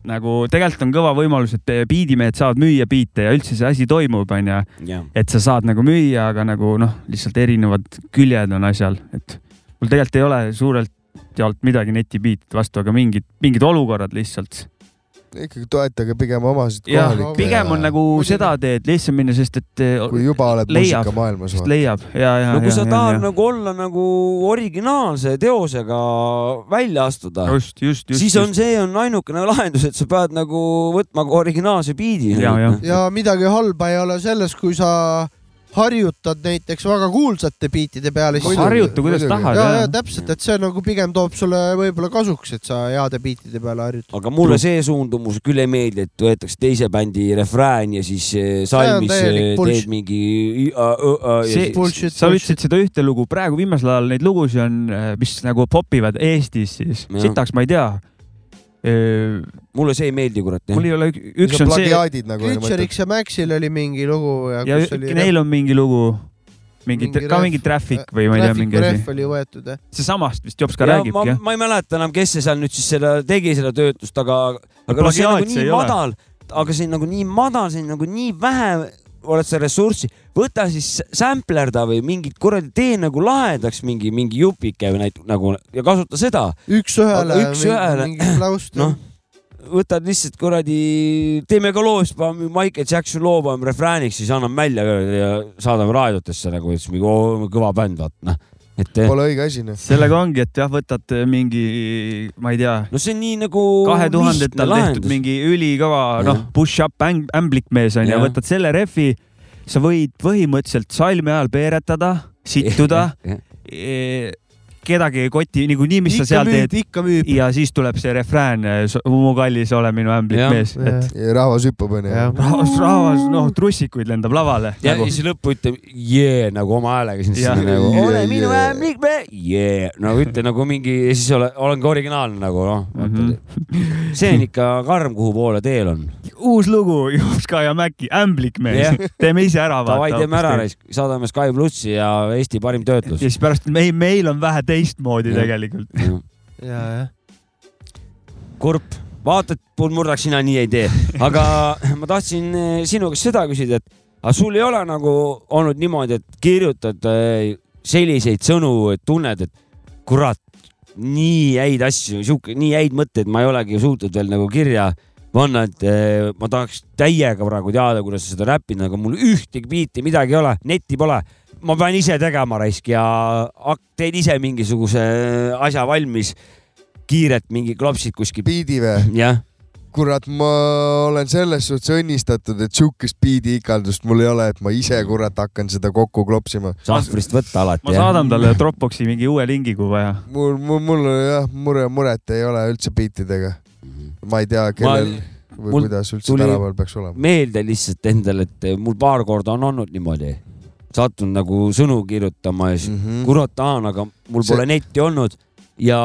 D: nagu tegelikult on kõva võimalus , et biidimehed saavad müüa biite ja üldse see asi toimub , onju .
C: Jah.
D: et sa saad nagu müüa , aga nagu noh , lihtsalt erinevad küljed on asjal , et mul tegelikult ei ole suurelt jaolt midagi netibiitide vastu , aga mingid , mingid olukorrad lihtsalt
E: ikkagi toetage pigem omasid
D: jah
E: kohalikke .,
D: pigem
C: äh,
D: on nagu seda teed lihtsam minna , sest et .
E: Kui juba oled
D: leiab,
E: muusikamaailmas,
D: sest
E: vaata.
D: leiab ja , ja .
C: no kui sa tahad nagu olla nagu originaalse teosega välja astuda ,
D: just , just , just .
C: siis on , see on ainukene lahendus , et sa pead nagu võtma ka originaalse biidi . nagu.
D: Ja, jah.
B: ja midagi halba ei ole selles , kui sa harjutad näiteks väga kuulsate biitide peale .
D: Harjuta, kuidas Muidugi. tahad,
B: ja ,
D: jah.
B: ja täpselt , et see nagu pigem toob sulle võib-olla kasuks , et sa heade biitide peale harjutad .
C: aga mulle see suundumus küll ei meeldi , et võetakse teise bändi refrään ja siis eh, salmis
B: täielik
C: eh,
B: bullshit.
C: teed mingi i- a- õ- a- ja
D: see
C: siis- ,
D: sa ütlesid seda ühte lugu , praegu viimasel ajal neid lugusid on , mis nagu popivad Eestis siis ,
C: Jah.
D: sitaks ma ei tea .
C: mulle see ei meeldi , kurat .
D: mul ei ole , üks on see
B: nagu
E: nagu
B: Future'iks ja Maxil oli mingi lugu ja,
D: ja
B: kus oli .
D: neil on mingi lugu , mingi, mingi , ka mingi traffic või ma ei tea , mingi
B: asi .
D: asi .
B: oli võetud jah .
D: seesamast vist Jops ka
C: Ja
D: räägibki
C: ma,
D: jah .
C: ma ei mäleta enam , kes see seal nüüd siis selle tegi , seda töötust , aga , aga noh, see
D: plagiaat
C: on nagu
D: see
C: nii
D: ei ole.
C: madal , aga see on nagu nii madal , see on nagu nii vähe , oled sa ressurssi , võta siis samplerda või mingit kuradi , tee nagu lahedaks mingi , mingi jupike või näit- nagu ja kasuta seda .
B: üks-ühele .
C: üks-ühele , noh , võtad lihtsalt kuradi , teeme ka loo , siis paneme Michael Jackson loo paneme refrääniks , siis anname välja ja saadame raadiotesse nagu , et siis mingi oo, kõva bänd , vaat noh . et .
E: Pole õige asi , noh .
D: sellega ongi , et jah , võtad eh, mingi , ma ei tea .
C: no see on nii nagu
D: kahe tuhandetel
C: lihtne
D: tehtud
C: lahendus.
D: mingi ülikõva ,
C: Jah.
D: noh , push-up äng- ämblikmees on ju ,
C: Jah.
D: võtad selle rehvi , sa võid põhimõtteliselt salmi ajal peeretada , sittuda
C: Jah, ,
D: kedagi ei koti niikuinii , mis
B: Ikka
D: sa seal
B: müüb,
D: teed . ja siis tuleb see refrään , mu kallis , ole minu ämblikmees , et
E: rahvas hüppab , onju .
D: rahvas , rahvas , noh , trussikuid lendab lavale .
C: ja nagu... siis lõppu ütleb jee nagu oma häälega sinna
D: Jah.
C: sisse nagu
D: Jee,
C: ole
D: jee.
C: minu ämblikmees , jee , nagu ütle nagu mingi , siis ole , olen ka originaalne nagu noh mm .
D: Mhm.
C: -hmm. see on ikka karm , kuhu poole teel on .
D: uus lugu , Jopska ja Mäki , ämblikmees
C: Jah. ,
D: teeme ise ära .
C: davai , teeme ära , saadame Sky plussi ja Eesti parim töötlus .
D: ja siis pärast meil , meil on vähe teistmoodi
C: Jah.
D: tegelikult .
B: ja , jah .
C: kurb , vaata , et mul murraks sina nii ei tee , aga ma tahtsin eh, sinu käest seda küsida , et aga sul ei ole nagu olnud niimoodi , et kirjutad eh, selliseid sõnu , et tunned , et kurat , nii häid asju , sihuke , nii häid mõtteid ma ei olegi suutnud veel nagu kirja panna , et eh, ma tahaks täiega praegu teada , kuidas sa seda räpid , aga mul ühtegi biiti , midagi ei ole , netti pole . ma pean ise tegema raisk ja hak- teen ise mingisuguse eh, asja valmis kiirelt mingi klopsid kuskil .
E: biidi või ?
C: jah .
E: kurat , ma olen selles suhtes õnnistatud , et sihukest biidi ikaldust mul ei ole , et ma ise kurat hakkan seda kokku klopsima .
C: sahvrist võtta alati .
D: ma saadan talle Dropboxi mingi uue lingi , kui vaja .
E: mul , mul , mul jah , mure , muret ei ole üldse biitidega . ma ei tea , kellel ma... või
C: Mhm. mul
E: kuidas üldse
C: tuli-
E: tänaval peaks olema .
C: meelde lihtsalt endale , et mul paar korda on olnud niimoodi , sattunud nagu sõnu kirjutama ja siis mm -hmm. kurat tahan , aga mul
E: Mhm. See-
C: pole netti olnud ja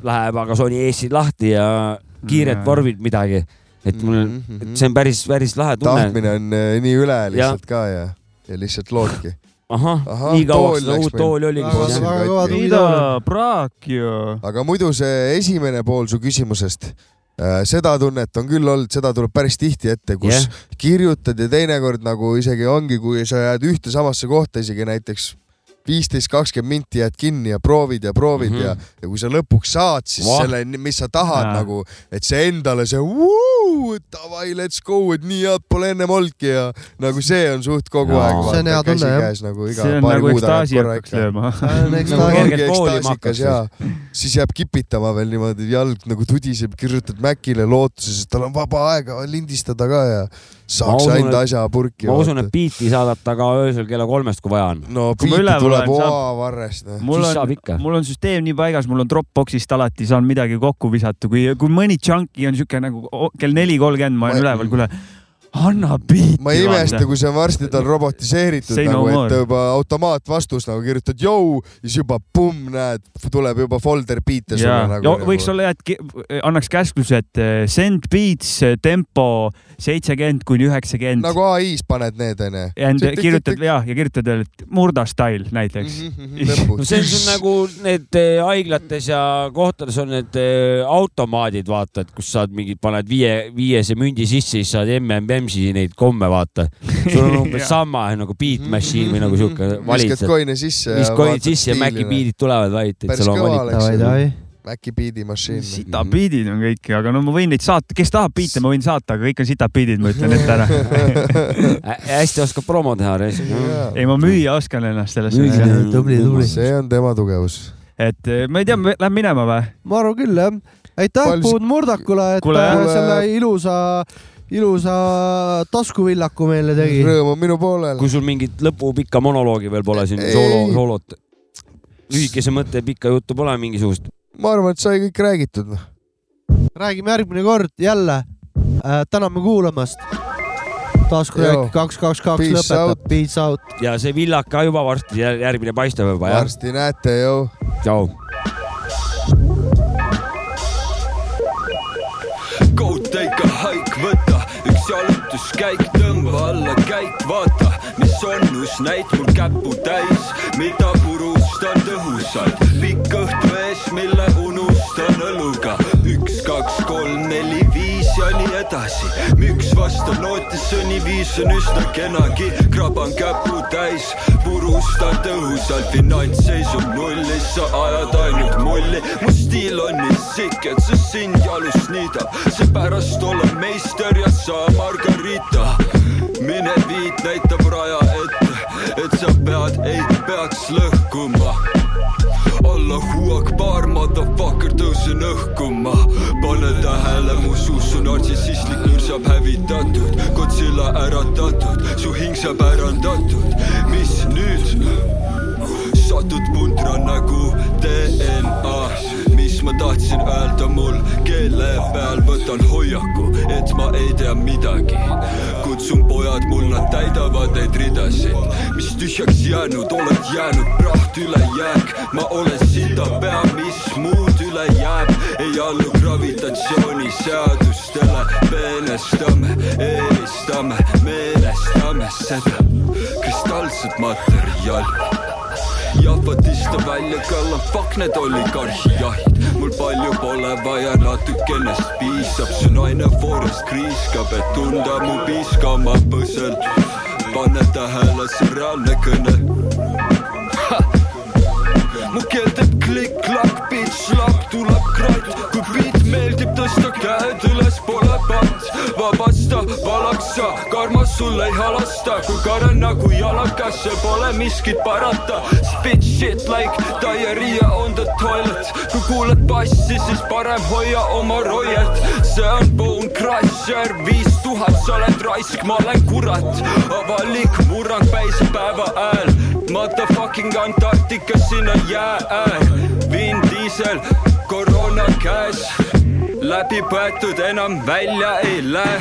C: läheb aga Sony Eesti lahti ja kiired
E: Jaa.
C: vormid midagi , et mul , et see on päris , päris lahe
E: Mhm.
C: tunne .
E: tahtmine on äh, nii üle lihtsalt ja.
C: Jah.
E: ka ja , ja lihtsalt loodki .
C: ahah
E: Ahah,
C: nii
E: tool
C: kauaks seda
E: läks
C: uut
E: meil.
C: tooli oligi
E: Väga-
C: siis, jah.
E: väga kõva tubli
D: Ida
E: tool.
D: praak ju .
E: aga muidu see esimene pool su küsimusest , seda tunnet on küll olnud , seda tuleb päris tihti ette , kus
C: Jah.
E: yeah. kirjutad ja teinekord nagu isegi ongi , kui sa jääd ühte samasse kohta isegi näiteks viisteist , kakskümmend minti jääd kinni ja proovid ja proovid mm
C: Mhm.
E: -hmm. ja , ja kui sa lõpuks saad , siis
C: Vah.
E: Vah. selle , mis sa tahad
C: Jaa.
E: ja. nagu , et see endale see vuu, davai , let's go , et nii head pole ennem olnudki ja nagu see on suht kogu
B: Jaa.
E: ja. aeg .
B: See on hea tunne, jah.
E: nagu iga
D: see on
E: paari
D: nagu
E: kuu tagant
D: ekstaasi
E: korra Nagu
D: hakkaks lööma .
B: Nagu
E: kergelt koolima hakkas ja siis jääb kipitama veel niimoodi , jalg nagu tudiseb , kirjutad Mäkile lootuses , et tal on vaba aega lindistada ka ja saaks
C: Ma usun,
E: ainult
C: et-
E: asja purki .
C: ma usun , et biiti saadata ka öösel kella kolmest , kui vaja on .
E: no
D: kui ma
E: biiti
D: üleval
E: tuleb
D: olen, saab-
E: oavarrest . noh.
D: mul on , mul on süsteem nii paigas , mul on Dropboxist alati saan midagi kokku visata , kui , kui mõni chunky on siuke nagu o- kell neli kolmkümmend ma olen üleval , kuule , anna biiti .
E: ma ei imesta , kui see on varsti tal robotiseeritud
D: Say no
E: nagu , et
D: more.
E: juba automaatvastus nagu kirjutad jõu , siis juba pumm , näed , tuleb juba folder biite sulle
D: jaa ,
E: nagu .
D: võiks olla jah , et ki- annaks käskluse , et eh, send beats , tempo seitsekümmend kuni üheksakümmend .
E: nagu ai-s paned need
D: and
E: onju .
D: kirjutad ja , ja kirjutad veel , et murda style näiteks .
E: Mhm,
C: no see on sul nagu need eh, haiglates ja kohtades on need eh, automaadid , vaata , et kus saad mingi , paned viie , viiese mündi sisse , siis saad MMM-si neid komme , vaata . sul on umbes
E: Jaa. Mhm.
C: sama nagu beat machine või nagu siuke .
E: viskad koine sisse ja
C: viskad koine
E: vaatad
C: sisse ja
E: stiili,
C: Maci
E: noh.
C: beat'id tulevad valiti , et
E: päris
C: sul on
E: kõva
C: valik .
E: oleks . Maci biidimassin .
D: sitad beat'id on kõik , aga no ma võin neid saata , kes tahab biite , ma võin saata , aga kõik on sitad beat'id , ma ütlen ette ära
C: hästi oskab promo teha , Reis .
D: ei , ma müüa oskan ennast selles
C: Müüja, tubli, tubli.
E: see on tema tugevus .
D: et eh, ma ei tea , lähme minema või ?
B: ma arvan küll jah . aitäh ,
D: Palju-
B: Puud Murdakule , et
D: Kuule,
B: ta
D: jah.
B: selle ilusa , ilusa taskuvillaku meile tegi .
E: Rõõm on minu poolel .
C: kui sul mingit lõpupikka monoloogi veel pole siin ,
E: Ei.
C: soolo , soolot , lühikese mõtte pikka juttu pole mingisugust .
E: ma arvan , et sai kõik räägitud .
B: räägime järgmine kord jälle äh, . täname kuulamast . taskurääk kaks , kaks , kaks
E: Peace
B: lõpetab , peace out .
C: ja see villak ka juba varsti , järgmine paistab juba jah .
E: varsti näete ju .
C: tšau .
Q: Go take a hike , võta üks jalutuskäik , tõmba alla käik , vaata , mis on uus näit mul käpu täis , mida purustan tõhusalt . pikk õhtu ees , mille unustan õluga , üks , kaks , kolm , neli , viis ja nii edasi . üks vastab nootisõni , viis on üsna kenagi , kraban käpu täis , purustan tõhusalt , finantsseis on nullis , sa ajad ainult mulli , mu stiil on nii sikk , et see sind jalust niidab , seepärast olen meister ja sa Margarita . mine viit , näitab raja ette ,
U: et sa pead , ei peaks lõhkuma alla huuak paar motherfucker tõusen õhku ma pane tähele , mu suus on artsissistlik nürg saab hävitatud , Godzilla äratatud , su hing saab ärandatud , mis nüüd ? satud puntra nagu DNA , mis ma tahtsin öelda mul keele peal , võtan hoiaku , et ma ei tea midagi . kutsun pojad mul , nad täidavad neid ridasid , mis tühjaks jäänud , oled jäänud praht ülejääk , ma olen silda pea , mis muud üle jääb , ei allu gravitatsiooniseadustele , meenestame , eelistame , meelestame seda kristalset materjali jahvatiste välja kallan , fuck need oligarhijahid , mul palju pole vaja , natukenest piisab , su naine foorist kriiskab , et tunda mu piiskama põsel . pane tähele , see on reaalne kõne . mu keel teeb klikk-klakk , pitš-lakk , tuleb kratt , kui beat meeldib , tõsta käed üles , pole patt , vabasta , valaksa , karmas sul ei halasta , kui kare nagu jalakasse , pole miskit parata . Spit shit like diarrhea on the toilet , kui kuuled bassi , siis parem hoia oma roiet , see on Bone Crusher viis tuhat , sa oled raisk , ma olen kurat , avalik murrang päisepäeva ajal , motherfucking Antarktika sinna jää äär , Vin Diesel , koroona käes , läbi põetud enam välja ei lähe .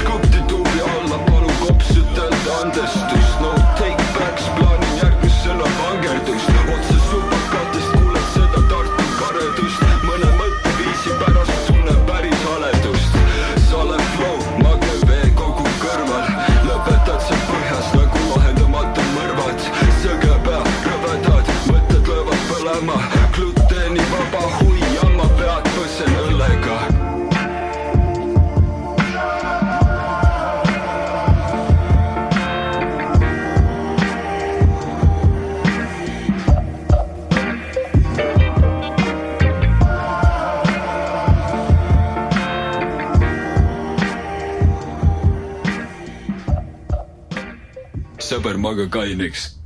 U: Skupti tuubi alla , palun kopsutelda andestust , no take backs , plaanin järgmisena vangerdust , otse supakatest kuuled seda Tartu karedust , mõne mõtteviisi pärast tunneb päris haledust . sa oled flow , magev vee kogu kõrval , lõpetad sa põhjas nagu lahendamata mõrvad , sõge pea , rõvedad mõtted löövad põlema , gluteenivaba hui , jamma pead põsen õllega sõber , maga kaineks